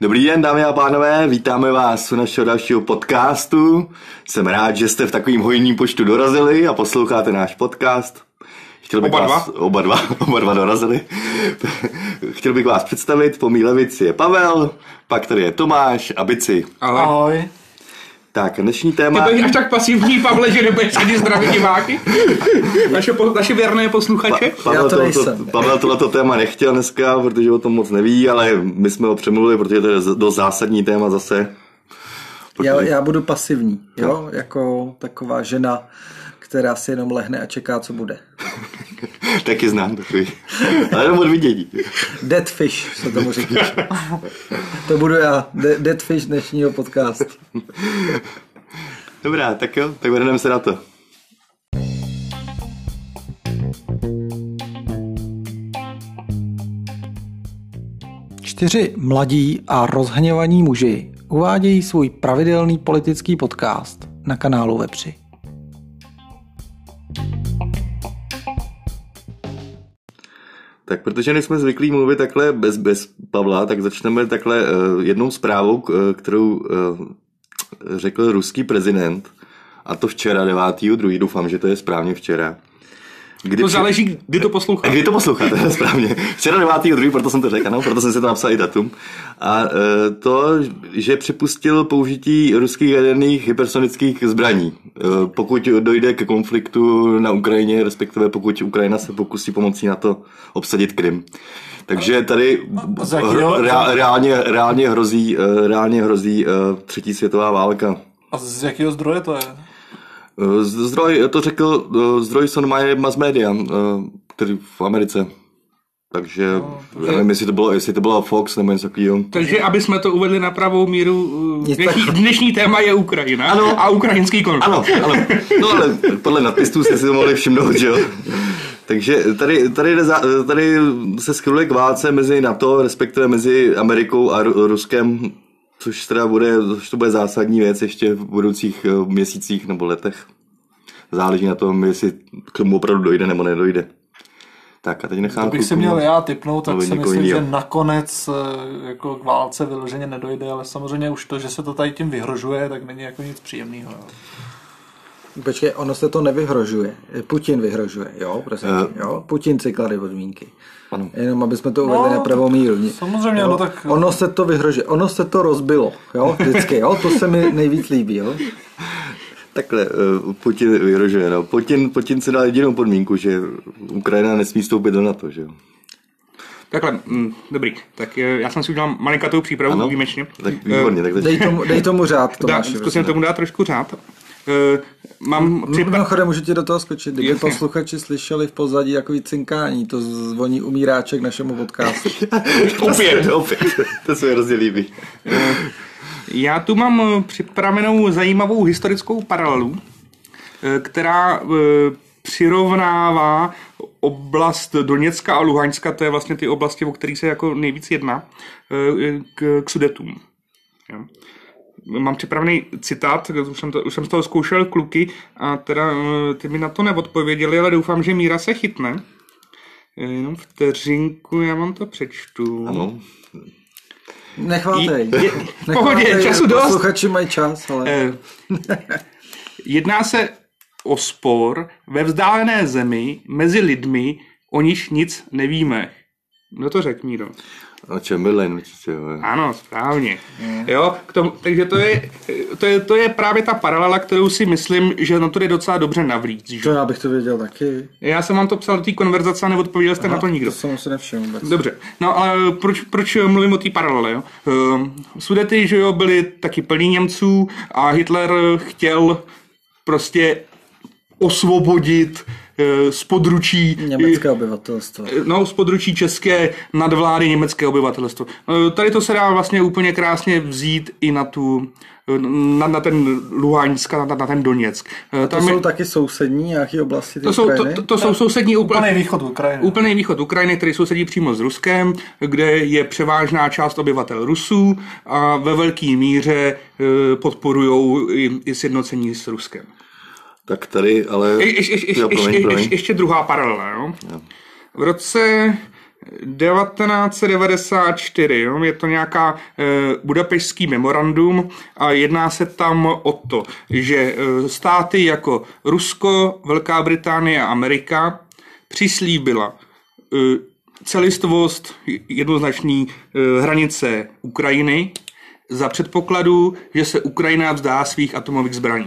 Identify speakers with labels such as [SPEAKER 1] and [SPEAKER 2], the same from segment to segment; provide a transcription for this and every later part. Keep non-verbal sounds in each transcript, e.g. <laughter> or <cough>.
[SPEAKER 1] Dobrý den, dámy a pánové, vítáme vás u našeho dalšího podcastu. Jsem rád, že jste v takovým hojním počtu dorazili a posloucháte náš podcast. Chtěl bych
[SPEAKER 2] Oba
[SPEAKER 1] vás,
[SPEAKER 2] dva?
[SPEAKER 1] Oba dva, <laughs> oba dva dorazili. Chtěl bych vás představit, po mý levici je Pavel, pak tady je Tomáš a Bici.
[SPEAKER 2] Ale
[SPEAKER 3] Ahoj.
[SPEAKER 1] Tak, dnešní téma...
[SPEAKER 2] ty budeš až tak pasivní, Pavle, že nebudeš ani zdravit diváky? Naše, po, naše věrné posluchače?
[SPEAKER 3] Já to
[SPEAKER 1] to,
[SPEAKER 3] nejsem.
[SPEAKER 1] Pavel tohleto téma nechtěl dneska, protože o tom moc neví, ale my jsme ho přemluvili, protože to je z- dost zásadní téma zase.
[SPEAKER 3] Já, já budu pasivní, jo? Jako taková žena, která si jenom lehne a čeká, co bude.
[SPEAKER 1] Taky znám takový. Ale jenom od vidění.
[SPEAKER 3] Dead fish se tomu říká. To budu já. De- dead fish dnešního podcastu.
[SPEAKER 1] Dobrá, tak jo, tak vrhneme se na to.
[SPEAKER 3] Čtyři mladí a rozhněvaní muži uvádějí svůj pravidelný politický podcast na kanálu Vepři.
[SPEAKER 1] Tak protože nejsme zvyklí mluvit takhle bez, bez Pavla, tak začneme takhle eh, jednou zprávou, k- eh, kterou eh, řekl ruský prezident, a to včera 9.2., doufám, že to je správně včera. Kdy
[SPEAKER 2] To
[SPEAKER 1] při-
[SPEAKER 2] záleží, kdy to
[SPEAKER 1] A
[SPEAKER 2] posloucháš.
[SPEAKER 1] kdy to posloucháte, správně. Včera 9.2., proto jsem to řekl, ano, proto jsem si to napsal i datum. A e, to, že připustil použití ruských jaderných hypersonických zbraní, e, pokud dojde ke konfliktu na Ukrajině, respektive pokud Ukrajina se pokusí pomocí na to obsadit Krym. Takže tady
[SPEAKER 4] za jakýho-
[SPEAKER 1] hro, rea- reálně, reálně hrozí, e, reálně hrozí e, třetí světová válka.
[SPEAKER 4] A z jakého zdroje to je?
[SPEAKER 1] E, z- Zdroj, to řekl e, zdroj Sonmaje Mass Media, e, který v Americe. Takže já nevím, jestli to bylo, jestli to bylo Fox nebo něco takového.
[SPEAKER 2] Takže, aby jsme to uvedli na pravou míru, eh,
[SPEAKER 3] Nic
[SPEAKER 2] dnešní,
[SPEAKER 3] tak-
[SPEAKER 2] dnešní téma je Ukrajina
[SPEAKER 1] Ano.
[SPEAKER 2] a ukrajinský konflikt.
[SPEAKER 1] Ano, ano. No ale podle nadpisů jste si to mohli všimnout, že jo. Takže tady, tady, jde za, tady se schyluje k válce mezi NATO, respektive mezi Amerikou a Ru- Ruskem, což teda bude, což to bude zásadní věc ještě v budoucích eh, měsících nebo letech. Záleží na tom, jestli k tomu opravdu dojde nebo nedojde. Tak a teď nechám...
[SPEAKER 4] Kdybych si
[SPEAKER 1] klukům-
[SPEAKER 4] měl já typnout, tak
[SPEAKER 1] Nebo
[SPEAKER 4] si
[SPEAKER 1] někoho
[SPEAKER 4] myslím,
[SPEAKER 1] jinýho.
[SPEAKER 4] že nakonec eh, jako k válce vyloženě nedojde, ale samozřejmě už to, že se to tady tím vyhrožuje, tak není jako nic příjemného.
[SPEAKER 3] Počkej, ono se to nevyhrožuje. Eh, Putin vyhrožuje, jo? Prosím,
[SPEAKER 2] Eh.
[SPEAKER 3] tě, jo? Putin si klade podmínky. Ano. Jenom aby jsme to uvedli
[SPEAKER 4] No,
[SPEAKER 3] na pravou míru.
[SPEAKER 4] samozřejmě,
[SPEAKER 3] jo?
[SPEAKER 4] no tak-
[SPEAKER 3] Ono se to vyhrožuje, ono se to rozbilo, jo? Vždycky, jo? To se mi nejvíc líbí, jo?
[SPEAKER 1] Takhle, eh, Putin vyrožuje, no. Putin, Putin si dal jedinou podmínku, že Ukrajina nesmí vstoupit do NATO, že jo.
[SPEAKER 2] Takhle, mm, dobrý. Tak eh, já jsem si udělal malinkatou přípravu
[SPEAKER 1] Ano.
[SPEAKER 2] výjimečně. Eh,
[SPEAKER 1] Tak výborně,
[SPEAKER 4] Eh,
[SPEAKER 1] tak
[SPEAKER 3] Dej tomu, dej tomu řád,
[SPEAKER 2] Dá,
[SPEAKER 3] Tomáši.
[SPEAKER 2] zkusím tomu dát trošku řád. Eh, Mám
[SPEAKER 1] <laughs>
[SPEAKER 2] připra-
[SPEAKER 3] Mimochodem, můžu ti do toho skočit. Kdyby
[SPEAKER 2] Jasně.
[SPEAKER 3] posluchači slyšeli v pozadí takový cinkání, to zvoní umíráček našemu podcastu.
[SPEAKER 2] opět.
[SPEAKER 1] opět. To se mi hrozně líbí.
[SPEAKER 2] Já tu mám eh, připravenou zajímavou historickou paralelu, eh, která eh, přirovnává oblast Doněcka a Luhaňska, to je vlastně ty oblasti, o kterých se jako nejvíc jedná, eh, k, k sudetům. Jo. Mám připravený citát, už jsem, to, už jsem z toho zkoušel kluky a teda eh, ty mi na to neodpověděli, ale doufám, že Míra se chytne. Eh, Jenom vteřinku, já vám to přečtu.
[SPEAKER 1] Ano.
[SPEAKER 3] Nechvátej.
[SPEAKER 2] Je- je-
[SPEAKER 3] Nechvátej,
[SPEAKER 2] pohodě, času dost.
[SPEAKER 3] Posluchači mají čas, ale...
[SPEAKER 2] Eh, Jedná se o spor ve vzdálené zemi mezi lidmi, o nich nic nevíme. Kdo to řekl, Míro?
[SPEAKER 1] A Chamberlain určitě, jo.
[SPEAKER 2] Ano, správně. Jo, k tomu, takže to je, to, je, to je právě ta paralela, kterou si myslím, že na to jde docela dobře navrít. Že?
[SPEAKER 3] To já bych to věděl taky.
[SPEAKER 2] Já jsem vám to psal do té konverzace a neodpověděl jste na to nikdo.
[SPEAKER 3] To jsem si nevšiml vůbec.
[SPEAKER 2] Dobře, no ale proč, proč mluvím o té paralele? Jo? Ehm, Sudety, že jo, byli taky plní Němců a Hitler chtěl prostě osvobodit eh, z područí
[SPEAKER 3] Německé obyvatelstvo.
[SPEAKER 2] No, z područí české nadvlády německé obyvatelstvo. E, Tady to se dá vlastně úplně krásně vzít i na tu e, na, na ten Luhansk a na, na ten Doněck. E,
[SPEAKER 3] To
[SPEAKER 2] Tam je-
[SPEAKER 3] jsou taky sousední nějaký oblasti ty
[SPEAKER 2] to jsou, to,
[SPEAKER 3] Ukrajiny?
[SPEAKER 2] to, to jsou sousední úplně,
[SPEAKER 4] Úplný východ Ukrajiny.
[SPEAKER 2] Úplný východ Ukrajiny, který sousedí přímo s Ruskem, kde je převážná část obyvatel Rusů a ve velké míře podporují i, i sjednocení s Ruskem.
[SPEAKER 1] Tak tady, ale...
[SPEAKER 2] Je, je, je, je,
[SPEAKER 1] Jo,
[SPEAKER 2] je,
[SPEAKER 1] promiň,
[SPEAKER 2] je, je,
[SPEAKER 1] promiň.
[SPEAKER 2] ještě druhá paralela. Jo? V roce 1994, jo? je to nějaká eh, budapešský memorandum a jedná se tam o to, že eh, státy jako Rusko, Velká Británie a Amerika přislíbila eh, celistvost jednoznačný eh, hranice Ukrajiny za předpokladu, že se Ukrajina vzdá svých atomových zbraní.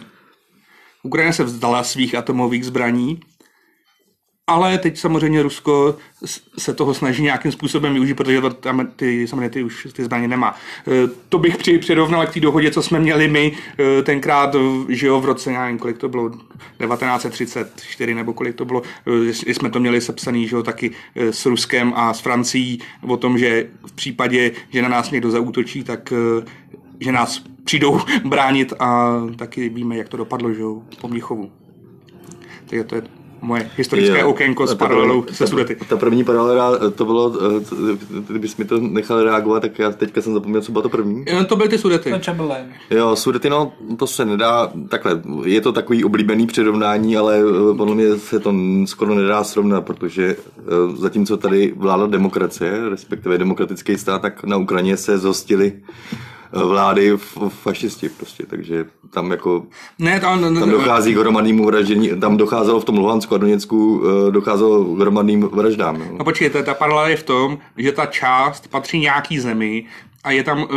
[SPEAKER 2] Ukrajina se vzdala svých atomových zbraní, ale teď samozřejmě Rusko se toho snaží nějakým způsobem využít, protože to tam ty, samozřejmě ty už ty zbraně nemá. E, To bych při, přirovnal k té dohodě, co jsme měli my e, tenkrát, v- že jo, v roce, já nevím, kolik to bylo, 1934 nebo kolik to bylo, e, jestli jsme to měli sepsaný, že jo, taky e, s Ruskem a s Francií o tom, že v případě, že na nás někdo zaútočí, tak e, že nás přijdou <laughs> bránit a taky víme, jak to dopadlo, že jo, po Mnichovu. Takže to je moje historické
[SPEAKER 1] Jo.
[SPEAKER 2] okénko s
[SPEAKER 1] Ta první-
[SPEAKER 2] paralelou
[SPEAKER 1] ta-
[SPEAKER 2] se Sudety.
[SPEAKER 1] Ta první paralela, to bylo, eh, t- kdybys mi to nechal reagovat, tak já teďka jsem zapomněl, co bylo to první.
[SPEAKER 2] Jo, To byly ty Sudety.
[SPEAKER 4] Ten Chamberlain.
[SPEAKER 1] Jo, Sudety, no, to se nedá, takhle, je to takový oblíbený přirovnání, ale eh, podle mě se to n- skoro nedá srovnat, protože eh, zatímco tady vládla demokracie, respektive demokratický stát, tak na Ukrajině se zhostili eh, vlády f- fašisti prostě, takže tam jako
[SPEAKER 2] Ne, to, ne,
[SPEAKER 1] tam
[SPEAKER 2] ne,
[SPEAKER 1] dochází k hromadnému vraždění, tam docházelo v tom Luhansku a Doněcku, eh, docházelo k hromadným vraždám. No.
[SPEAKER 2] no počkejte, ta paralela je v tom, že ta část patří nějaký zemi a je tam uh,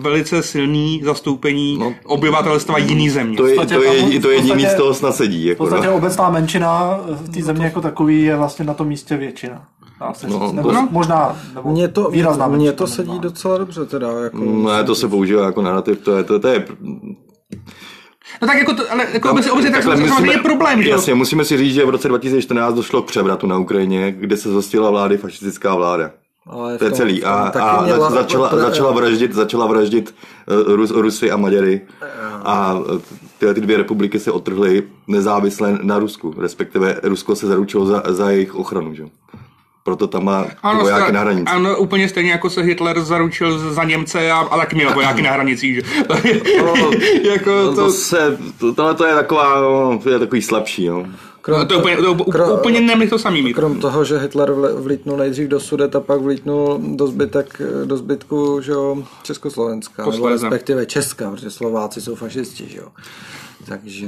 [SPEAKER 2] velice silný zastoupení
[SPEAKER 1] No.
[SPEAKER 2] obyvatelstva jiný země.
[SPEAKER 1] To je,
[SPEAKER 4] podstatě
[SPEAKER 1] to
[SPEAKER 4] tam-
[SPEAKER 1] je,
[SPEAKER 4] v
[SPEAKER 1] to je jediný
[SPEAKER 4] podstatě-
[SPEAKER 1] z toho snad sedí.
[SPEAKER 4] V
[SPEAKER 1] Jako,
[SPEAKER 4] podstatě
[SPEAKER 1] no.
[SPEAKER 4] obecná menšina v té země jako takový je vlastně na tom místě většina. Dá se
[SPEAKER 1] No,
[SPEAKER 4] říct. Nebo
[SPEAKER 1] no.
[SPEAKER 4] možná, nebo
[SPEAKER 3] Mně to,
[SPEAKER 4] výrazná
[SPEAKER 3] mně
[SPEAKER 4] menšina,
[SPEAKER 3] to
[SPEAKER 4] možná.
[SPEAKER 3] sedí docela dobře teda, jako...
[SPEAKER 1] Ne, No, to se používá jako narrativ, to je, to, to je
[SPEAKER 2] No tak jako, to, ale jako obecně, obecně tak
[SPEAKER 1] Takhle
[SPEAKER 2] samozřejmě
[SPEAKER 1] musíme-
[SPEAKER 2] je problém, že jo?
[SPEAKER 1] Jasně, musíme si říct, že v roce 2014 došlo k převratu na Ukrajině, kde se zhostila vlády fašistická vláda.
[SPEAKER 3] Ale v
[SPEAKER 1] To je
[SPEAKER 3] tom- v
[SPEAKER 1] celý.
[SPEAKER 3] tom
[SPEAKER 1] A,
[SPEAKER 3] taky
[SPEAKER 1] a
[SPEAKER 3] měla-
[SPEAKER 1] zač- začala,
[SPEAKER 3] pro-
[SPEAKER 1] začala vraždit, začala vraždit eh, Rus, Rusy a Maďary. A eh, tyhle ty dvě republiky se otrhly nezávisle na Rusku, respektive Rusko se zaručilo za, za jejich ochranu. Že? jo. Proto tam má ty vojáky
[SPEAKER 2] sta-
[SPEAKER 1] jako na hranici.
[SPEAKER 2] ano, úplně stejně jako se Hitler zaručil z- za Němce a, a taky měl vojáky na hranicích. Že?
[SPEAKER 1] <laughs>
[SPEAKER 2] <laughs> jako
[SPEAKER 1] No to, se, to, tohle to je taková, no, to je takový slabší. No.
[SPEAKER 2] No, to je úplně, to, je
[SPEAKER 3] kro-
[SPEAKER 2] úplně nemlich to samý mít.
[SPEAKER 3] Krom toho, že Hitler vle- vlítnul nejdřív do Sudet a pak vlítnul do, zbytek, do zbytku že jo, Československa, nebo
[SPEAKER 2] Posléze.
[SPEAKER 3] respektive Česka, protože Slováci jsou fašisti, že jo. Takže...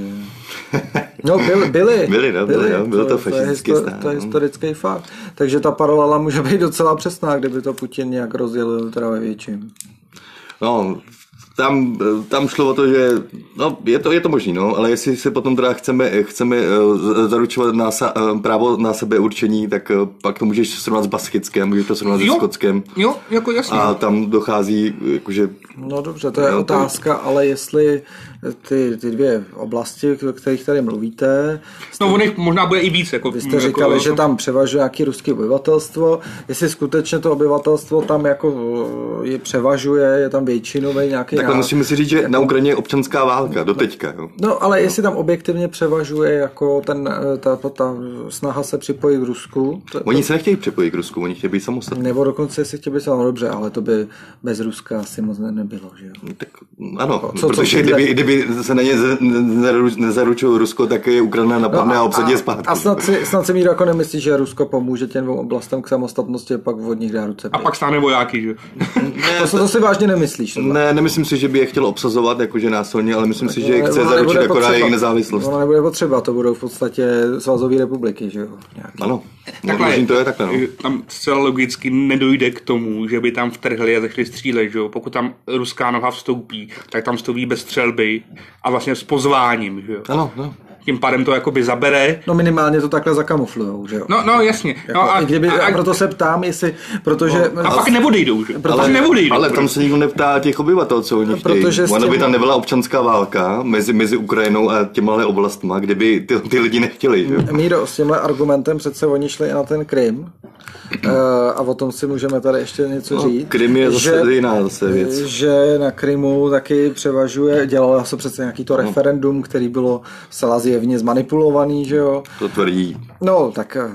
[SPEAKER 3] No, byli. Byli,
[SPEAKER 1] <laughs> Byli, no, byli, jo, byl to fašistický
[SPEAKER 3] je
[SPEAKER 1] stát,
[SPEAKER 3] To je
[SPEAKER 1] no.
[SPEAKER 3] historický fakt. Takže ta paralela může být docela přesná, kdyby to Putin nějak rozdělil teda ve větším.
[SPEAKER 1] No, tam, tam šlo o to, že no, je to, je to možný, no, ale jestli se potom teda chceme, chceme eh, z- zaručovat na, sa- eh, právo na sebeurčení, tak eh, pak to můžeš srovnat s Baskickem, můžeš to srovnat se
[SPEAKER 2] Jo.
[SPEAKER 1] Skotskem.
[SPEAKER 2] Jo, jako jasně.
[SPEAKER 1] A tam dochází, jakože,
[SPEAKER 3] No dobře, to je
[SPEAKER 1] Jo, to-
[SPEAKER 3] otázka, ale jestli ty, ty dvě oblasti, o kterých tady mluvíte,
[SPEAKER 2] No, on jich možná bude i víc. Jako,
[SPEAKER 3] Vy jste říkali, že tam převažuje nějaký ruský obyvatelstvo. Jestli skutečně to obyvatelstvo tam jako eh, je převažuje, je tam většinový nějaký
[SPEAKER 1] takhle
[SPEAKER 3] národ.
[SPEAKER 1] musíme si říct, že na Ukrajině je občanská válka do teďka. Jo.
[SPEAKER 3] No, ale jestli tam objektivně převažuje jako ten, eh, ta, ta, ta snaha se připojit k Rusku, to,
[SPEAKER 1] Oni se nechtějí připojit k Rusku, oni chtějí být samostatní.
[SPEAKER 3] nebo dokonce jestli chtěl by se, no dobře, ale to by bez Ruska asi moc ne- nebylo, že jo?
[SPEAKER 1] Tak, ano,
[SPEAKER 3] co- co
[SPEAKER 1] protože
[SPEAKER 3] tyhle-
[SPEAKER 1] kdyby, kdyby se na ně z- nezaru- nezaručilo Rusko, tak je Ukrajina napadne a, obsadí je zpátky.
[SPEAKER 3] No a snad si, snad si Míro jako nemyslí, že Rusko pomůže těm dvou oblastem k samostatnosti a pak od nich dá ruce
[SPEAKER 2] A
[SPEAKER 3] pryč.
[SPEAKER 2] pak stáne vojáky, že?
[SPEAKER 1] No,
[SPEAKER 3] To, se- to si vážně nemyslíš. tohle.
[SPEAKER 1] Ne, nemyslím si, že by je chtěl obsazovat jakože násilně, ale myslím si, že je chce
[SPEAKER 3] Ona
[SPEAKER 1] zaručit
[SPEAKER 3] nebude
[SPEAKER 1] akorát
[SPEAKER 3] potřeba.
[SPEAKER 1] jejich nezávislost.
[SPEAKER 3] Ona nebude potřeba, to budou v podstatě svazové republiky, že jo? Nějaký.
[SPEAKER 1] Ano, no,
[SPEAKER 2] Takhle
[SPEAKER 1] možný to je takhle. No.
[SPEAKER 2] Tam zcela logicky nedojde k tomu, že by tam vtrhli a začali střílet, že jo? Pokud tam ruská noha vstoupí, tak tam stoupí bez střelby a vlastně s pozváním, že jo?
[SPEAKER 1] Ano, no.
[SPEAKER 2] Tím pádem to jakoby zabere.
[SPEAKER 3] No minimálně to takhle zakamuflujou, že jo?
[SPEAKER 2] No, no, jasně.
[SPEAKER 3] Jako,
[SPEAKER 2] No
[SPEAKER 3] a,
[SPEAKER 2] a,
[SPEAKER 3] kdyby, a,
[SPEAKER 2] a, No,
[SPEAKER 3] proto se ptám, jestli, protože...
[SPEAKER 2] a pak neodejdou, že? Protože neodejdou.
[SPEAKER 1] ale tam se nikdo neptá těch obyvatel, co oni chtějí.
[SPEAKER 3] protože s
[SPEAKER 1] Ona
[SPEAKER 3] těma-
[SPEAKER 1] by tam nebyla občanská válka mezi, mezi Ukrajinou a těma oblastma, kdyby ty, ty lidi nechtěli. Že? jo?
[SPEAKER 3] Míro, s tímhle argumentem přece oni šli i na ten Krym Eh, a o tom si můžeme tady ještě něco
[SPEAKER 1] No,
[SPEAKER 3] říct.
[SPEAKER 1] Krym je zase
[SPEAKER 3] že-
[SPEAKER 1] jiná zase věc.
[SPEAKER 3] Že na Krymu taky převažuje, dělalo se přece nějaký
[SPEAKER 1] No.
[SPEAKER 3] to referendum, který bylo zcela zjevně zmanipulovaný, že jo?
[SPEAKER 1] To tvrdí.
[SPEAKER 3] No, tak eh,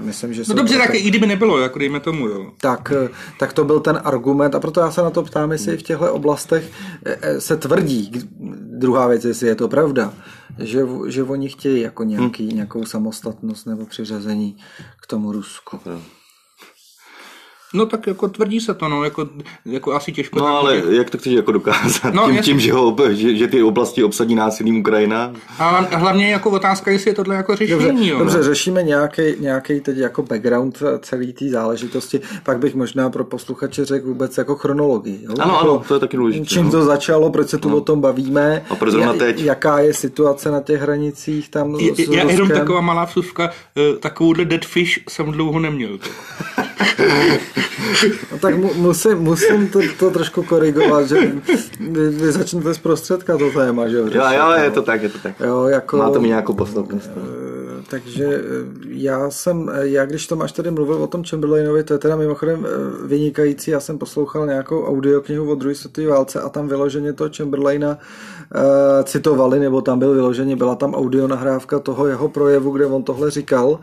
[SPEAKER 3] myslím, že...
[SPEAKER 2] No
[SPEAKER 3] jsou
[SPEAKER 2] dobře,
[SPEAKER 3] to-
[SPEAKER 2] tak i kdyby nebylo, jako dejme tomu, jo.
[SPEAKER 3] tak, eh, tak to byl ten argument a proto já se na to ptám, jestli v těchto oblastech eh, eh, se tvrdí, k- druhá věc, jestli je to pravda, že, v- že oni chtějí jako
[SPEAKER 1] Hm.
[SPEAKER 3] nějaký, nějakou samostatnost nebo přiřazení k tomu Rusku.
[SPEAKER 2] No tak jako tvrdí se to, no, jako, jako asi těžko.
[SPEAKER 1] No
[SPEAKER 2] tak
[SPEAKER 1] ale
[SPEAKER 2] bude.
[SPEAKER 1] jak to chceš jako dokázat?
[SPEAKER 2] No,
[SPEAKER 1] No, tím,
[SPEAKER 2] jasně.
[SPEAKER 1] tím že, ho, že, že, ty oblasti obsadí násilím Ukrajina?
[SPEAKER 2] A hla- hlavně jako otázka, jestli je tohle jako řešení.
[SPEAKER 3] Dobře,
[SPEAKER 2] jo.
[SPEAKER 3] dobře řešíme nějaký, nějaký teď jako background celý té záležitosti. Pak bych možná pro posluchače řekl vůbec jako chronologii. Jo?
[SPEAKER 1] Ano,
[SPEAKER 3] jako,
[SPEAKER 1] ano, to je taky důležité,
[SPEAKER 3] Čím
[SPEAKER 1] no.
[SPEAKER 3] to začalo, proč se tu o tom bavíme.
[SPEAKER 1] A proč zrovna teď?
[SPEAKER 3] Jaká je situace na těch hranicích tam s,
[SPEAKER 2] Je-
[SPEAKER 3] s
[SPEAKER 2] je- Já jenom
[SPEAKER 3] Ruskem?
[SPEAKER 2] taková malá vsuvka, eh, takovouhle dead fish jsem dlouho neměl.
[SPEAKER 3] No, tak mu, musím, musím to, to, trošku korigovat, že vy, vy začnete zprostředka to téma, že jo?
[SPEAKER 1] Jo, jo, je to tak, je to tak.
[SPEAKER 3] Jo, jako...
[SPEAKER 1] Má to mi nějakou podstatnost. no.
[SPEAKER 3] Eh, takže eh, já jsem, eh, já když Tomáš tady mluvil o tom Chamberlainovi, to je teda mimochodem eh, vynikající, já jsem poslouchal nějakou audioknihu o druhé světové válce a tam vyloženě toho Chamberlaina eh, citovali, nebo tam byl vyloženě, byla tam audio nahrávka toho jeho projevu, kde on tohle říkal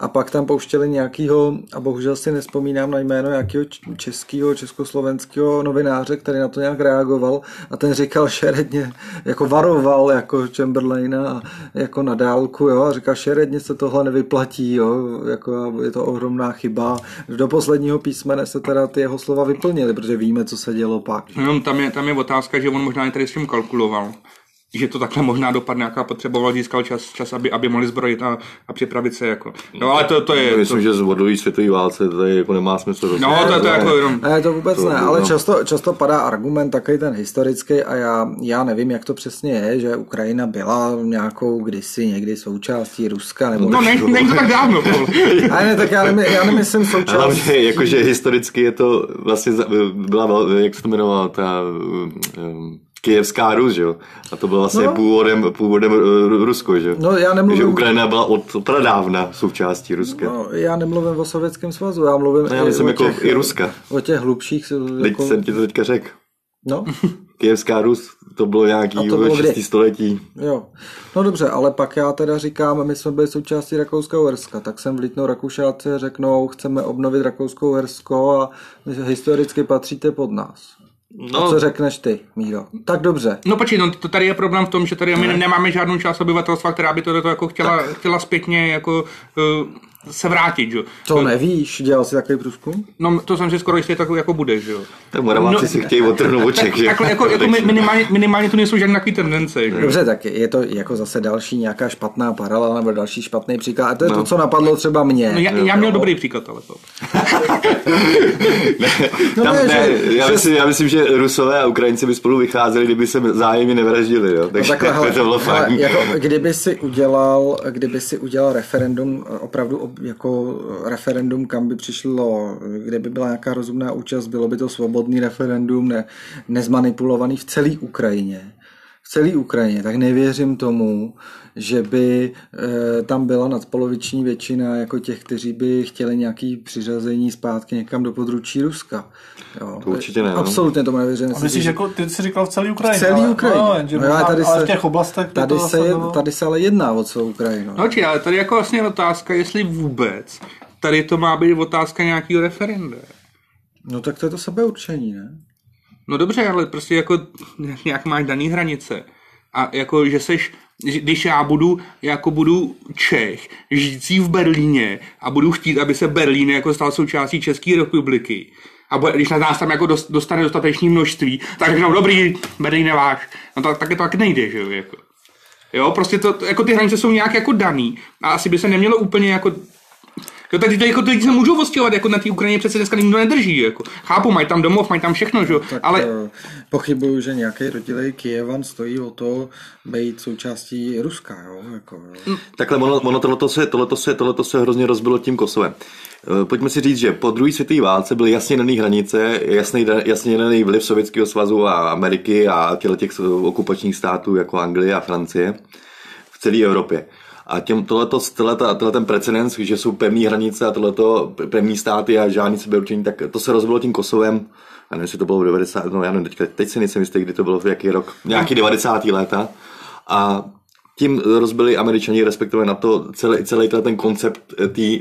[SPEAKER 3] a pak tam pouštěli nějakýho, a bohužel si nespomínám na jméno, nějakého českého, československého novináře, který na to nějak reagoval a ten říkal šeredně, jako varoval jako Chamberlaina a jako na dálku, jo, a říkal šeredně se tohle nevyplatí, jo, jako je to ohromná chyba. Do posledního písmene se teda ty jeho slova vyplnily, protože víme, co se dělo pak.
[SPEAKER 2] Jenom tam je, tam je otázka, že on možná i tady s tím kalkuloval. Že to takhle možná dopadne, jaká potřeboval, získal čas, čas aby, aby mohli zbrojit a, a připravit se. Jako. No ale to, to je... To,
[SPEAKER 1] Myslím, že z vodové světové válce tady jako nemá smysl.
[SPEAKER 2] no to, to, je jako jenom...
[SPEAKER 3] Ne, to vůbec
[SPEAKER 1] To
[SPEAKER 3] ne,
[SPEAKER 1] bylo-
[SPEAKER 3] ale často, často padá argument takový ten historický a já, já nevím, jak to přesně je, že Ukrajina byla nějakou kdysi někdy součástí Ruska nebo...
[SPEAKER 2] No ne, není to tak
[SPEAKER 3] <laughs>
[SPEAKER 2] dávno. Paul.
[SPEAKER 3] Ale ne, tak já, nemy, já nemyslím součást.
[SPEAKER 1] Hlavně jakože historicky je to vlastně, za- byla, vel- jak se to jmenovala, ta um, Kijevská Rus, že jo? A to bylo vlastně
[SPEAKER 3] No.
[SPEAKER 1] no. původem, původem eh, Rusko, že jo?
[SPEAKER 3] No, já nemluvím-
[SPEAKER 1] Že Ukrajina byla od pradávna součástí Ruska. No.
[SPEAKER 3] No, já nemluvím o Sovětském svazu, já mluvím
[SPEAKER 1] No, já myslím jako i Ruska.
[SPEAKER 3] O těch hlubších...
[SPEAKER 1] Teď
[SPEAKER 3] Jako,
[SPEAKER 1] jsem ti to teďka řekl.
[SPEAKER 3] No,
[SPEAKER 1] Kijevská Rus, to bylo nějaký
[SPEAKER 3] A to bylo
[SPEAKER 1] 6.
[SPEAKER 3] kdy?
[SPEAKER 1] století.
[SPEAKER 3] jo. No dobře, ale pak já teda říkám, my jsme byli součástí Rakouska-Uherska, tak sem vlítnou Rakušáci a řeknou, chceme obnovit Rakousko-Uhersko a historicky patříte pod nás. No. A co řekneš ty, Míro? Tak dobře.
[SPEAKER 2] No počkej, no, to tady je problém v tom, že tady my nemáme žádnou část obyvatelstva, která by to, to jako chtěla, chtěla zpětně jako, uh, se vrátit. Že? jo.
[SPEAKER 3] Co nevíš, dělal jsi takový průzkum?
[SPEAKER 2] No to jsem si skoro jistý, tak jako bude, že jo.
[SPEAKER 1] Tak Moraváci
[SPEAKER 2] No.
[SPEAKER 1] si chtějí otrhnout oček, že? <laughs>
[SPEAKER 2] Takhle jako, jako mi- minimálně, minimálně tu nejsou žádné takové tendence, jako. že jo.
[SPEAKER 3] Dobře, tak je to jako zase další nějaká špatná paralela nebo další špatný příklad. A to je no. to, co napadlo třeba mě.
[SPEAKER 2] No, já, já měl dobrý příklad, ale to.
[SPEAKER 3] No
[SPEAKER 1] Tam,
[SPEAKER 3] ne,
[SPEAKER 1] ne,
[SPEAKER 3] že-
[SPEAKER 1] já,
[SPEAKER 3] že-
[SPEAKER 1] myslím, já myslím, že Rusové a Ukrajinci by spolu vycházeli, kdyby se zájemně nevraždili, jo? No, Takže
[SPEAKER 3] No, Takhle, hele,
[SPEAKER 1] to bylo
[SPEAKER 3] hele,
[SPEAKER 1] fajn.
[SPEAKER 3] jako, kdyby si udělal, kdyby si udělal referendum, eh, opravdu ob- jako eh, referendum, kam by přišlo, eh, kde by byla nějaká rozumná účast, bylo by to svobodný referendum, ne, nezmanipulovaný v celé Ukrajině. V celé Ukrajině, tak nevěřím tomu, že by e, tam byla nadpoloviční většina jako těch, kteří by chtěli nějaký přiřazení zpátky někam do područí Ruska. Jo.
[SPEAKER 1] To určitě ne, no.
[SPEAKER 3] Absolutně tomu nevěřím.
[SPEAKER 4] A
[SPEAKER 3] Myslím,
[SPEAKER 4] myslíš,
[SPEAKER 3] že-
[SPEAKER 4] jako ty jsi říkal v celé Ukrajině.
[SPEAKER 3] celý
[SPEAKER 4] ale-
[SPEAKER 3] Ukrajině.
[SPEAKER 4] No, jenže
[SPEAKER 3] ale
[SPEAKER 4] možná- ale v těch oblastech by
[SPEAKER 3] tady,
[SPEAKER 4] to
[SPEAKER 3] se
[SPEAKER 4] zase
[SPEAKER 3] je,
[SPEAKER 4] bylo-
[SPEAKER 3] tady se ale jedná o celou Ukrajinu.
[SPEAKER 2] No, či, ale tady jako vlastně otázka, jestli vůbec tady to má být otázka nějakého referenda.
[SPEAKER 3] No tak to je to sebeurčení, ne?
[SPEAKER 2] No dobře, ale prostě jako nějak máš daný hranice. A jako, že seš, že- když já budu, jako budu Čech, žijící v Berlíně a budu chtít, aby se Berlín jako stal součástí České republiky, a bude, když na nás tam jako dos- dostane dostatečné množství, tak řeknou, dobrý, Berlín je váš. No tak, tak to tak nejde, že jo, jako. Jo, prostě to, jako ty hranice jsou nějak jako daný a asi by se nemělo úplně jako Jo, tak teď, jako, teď se můžou ostihovat, jako na té Ukrajině přece dneska nikdo nedrží, jako. Chápu, mají tam domov, mají tam všechno, že jo,
[SPEAKER 3] Tak
[SPEAKER 2] ale...
[SPEAKER 3] eh, pochybuju, že nějaký rodilej Kijevan stojí o to být součástí Ruska, jo? Jako, jo.
[SPEAKER 1] Takhle ono, ono tohleto, se, tohleto, se, tohleto se hrozně rozbilo tím Kosovem. Eh, Pojďme si říct, že po druhé světové válce byly jasně dané hranice, jasný, da- jasně daný vliv Sovětského svazu a Ameriky a těle těch eh, okupačních států jako Anglie a Francie v celé Evropě. A těm tohleto, tohleto, tohle ten precedens, že jsou pevné hranice a tohleto pevné státy a žádný sebeurčení, tak to se rozbilo tím Kosovem. Já nevím, jestli to bylo v 90. No, já nevím, teďka, teď si nejsem jistý, kdy to bylo, v jaký rok. Nějaký 90. léta. A tím rozbili američani, respektive na to celý, celý tenhle ten koncept eh, tý,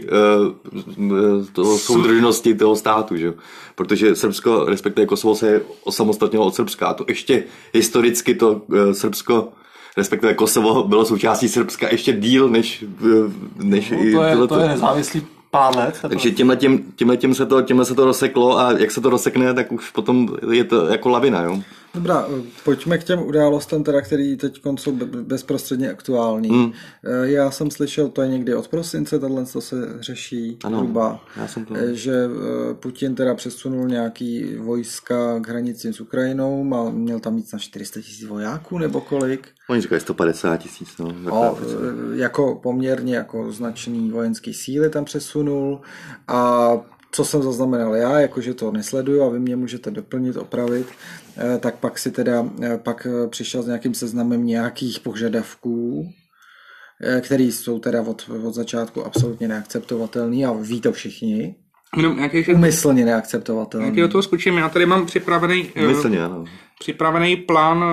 [SPEAKER 1] uh, toho soudržnosti toho státu, že? jo. Protože Srbsko, respektive Kosovo se osamostatnilo od Srbska a to ještě historicky to eh, Srbsko respektive Kosovo bylo součástí Srbska ještě díl než, eh, než
[SPEAKER 4] No,
[SPEAKER 1] i
[SPEAKER 4] to, je,
[SPEAKER 1] tohleto.
[SPEAKER 4] to je nezávislý pár let. teprve.
[SPEAKER 1] Takže tímhle, tím, tímhle, tím se to, tímhle se to rozseklo a jak se to rozsekne, tak už potom je to jako lavina, jo?
[SPEAKER 3] Dobrá, eh, pojďme k těm událostem, teda, který teď jsou be- bezprostředně aktuální. Hmm. Já jsem slyšel, to je někdy od prosince, tohle to se řeší
[SPEAKER 1] Ano,
[SPEAKER 3] hruba,
[SPEAKER 1] já jsem to-
[SPEAKER 3] eh, že eh, Putin teda přesunul nějaký vojska k hranicím s Ukrajinou a měl tam víc na 400 tisíc vojáků nebo kolik.
[SPEAKER 1] Oni říkají 150 tisíc, no. tak
[SPEAKER 3] No,
[SPEAKER 1] to je-
[SPEAKER 3] eh, jako poměrně jako značný vojenský síly tam přesunul a co jsem zaznamenal já, jakože to nesleduju a vy mě můžete doplnit, opravit, eh, tak pak si teda, eh, pak eh, přišel s nějakým seznamem nějakých požadavků, eh, které jsou teda od, od začátku absolutně neakceptovatelný a ví to všichni,
[SPEAKER 2] Jenom nějaký,
[SPEAKER 3] umyslně neakceptovatelný.
[SPEAKER 2] nějaký do toho skočím. Já tady mám připravený, eh,
[SPEAKER 1] Umyslně, ano.
[SPEAKER 2] připravený plán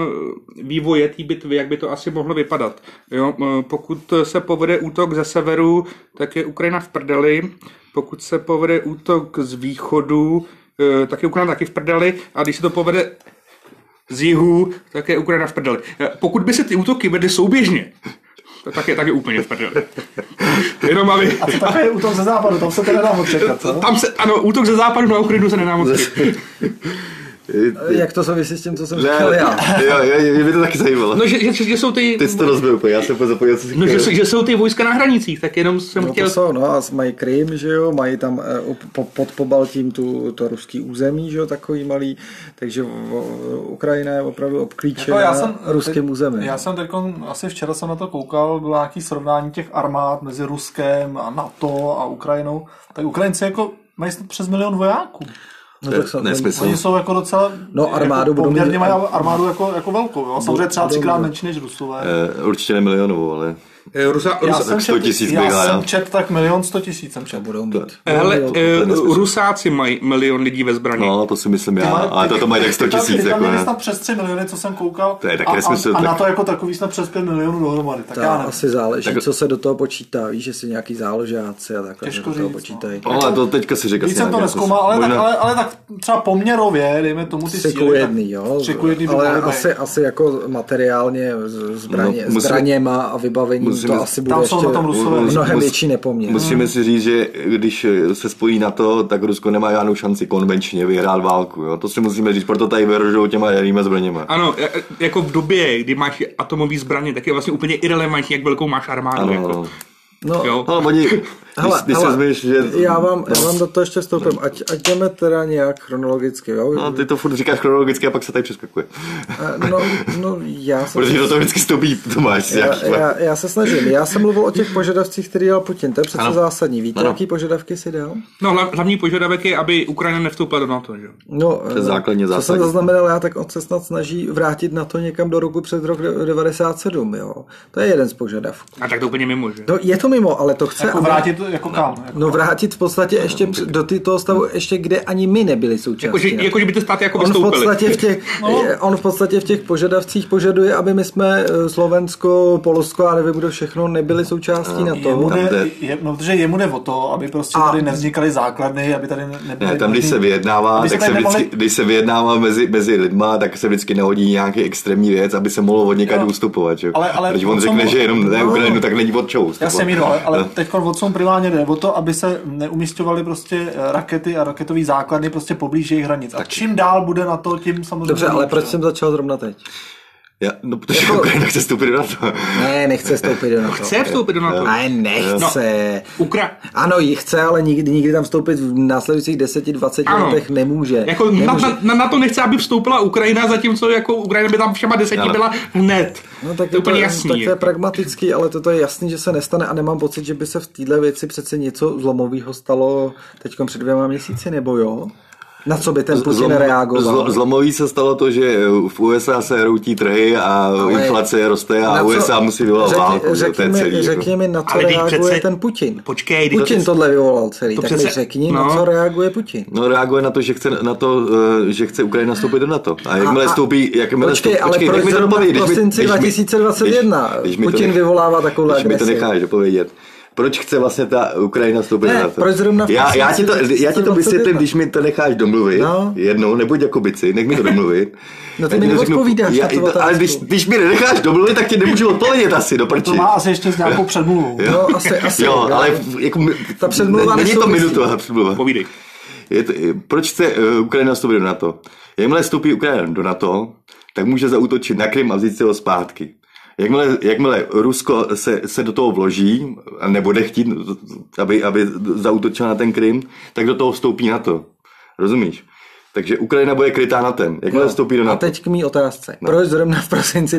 [SPEAKER 2] eh, vývoje té bitvy, jak by to asi mohlo vypadat. Jo, eh, pokud se povede útok ze severu, tak je Ukrajina v prdeli. Pokud se povede útok z východu, eh, tak je Ukrajina taky v prdeli. A když se to povede z jihu, tak je Ukrajina v prdeli. Eh, Pokud by se ty útoky vedly souběžně, tak je, tak je úplně v prdeli. <laughs> Jenom aby...
[SPEAKER 4] A to takhle je u toho ze západu, tam se to nedá moc čekat, co?
[SPEAKER 2] Tam se, ano, útok ze západu na Ukrajinu se nedá moc chytit.
[SPEAKER 3] Eh, Jak to souvisí s tím, co
[SPEAKER 1] Ne,
[SPEAKER 3] jsem říkal já?
[SPEAKER 1] jo, jo, jo, mě to taky zajímalo.
[SPEAKER 2] No, že, že, že, že jsou ty...
[SPEAKER 1] Ty jsi
[SPEAKER 4] no.
[SPEAKER 1] to rozbil úplně, já jsem úplně zapojil, co jsi
[SPEAKER 2] No, že,
[SPEAKER 1] chtěl.
[SPEAKER 2] jsou- že jsou ty vojska na hranicích, tak jenom jsem
[SPEAKER 3] No
[SPEAKER 2] chtěl...
[SPEAKER 3] to jsou, no a mají Krym, že jo, mají tam eh, op- po- pod Pobaltím tu, to ruský území, že jo, takový malý, takže o- Ukrajina je opravdu obklíčená
[SPEAKER 4] Jako já jsem,
[SPEAKER 3] ruským územím.
[SPEAKER 4] Já jsem teď, asi včera jsem na to koukal, bylo nějaký srovnání těch armád mezi Ruskem a NATO a Ukrajinou. Tak Ukrajinci jako mají snad přes milion vojáků.
[SPEAKER 3] no,
[SPEAKER 1] To je nesmysl.
[SPEAKER 4] Oni jsou jako docela...
[SPEAKER 3] No, armádu
[SPEAKER 4] jako
[SPEAKER 3] budou mít-
[SPEAKER 4] poměrně mají armádu jako, jako velkou. Jo? Samozřejmě třeba
[SPEAKER 3] budou
[SPEAKER 4] třikrát
[SPEAKER 3] mít-
[SPEAKER 4] menší než Rusové.
[SPEAKER 1] Eh, Určitě ne milionovou, ale...
[SPEAKER 2] Eh, Rusa,
[SPEAKER 4] Já
[SPEAKER 2] Rusa,
[SPEAKER 4] jsem
[SPEAKER 1] 100 tisíc
[SPEAKER 4] čet, já
[SPEAKER 1] bývá,
[SPEAKER 4] jsem
[SPEAKER 1] jo.
[SPEAKER 4] čet tak milion sto tisíc jsem čet.
[SPEAKER 3] budou mít.
[SPEAKER 2] hele,
[SPEAKER 3] budou mít.
[SPEAKER 2] eh,
[SPEAKER 1] je nesmysl.
[SPEAKER 2] Rusáci mají milion lidí ve zbraní.
[SPEAKER 1] No, to si myslím já, ale to to mají tak 100
[SPEAKER 4] Ty
[SPEAKER 1] tisíc,
[SPEAKER 4] tam
[SPEAKER 1] jako
[SPEAKER 4] měli
[SPEAKER 1] ne.
[SPEAKER 4] snad přes 3 miliony, co jsem koukal.
[SPEAKER 1] To je taky
[SPEAKER 4] a,
[SPEAKER 1] nesmysl,
[SPEAKER 4] a, a,
[SPEAKER 1] tak-
[SPEAKER 4] na to jako takový jsme přes 5 milionů dohromady. Tak,
[SPEAKER 3] Ta
[SPEAKER 4] já nevím.
[SPEAKER 3] asi záleží, co se do toho počítá, víš, jestli nějaký záložáci a takhle že
[SPEAKER 4] Těžko
[SPEAKER 3] do toho
[SPEAKER 4] říct, no.
[SPEAKER 3] počítají.
[SPEAKER 1] Ale to teďka si říkal.
[SPEAKER 4] Víc jsem to neskoumal,
[SPEAKER 1] jako
[SPEAKER 4] ale, tak, ale, ale tak třeba poměrově, dejme tomu ty
[SPEAKER 3] Tři ku
[SPEAKER 4] síly. tak
[SPEAKER 3] jedný, jo,
[SPEAKER 4] Tři ku jedný by
[SPEAKER 3] ale
[SPEAKER 4] mohly být.
[SPEAKER 3] asi, asi jako materiálně z- zbraně,
[SPEAKER 1] No, musíme-
[SPEAKER 3] zbraněma a vybavením
[SPEAKER 1] musíme-
[SPEAKER 3] to asi bude
[SPEAKER 4] Tam
[SPEAKER 3] ještě
[SPEAKER 4] jsou na tom Rusové.
[SPEAKER 3] mnohem
[SPEAKER 1] Mus-
[SPEAKER 3] větší nepoměr.
[SPEAKER 1] Musíme si říct, že když se spojí na to, tak Rusko nemá žádnou šanci konvenčně vyhrát válku. Jo? To si musíme říct, proto tady vyrožou těma jadrýma zbraněma.
[SPEAKER 2] Ano, eh, eh, jako v době, kdy máš atomové zbraně, tak je vlastně úplně irrelevantní, jak velkou máš armádu.
[SPEAKER 1] Ano,
[SPEAKER 2] jako.
[SPEAKER 1] ano.
[SPEAKER 3] No,
[SPEAKER 2] Jo.
[SPEAKER 1] Ale oni, když,
[SPEAKER 3] Hele,
[SPEAKER 1] když se
[SPEAKER 3] hele,
[SPEAKER 1] zmiš, že... No.
[SPEAKER 3] já, vám, já vám do toho ještě vstoupím, ať, ať jdeme teda nějak chronologicky, jo?
[SPEAKER 1] No, ty to furt říkáš chronologicky a pak se tady přeskakuje. <laughs>
[SPEAKER 3] Eh, no, no, já jsem...
[SPEAKER 1] Protože do toho vždycky stoupí Tomáš.
[SPEAKER 3] Já,
[SPEAKER 1] nějaký-
[SPEAKER 3] já, já se snažím. Já jsem mluvil o těch požadavcích, které dal Putin. To je přece
[SPEAKER 1] Ano.
[SPEAKER 3] zásadní. Víte,
[SPEAKER 1] Ano.
[SPEAKER 3] jaký požadavky si dal?
[SPEAKER 2] No, hla- hlavní požadavek je, aby Ukrajina nevstoupila do NATO, že? jo?
[SPEAKER 3] No,
[SPEAKER 1] To je
[SPEAKER 3] eh,
[SPEAKER 1] základně
[SPEAKER 3] co jsem
[SPEAKER 1] zásadní.
[SPEAKER 3] zaznamenal já, tak on se snad snaží vrátit na to někam do roku před rok 97, jo. To je jeden z požadavků.
[SPEAKER 2] A tak to úplně mimo, že? jo?
[SPEAKER 3] No, je to mimo, ale to chce...
[SPEAKER 4] Jako
[SPEAKER 3] aby-
[SPEAKER 4] vrátit jako kam? Jako.
[SPEAKER 3] No vrátit v podstatě
[SPEAKER 1] No,
[SPEAKER 3] ještě před- do ty- toho stavu, ještě kde ani my nebyli součástí.
[SPEAKER 2] Jako, že,
[SPEAKER 3] NATO.
[SPEAKER 2] jako, že by ty státy jako
[SPEAKER 3] On v,
[SPEAKER 2] vystoupily.
[SPEAKER 3] podstatě v těch, je- on v podstatě v těch požadavcích požaduje, aby my jsme eh, Slovensko, Polsko a nevím kdo všechno nebyli součástí na
[SPEAKER 4] Jemu
[SPEAKER 3] to.
[SPEAKER 1] jde.
[SPEAKER 4] jde, je, no, protože jemu jde o to, aby prostě
[SPEAKER 3] A-
[SPEAKER 4] tady nevznikaly základny, aby tady ne- nebyly...
[SPEAKER 1] Ne, tam když
[SPEAKER 4] možný-
[SPEAKER 1] se vyjednává,
[SPEAKER 4] aby
[SPEAKER 1] tak
[SPEAKER 4] tady
[SPEAKER 1] se vždycky,
[SPEAKER 4] nemohli-
[SPEAKER 1] když se vyjednává mezi, mezi lidma, tak se vždycky nehodí nějaký extrémní věc, aby se mohlo od někam
[SPEAKER 4] Jo.
[SPEAKER 1] ustupovat. Že? jo.
[SPEAKER 4] Ale- ale
[SPEAKER 1] Když
[SPEAKER 4] o
[SPEAKER 1] on
[SPEAKER 4] co
[SPEAKER 1] řekne,
[SPEAKER 4] mu-
[SPEAKER 1] že jenom ne
[SPEAKER 4] No.
[SPEAKER 1] Ukrajinu, tak není od čeho
[SPEAKER 4] Já
[SPEAKER 1] ustupovat.
[SPEAKER 4] jsem jino, ale, ale
[SPEAKER 1] No.
[SPEAKER 4] teď o co mu primárně jde o to, aby se neumistovaly prostě eh, rakety a raketové základny prostě poblíž jejich hranic. A čím dál bude na to, tím samozřejmě... no.
[SPEAKER 3] Dobře, ale
[SPEAKER 4] líp,
[SPEAKER 3] proč
[SPEAKER 4] jo.
[SPEAKER 3] jsem začal zrovna teď?
[SPEAKER 1] Já, no, protože
[SPEAKER 3] Jako-
[SPEAKER 1] Ukrajina chce vstoupit do NATO.
[SPEAKER 3] Ne, nechce vstoupit do NATO.
[SPEAKER 2] Chce vstoupit
[SPEAKER 1] No,
[SPEAKER 2] do NATO.
[SPEAKER 3] Ne, nechce.
[SPEAKER 2] Ukra...
[SPEAKER 3] Ano, ji chce, ale nikdy, nikdy tam vstoupit v následujících 10-20
[SPEAKER 2] Ano.
[SPEAKER 3] letech nemůže.
[SPEAKER 2] Jako na,
[SPEAKER 3] nemůže.
[SPEAKER 2] na, na, na to nechce, aby vstoupila Ukrajina, zatímco jako Ukrajina by tam všema deseti
[SPEAKER 1] Ano.
[SPEAKER 2] byla hned.
[SPEAKER 3] No, tak
[SPEAKER 2] to je úplně jasný.
[SPEAKER 3] Tak to je
[SPEAKER 2] jako.
[SPEAKER 3] pragmatický, ale toto je jasný, že se nestane a nemám pocit, že by se v této věci přece něco zlomového stalo teď před dvěma měsíci, nebo jo? Na co by ten Putin reagoval?
[SPEAKER 1] zlo- zlomový se stalo to, že v USA se hroutí trhy a inflace roste a
[SPEAKER 3] Na co-
[SPEAKER 1] USA musí vyvolat
[SPEAKER 3] řekni,
[SPEAKER 1] válku. že to
[SPEAKER 3] Řekni,
[SPEAKER 1] je
[SPEAKER 3] mi,
[SPEAKER 1] celý, jako.
[SPEAKER 3] řekni mi, na co
[SPEAKER 2] Ale teď
[SPEAKER 3] reaguje
[SPEAKER 2] přece-
[SPEAKER 3] ten Putin.
[SPEAKER 2] Počkej, teď-
[SPEAKER 3] Putin tohle vyvolal celý,
[SPEAKER 2] To
[SPEAKER 3] tak mi
[SPEAKER 2] přece-
[SPEAKER 3] řekni, na
[SPEAKER 2] no.
[SPEAKER 3] co reaguje Putin.
[SPEAKER 1] No reaguje na to, že chce na to, eh, že chce Ukrajina vstoupit do NATO. A jakmile
[SPEAKER 3] a-
[SPEAKER 1] vstoupí, jakmile
[SPEAKER 3] Počkej,
[SPEAKER 1] vstoupí,
[SPEAKER 3] ale
[SPEAKER 1] počkej,
[SPEAKER 3] proč
[SPEAKER 1] nech mi to
[SPEAKER 3] zrovna
[SPEAKER 1] dopovědět,
[SPEAKER 3] v
[SPEAKER 1] když mi-
[SPEAKER 3] prosinci
[SPEAKER 1] když mi-
[SPEAKER 3] 2021
[SPEAKER 1] když- když mi to
[SPEAKER 3] Putin
[SPEAKER 1] nech-
[SPEAKER 3] vyvolává takovou
[SPEAKER 1] Když mi to
[SPEAKER 3] agresi?
[SPEAKER 1] necháš dopovědět. proč chce vlastně ta Ukrajina vstoupit
[SPEAKER 3] Ne,
[SPEAKER 1] na to.
[SPEAKER 3] proč zrovna v
[SPEAKER 1] já, já, ti to, já ti to
[SPEAKER 3] 1921.
[SPEAKER 1] vysvětlím, když mi to necháš domluvit
[SPEAKER 3] No.
[SPEAKER 1] jednou, nebuď jako bici, nech mi to domluvit.
[SPEAKER 3] No ty
[SPEAKER 1] Já
[SPEAKER 3] mi
[SPEAKER 1] ti to
[SPEAKER 3] neodpovídáš
[SPEAKER 1] já,
[SPEAKER 3] na tu
[SPEAKER 1] Ale
[SPEAKER 3] otázku.
[SPEAKER 1] když, když mi nenecháš domluvit, tak ti nemůžu odpovědět asi, do
[SPEAKER 4] To
[SPEAKER 1] prči.
[SPEAKER 4] má asi ještě s nějakou předmluvou.
[SPEAKER 3] No, asi, asi.
[SPEAKER 1] Jo, ale jako, mi-
[SPEAKER 3] Ta předmluva
[SPEAKER 1] Není to
[SPEAKER 3] nesouvisí.
[SPEAKER 1] minutová předmluva.
[SPEAKER 2] Povídej.
[SPEAKER 1] Je to, je- proč chce eh, Ukrajina vstoupit do NATO? Jakmile vstoupí Ukrajina do NATO, tak může zautočit na Krym a vzít si ho zpátky. Jakmile, jakmile Rusko se, se do toho vloží a nebude chtít, aby, aby zautočil na ten Krym, tak do toho vstoupí NATO. Rozumíš? Takže Ukrajina bude krytá na ten. Jakmile vstoupí do
[SPEAKER 3] No. A
[SPEAKER 1] NATO.
[SPEAKER 3] teď k mý otázce. No. Proč zrovna v prosinci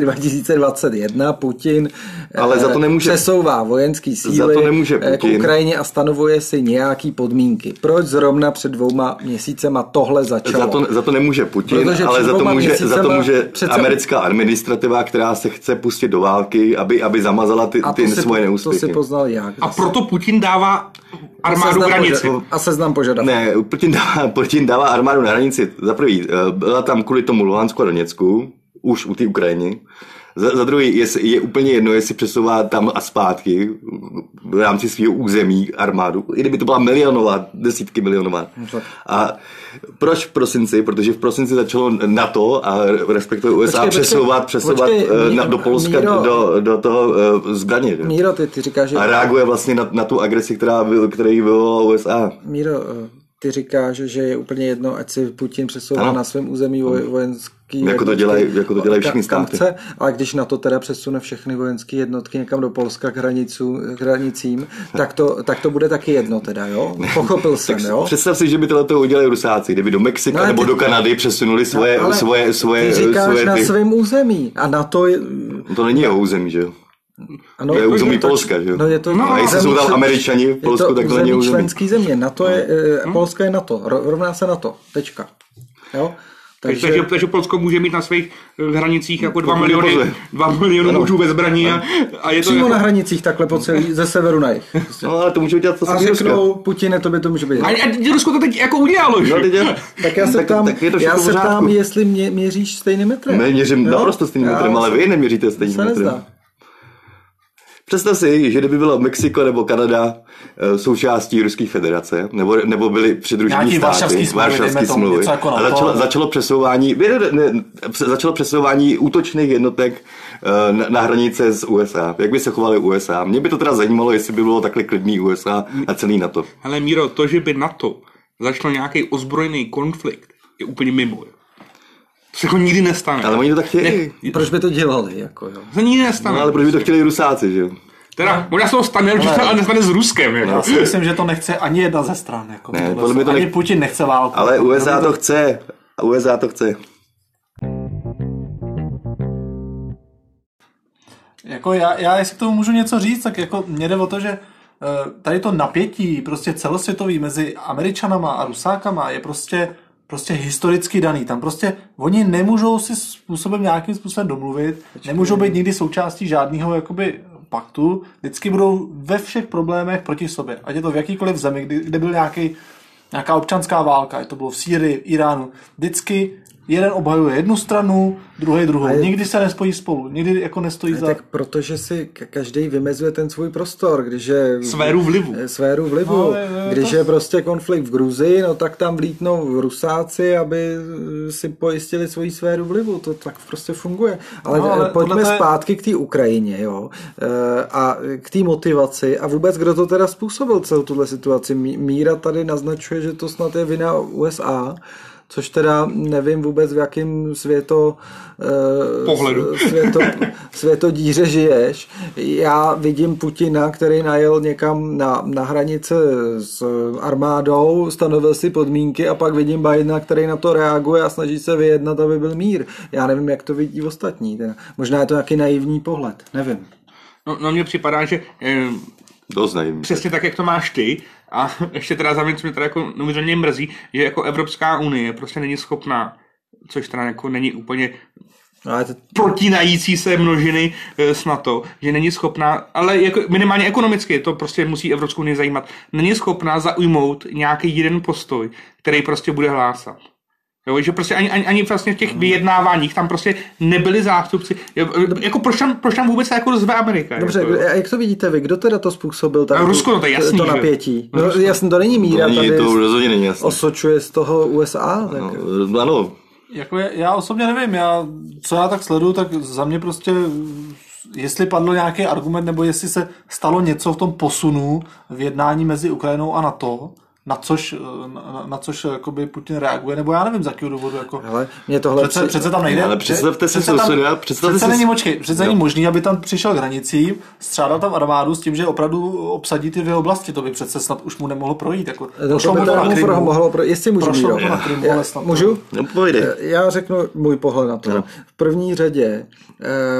[SPEAKER 3] 2021 Putin
[SPEAKER 1] Ale
[SPEAKER 3] eh,
[SPEAKER 1] za to nemůže-
[SPEAKER 3] přesouvá vojenský síly
[SPEAKER 1] Za to nemůže
[SPEAKER 3] eh, k
[SPEAKER 1] Putin.
[SPEAKER 3] Ukrajině a stanovuje si nějaký podmínky? Proč zrovna před dvouma měsícema tohle začalo?
[SPEAKER 1] Za to, za to nemůže Putin,
[SPEAKER 3] Protože před
[SPEAKER 1] ale za to
[SPEAKER 3] dvouma
[SPEAKER 1] může, za to
[SPEAKER 3] měsícema
[SPEAKER 1] může
[SPEAKER 3] přece-
[SPEAKER 1] americká administrativa, která se chce pustit do války, aby, aby zamazala ty,
[SPEAKER 3] a to
[SPEAKER 1] ty
[SPEAKER 3] si,
[SPEAKER 1] svoje
[SPEAKER 3] to
[SPEAKER 1] neúspěchy.
[SPEAKER 3] si poznal jak?
[SPEAKER 2] A proto Putin dává armádu
[SPEAKER 3] seznam
[SPEAKER 2] hranici.
[SPEAKER 3] požadavků. A seznam požadavků.
[SPEAKER 1] Ne, Putin dává, Putin dává armádu na hranici. Za prvý, eh, byla tam kvůli tomu Luhansku a Doněcku, už u té Ukrajiny. Za, za druhý, je, je úplně jedno, jestli přesouvá tam a zpátky v rámci svého území armádu, i kdyby to byla milionová, desítky milionová.
[SPEAKER 3] No
[SPEAKER 1] A proč v prosinci? Protože v prosinci začalo NATO a respektive USA
[SPEAKER 3] Počkej, počkej,
[SPEAKER 1] přesouvat, přesouvat
[SPEAKER 3] počkej,
[SPEAKER 1] eh, na,
[SPEAKER 3] Míro,
[SPEAKER 1] do Polska,
[SPEAKER 3] Míro.
[SPEAKER 1] do, do toho eh, zbraně. že?
[SPEAKER 3] Míro, ty, ty říkáš, že...
[SPEAKER 1] A reaguje vlastně na, na tu agresi, která, byl- který vyvolala USA.
[SPEAKER 3] Míro, eh, ty říkáš, že je úplně jedno, ať si Putin přesouvá
[SPEAKER 1] Ano.
[SPEAKER 3] na svém území voj, vojenský
[SPEAKER 1] Jako to
[SPEAKER 3] jednotky,
[SPEAKER 1] dělají- jako to dělají
[SPEAKER 3] ka-
[SPEAKER 1] všichni
[SPEAKER 3] kam
[SPEAKER 1] státy.
[SPEAKER 3] Chce, ale když na to teda přesune všechny vojenské jednotky někam do Polska k, hranicu, k hranicím, tak to, tak to bude taky jedno
[SPEAKER 1] <laughs>
[SPEAKER 3] teda, jo? Pochopil jsem, jo?
[SPEAKER 1] Představ si, že by tohle udělali Rusáci, kdyby do Mexika
[SPEAKER 3] No, ale
[SPEAKER 1] nebo
[SPEAKER 3] ty- No,
[SPEAKER 1] do Kanady přesunuli svoje,
[SPEAKER 3] Ale
[SPEAKER 1] svoje, svoje,
[SPEAKER 3] ty říkáš
[SPEAKER 1] svoje
[SPEAKER 3] na
[SPEAKER 1] ty. No,
[SPEAKER 3] svém území a na to je...
[SPEAKER 1] To není jeho území, že jo?
[SPEAKER 3] Ano,
[SPEAKER 1] To je území
[SPEAKER 3] to-
[SPEAKER 1] Polska, že jo?
[SPEAKER 3] No, je to,
[SPEAKER 1] No, a jestli jsou tam
[SPEAKER 3] člen-
[SPEAKER 1] Američani v Polsku,
[SPEAKER 3] je to
[SPEAKER 1] tak to
[SPEAKER 3] území
[SPEAKER 1] není území. No.
[SPEAKER 3] členský země. Na to je, eh, Polsko je na to. Rovná se na to. Tečka. Jo?
[SPEAKER 2] Takže, takže, takže Polsko může mít na svých eh, hranicích jako 2 miliony,
[SPEAKER 1] pozor.
[SPEAKER 2] dva miliony mužů ve zbraní a, a je to
[SPEAKER 3] Přímo
[SPEAKER 2] jako,
[SPEAKER 3] na hranicích takhle po celý, ze severu na jich.
[SPEAKER 1] No, ale to můžou dělat
[SPEAKER 3] A
[SPEAKER 1] zase Ruska.
[SPEAKER 3] řeknou, Putine, to by to může být.
[SPEAKER 2] a, a Rusko to teď jako udělalo, že?
[SPEAKER 1] No, teď je-
[SPEAKER 3] Tak já se
[SPEAKER 1] tak,
[SPEAKER 3] ptám,
[SPEAKER 1] tak je to
[SPEAKER 3] já
[SPEAKER 1] všechno v
[SPEAKER 3] se
[SPEAKER 1] pořádku.
[SPEAKER 3] ptám, jestli mě, měříš stejným metrem.
[SPEAKER 1] Ne, měřím
[SPEAKER 3] Jo?
[SPEAKER 1] naprosto stejným
[SPEAKER 3] Já
[SPEAKER 1] metrem, ale
[SPEAKER 3] se-
[SPEAKER 1] vy neměříte stejným
[SPEAKER 3] se
[SPEAKER 1] metrem.
[SPEAKER 3] nezdá.
[SPEAKER 1] Představ si, že kdyby bylo Mexiko nebo Kanada eh, součástí Ruské federace, nebo, nebo byli přidružení
[SPEAKER 4] Nějaký
[SPEAKER 1] státy,
[SPEAKER 4] varšavský smlouvy, dejme tomu, něco jako
[SPEAKER 1] a
[SPEAKER 4] NATO.
[SPEAKER 1] začalo, začalo, přesouvání, ne, ne, ne, začalo přesouvání útočných jednotek eh, na, na hranice z USA. Jak by se chovali USA? Mě by to teda zajímalo, jestli by bylo takhle klidný USA a celý NATO.
[SPEAKER 4] Mhm.
[SPEAKER 2] Hele Míro, to, že by NATO začalo nějaký ozbrojený konflikt, je úplně mimo. jo. To se jako nikdy nestane.
[SPEAKER 1] Ale oni to tak chtějí.
[SPEAKER 3] Proč by to dělali? Jako, jo?
[SPEAKER 2] To se nikdy nestane.
[SPEAKER 1] No, ale proč by to chtěli Rusáci, že jo?
[SPEAKER 2] Teda, možná se to stane, ale, ale nestane s Ruskem. Jako.
[SPEAKER 1] No,
[SPEAKER 4] Já si myslím, že to nechce ani jedna ze stran. Jako
[SPEAKER 1] Ne,
[SPEAKER 4] tohle
[SPEAKER 1] podle mě to
[SPEAKER 4] ani
[SPEAKER 1] nech-
[SPEAKER 4] Putin nechce válku.
[SPEAKER 1] Ale
[SPEAKER 4] no,
[SPEAKER 1] USA to chce. A USA to chce.
[SPEAKER 4] Jako já, já, jestli k tomu můžu něco říct, tak jako mě jde o to, že eh, tady to napětí prostě celosvětový mezi Američanama a Rusákama je prostě prostě historicky daný. Tam prostě oni nemůžou si způsobem nějakým způsobem domluvit, nemůžou být nikdy součástí žádného jakoby paktu, vždycky budou ve všech problémech proti sobě. Ať je to v jakýkoliv zemi, kdy, kde byl nějaký nějaká občanská válka, ať to bylo v Sýrii, v Iránu, vždycky jeden obhajuje jednu stranu, druhý druhou. Nikdy se nespojí spolu, nikdy jako nestojí za...
[SPEAKER 3] Tak protože si ka- každý vymezuje ten svůj prostor, když je...
[SPEAKER 2] Sféru vlivu.
[SPEAKER 3] Eh, Sféru vlivu.
[SPEAKER 4] No, ale, eh,
[SPEAKER 3] když
[SPEAKER 4] to-
[SPEAKER 3] je prostě konflikt v Gruzii, no tak tam vlítnou Rusáci, aby eh, si pojistili svoji sféru vlivu. To tak prostě funguje. Ale,
[SPEAKER 4] No,
[SPEAKER 3] no,
[SPEAKER 4] ale
[SPEAKER 3] ale pojďme
[SPEAKER 4] tohle to je-
[SPEAKER 3] zpátky k té Ukrajině, jo. Eh, A k té motivaci a vůbec, kdo to teda způsobil celou tuhle situaci. Mí- Míra tady naznačuje, že to snad je vina USA, což teda nevím vůbec, v jakém světo eh,
[SPEAKER 2] Pohledu.
[SPEAKER 3] světo, světodíře žiješ. Já vidím Putina, který najel někam na, na hranice s armádou, stanovil si podmínky a pak vidím Bidena, který na to reaguje a snaží se vyjednat, aby byl mír. Já nevím, jak to vidí ostatní. Teda. Možná je to nějaký naivní pohled. Nevím.
[SPEAKER 2] No, no mně připadá, že eh,
[SPEAKER 1] Dost najím.
[SPEAKER 2] přesně tak, jak to máš ty, a ještě teda za mě, co mě teda jako neuvěřitelně mrzí, že jako Evropská unie prostě není schopná, což teda jako není úplně
[SPEAKER 3] No, Ale to,
[SPEAKER 2] protínající se množiny eh, s NATO, že není schopná, ale jako minimálně ekonomicky, to prostě musí Evropskou unii zajímat, není schopná zaujmout nějaký jeden postoj, který prostě bude hlásat. Jo, že prostě ani, ani, ani vlastně v těch vyjednáváních tam prostě nebyli zástupci. Jo, Jako proč tam, proč tam vůbec se jako rozve Amerika?
[SPEAKER 3] Dobře,
[SPEAKER 2] jako,
[SPEAKER 3] kdo-
[SPEAKER 2] jo?
[SPEAKER 3] a jak to vidíte vy? Kdo teda to způsobil? Tam,
[SPEAKER 2] No, Rusko, no to je jasný,
[SPEAKER 3] To
[SPEAKER 2] že?
[SPEAKER 3] napětí. No, jasný, to není míra.
[SPEAKER 1] To není,
[SPEAKER 3] tady
[SPEAKER 1] to rozhodně není jasné.
[SPEAKER 3] osočuje z toho USA. Tak...
[SPEAKER 1] No, ano,
[SPEAKER 4] Jako je, já osobně nevím, já, co já tak sleduju, tak za mě prostě, jestli padl nějaký argument, nebo jestli se stalo něco v tom posunu v jednání mezi Ukrajinou a NATO, na což, eh, na, na což jakoby Putin reaguje, nebo já nevím, z jakého důvodu. Jako.
[SPEAKER 3] Hele, mě tohle
[SPEAKER 4] Přece,
[SPEAKER 3] při-
[SPEAKER 4] přece tam nejde.
[SPEAKER 1] Ale představte si,
[SPEAKER 4] přece
[SPEAKER 1] co
[SPEAKER 4] tam-
[SPEAKER 1] se dá- představte
[SPEAKER 4] přece
[SPEAKER 1] si-
[SPEAKER 4] není, počkej, přece není možný, aby tam přišel k hranicím, střádal tam armádu s tím, že opravdu obsadí ty dvě oblasti. To by přece snad už mu nemohlo projít. Jako,
[SPEAKER 3] No, to
[SPEAKER 4] prošlo
[SPEAKER 3] by
[SPEAKER 4] mu to
[SPEAKER 3] to
[SPEAKER 4] na
[SPEAKER 3] mu pro,
[SPEAKER 4] Krymu.
[SPEAKER 3] mohlo, pro, jestli můžu
[SPEAKER 4] Prošlo
[SPEAKER 3] Míro.
[SPEAKER 4] to na Krymu,
[SPEAKER 3] Já-
[SPEAKER 4] ale snad to-
[SPEAKER 3] Můžu?
[SPEAKER 1] no, povídej.
[SPEAKER 3] Eh, Já řeknu můj pohled na to. V první řadě,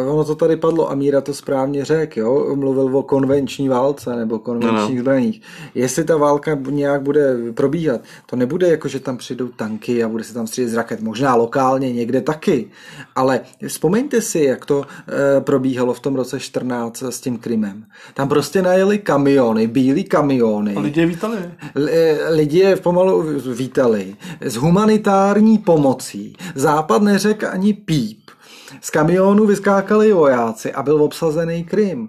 [SPEAKER 3] eh, ono to tady padlo a Míra to správně řekl, jo? mluvil o konvenční válce nebo konvenčních no. zbraních. Jestli ta válka bu- nějak bude probíhat, to nebude jako, že tam přijdou tanky a bude se tam střílet z raket, možná lokálně někde taky, ale vzpomeňte si, jak to eh, probíhalo v tom roce 14 s tím Krymem. Tam prostě najeli kamiony, bílí kamiony.
[SPEAKER 4] Lidi je vítali.
[SPEAKER 3] L- eh, Lidi je pomalu vítali s humanitární pomocí. Západ neřekl ani píp. Z kamionu vyskákali vojáci a byl obsazený Krym.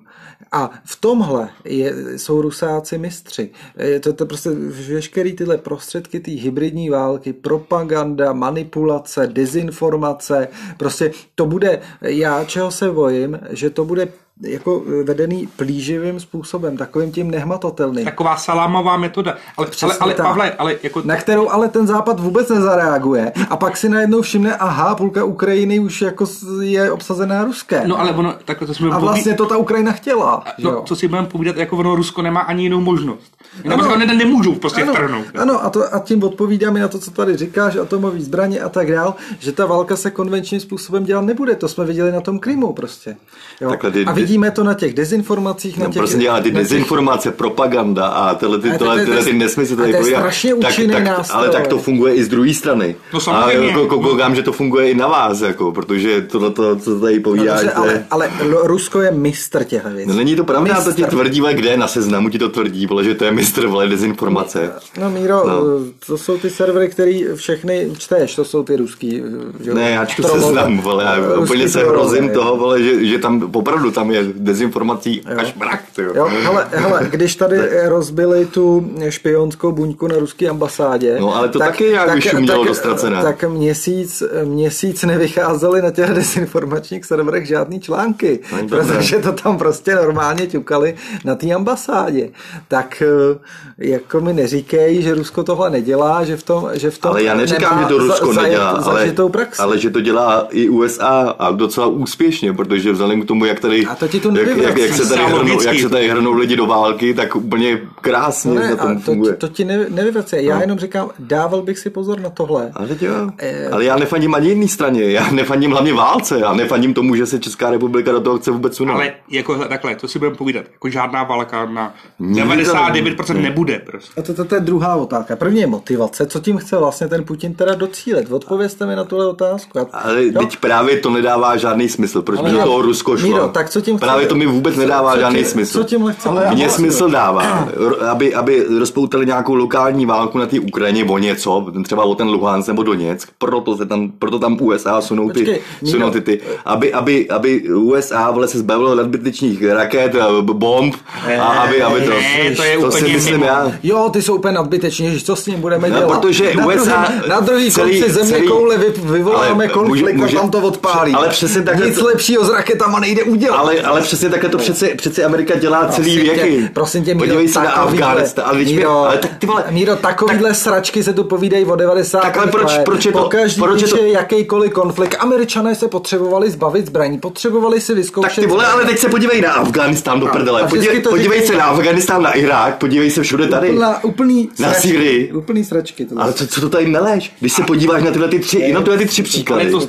[SPEAKER 3] A v tomhle je, jsou rusáci mistři. Eh, To, to prostě veškeré tyhle prostředky té hybridní války, propaganda, manipulace, dezinformace, prostě to bude, já čeho se bojím, že to bude jako eh, vedený plíživým způsobem, takovým tím nehmatatelným.
[SPEAKER 2] Taková salámová metoda. Ale, ale,
[SPEAKER 3] Přesně
[SPEAKER 2] ale
[SPEAKER 3] tak.
[SPEAKER 2] Pavle, ale jako...
[SPEAKER 3] Na kterou ale ten západ vůbec nezareaguje. A pak si najednou všimne, aha, půlka Ukrajiny už jako s- je obsazená Ruskem.
[SPEAKER 2] No ale ono, takhle to jsme...
[SPEAKER 3] a
[SPEAKER 2] poví-
[SPEAKER 3] vlastně to ta Ukrajina chtěla. že jo?
[SPEAKER 2] No, co si budeme povídat, jako ono Rusko nemá ani jinou možnost. Nebo
[SPEAKER 3] Ano.
[SPEAKER 2] se ne, nemůžou prostě vtrhnout.
[SPEAKER 3] ano a, to, a tím odpovídáme na to, co tady říkáš, atomový zbraně a tak dál, že ta válka se konvenčním způsobem dělat nebude. To jsme viděli na tom Krymu prostě. Jo?
[SPEAKER 1] Takhle ty-
[SPEAKER 3] a vidíme to na těch dezinformacích, na
[SPEAKER 1] No,
[SPEAKER 3] těch...
[SPEAKER 1] prostě dělá ty
[SPEAKER 3] na těch-
[SPEAKER 1] dezinformace, propaganda a tyhle ty,
[SPEAKER 3] Ale to-
[SPEAKER 1] tyhle,
[SPEAKER 3] to- to-
[SPEAKER 1] tyhle ty nesmysly
[SPEAKER 3] ale
[SPEAKER 1] tady
[SPEAKER 3] to je
[SPEAKER 1] probíhá.
[SPEAKER 3] strašně účinný
[SPEAKER 1] tak,
[SPEAKER 3] nástroj.
[SPEAKER 1] Ale tak to funguje i z druhé strany.
[SPEAKER 2] No,
[SPEAKER 1] a
[SPEAKER 2] samozřejmě.
[SPEAKER 1] jako, jako, koukám, že to funguje i na vás, jako, protože tohle, to, co tady povídáte...
[SPEAKER 3] No, Dobře, ale, ale Rusko je mistr těchto věcí.
[SPEAKER 1] No není to pravda, to ti
[SPEAKER 3] Mistr.
[SPEAKER 1] tvrdí, vole, kde na seznamu ti to tvrdí, vole, že to je mistr, vole, dezinformace.
[SPEAKER 3] No Míro,
[SPEAKER 1] No.
[SPEAKER 3] to jsou ty servery, který všechny čteš, to jsou ty ruský. eh, že jo?
[SPEAKER 1] Ne, já čtu
[SPEAKER 3] Trollové.
[SPEAKER 1] seznam, vole, já
[SPEAKER 3] Ruský
[SPEAKER 1] úplně se
[SPEAKER 3] trollové,
[SPEAKER 1] hrozím
[SPEAKER 3] jo.
[SPEAKER 1] toho, vole, že, že tam opravdu tam je dezinformací až mrak, ty jo.
[SPEAKER 3] Jo, hele, hele, když tady rozbili tu špionskou buňku na ruské ambasádě.
[SPEAKER 1] No, ale to taky nějak vyšumělo do ztracena.
[SPEAKER 3] Tak měsíc, měsíc nevycházely na těch dezinformačních serverech žádný články,
[SPEAKER 1] Není to
[SPEAKER 3] protože to tam prostě normálně ťukali na té ambasádě. Tak eh, jako mi neříkej, že Rusko tohle nedělá, že v tom, že v tom
[SPEAKER 1] Ale já neříkám,
[SPEAKER 3] nemá
[SPEAKER 1] že to Rusko
[SPEAKER 3] za,
[SPEAKER 1] nedělá,
[SPEAKER 3] za,
[SPEAKER 1] ale,
[SPEAKER 3] praxi.
[SPEAKER 1] ale že to dělá i USA a docela úspěšně, protože vzhledem k tomu, jak tady,
[SPEAKER 3] A to ti to
[SPEAKER 1] jak,
[SPEAKER 3] nevyvrací.
[SPEAKER 1] jak, jak, se tady
[SPEAKER 2] Zcela
[SPEAKER 1] hrnou,
[SPEAKER 2] logicky.
[SPEAKER 1] jak se tady hrnou lidi do války, tak úplně krásně
[SPEAKER 3] No ne,
[SPEAKER 1] na
[SPEAKER 3] a
[SPEAKER 1] tom
[SPEAKER 3] to, ti-
[SPEAKER 1] funguje. No.
[SPEAKER 3] to ti ne, nevyvrací. Já jenom říkám, dával bych si pozor na tohle.
[SPEAKER 1] Ale teď jo.
[SPEAKER 3] Eh.
[SPEAKER 1] Ale já nefandím ani jedné straně, já nefandím hlavně válce, já nefandím tomu, že se Česká republika do toho chce vůbec unout.
[SPEAKER 2] Ale jako hele, takhle, to si budeme povídat. Jako žádná válka na
[SPEAKER 1] Nikdy to
[SPEAKER 2] 99% nebude prostě.
[SPEAKER 3] A to, to, to je druhá otázka. První je motivace. Co tím chce vlastně ten Putin teda docílit? Odpovězte mi na tuhle otázku. Já-
[SPEAKER 1] Ale
[SPEAKER 3] Jo?
[SPEAKER 1] teď právě to nedává žádný smysl, proč by do
[SPEAKER 3] No. já-
[SPEAKER 1] toho Rusko šlo.
[SPEAKER 3] Míro, tak co tím chce-
[SPEAKER 1] právě to mi vůbec
[SPEAKER 3] co-
[SPEAKER 1] nedává
[SPEAKER 3] co
[SPEAKER 1] žádný
[SPEAKER 3] tím-
[SPEAKER 1] smysl.
[SPEAKER 3] co tímhle chce-
[SPEAKER 4] Ale já
[SPEAKER 1] Mně
[SPEAKER 4] mám-
[SPEAKER 1] smysl dává, ro- aby, aby rozpoutali nějakou lokální válku na té Ukrajině o něco, třeba o ten Luhansk nebo Doněck, proto, se tam, proto tam USA sunou ty,
[SPEAKER 3] Počkej, Míro.
[SPEAKER 1] sunou ty, ty aby, aby, aby USA vole se zbavilo nadbytečných raket, eh, b- bomb a aby, aby to...
[SPEAKER 2] ne, to je
[SPEAKER 1] to si
[SPEAKER 2] úplně
[SPEAKER 1] myslím
[SPEAKER 2] mimo.
[SPEAKER 1] já.
[SPEAKER 3] Jo, ty jsou úplně nadbyteční, že co s ním budeme
[SPEAKER 1] No,
[SPEAKER 3] dělat?
[SPEAKER 1] protože
[SPEAKER 3] na
[SPEAKER 1] USA
[SPEAKER 3] druhý, na druhý
[SPEAKER 1] celý-
[SPEAKER 3] konci země
[SPEAKER 1] celý-
[SPEAKER 3] koule vy, vyvoláme
[SPEAKER 1] Ale
[SPEAKER 3] ale, konflikt
[SPEAKER 1] může- může-
[SPEAKER 3] a tam to odpálí.
[SPEAKER 1] ale přesně takhle
[SPEAKER 3] Nic
[SPEAKER 1] to-
[SPEAKER 3] lepšího s raketama nejde udělat.
[SPEAKER 1] Ale, ale přesně takhle to přece, přece Amerika dělá celý
[SPEAKER 3] Prosím tě,
[SPEAKER 1] věky.
[SPEAKER 3] Prosím tě, Míro,
[SPEAKER 1] Podívej se na
[SPEAKER 3] takovýhle-
[SPEAKER 1] Afghánistán. Ale, teď mi-
[SPEAKER 3] Míro,
[SPEAKER 1] ale tak ty vole,
[SPEAKER 3] Míro, takovýhle sračky se tu povídají o 90.
[SPEAKER 1] Tak ale proč-
[SPEAKER 3] let.
[SPEAKER 1] proč je to-
[SPEAKER 3] Pokaždý
[SPEAKER 1] proč je to-
[SPEAKER 3] píše jakýkoliv konflikt. Američané se potřebovali zbavit zbraní, potřebovali si vyzkoušet.
[SPEAKER 1] tak ty vole, ale teď se podívej na Afghánistán do prdele.
[SPEAKER 3] a vždycky
[SPEAKER 1] Podívej,
[SPEAKER 3] to no.
[SPEAKER 1] podívej se
[SPEAKER 3] říkají-
[SPEAKER 1] na Afghánistán, na Irák, podívej se všude tady.
[SPEAKER 3] Úplná, úplný
[SPEAKER 1] Na
[SPEAKER 3] sračky,
[SPEAKER 1] Syrii.
[SPEAKER 3] Úplný sračky. tohle.
[SPEAKER 1] Ale co, co to tady meleš? Když se podíváš na tyhle ty tři, jenom tyhle ty tři
[SPEAKER 2] Ale
[SPEAKER 1] příklady.
[SPEAKER 2] to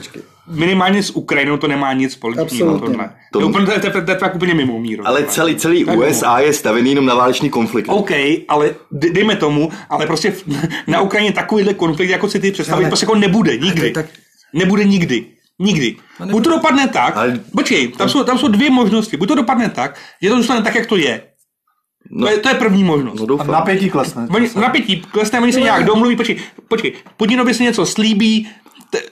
[SPEAKER 2] minimálně s Ukrajinou to nemá nic společného.
[SPEAKER 3] Absolutně.
[SPEAKER 2] Tohle.
[SPEAKER 1] To-
[SPEAKER 2] To je úplně, to, je- to, je- to je tak úplně mimo míru.
[SPEAKER 1] Ale
[SPEAKER 2] tohle.
[SPEAKER 1] celý, celý
[SPEAKER 2] Tak mimo.
[SPEAKER 1] USA je stavený jenom na válečný konflikt.
[SPEAKER 2] OK, ale dej- dejme tomu, ale prostě v- na Ukrajině takovýhle konflikt, jako si ty představit,
[SPEAKER 3] Ale-
[SPEAKER 2] prostě jako nebude nikdy.
[SPEAKER 3] tak-
[SPEAKER 2] Nebude nikdy. Nikdy. Buď to dopadne tak,
[SPEAKER 1] Ale-
[SPEAKER 2] ale... počkej, tam jsou, tam jsou dvě možnosti. Buď to dopadne tak, že to zůstane tak, jak to je. No. To, je, to je první možnost.
[SPEAKER 1] No
[SPEAKER 4] A
[SPEAKER 1] doufám.
[SPEAKER 4] napětí klesne.
[SPEAKER 2] Oni, napětí klesne, oni se nějak domluví, počkej, počkej, Putinovi se něco slíbí,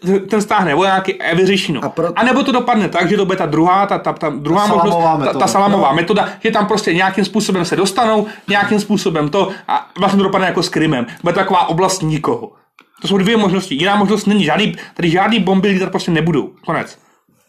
[SPEAKER 2] te- ten stáhne vojáky a je vyřešeno.
[SPEAKER 3] A
[SPEAKER 2] A,
[SPEAKER 3] pro-
[SPEAKER 2] pro... a nebo to dopadne tak, že to bude ta druhá, ta, ta, ta druhá
[SPEAKER 4] Ta
[SPEAKER 2] možnost,
[SPEAKER 4] salamová
[SPEAKER 2] ta,
[SPEAKER 4] metoda.
[SPEAKER 2] ta salamová metoda, že tam prostě nějakým způsobem se dostanou, nějakým způsobem to a vlastně to dopadne jako s Krymem. Bude to taková oblast nikoho. To jsou dvě možnosti. Jiná možnost není žádný, tady žádný bomby lítat prostě nebudou. Konec.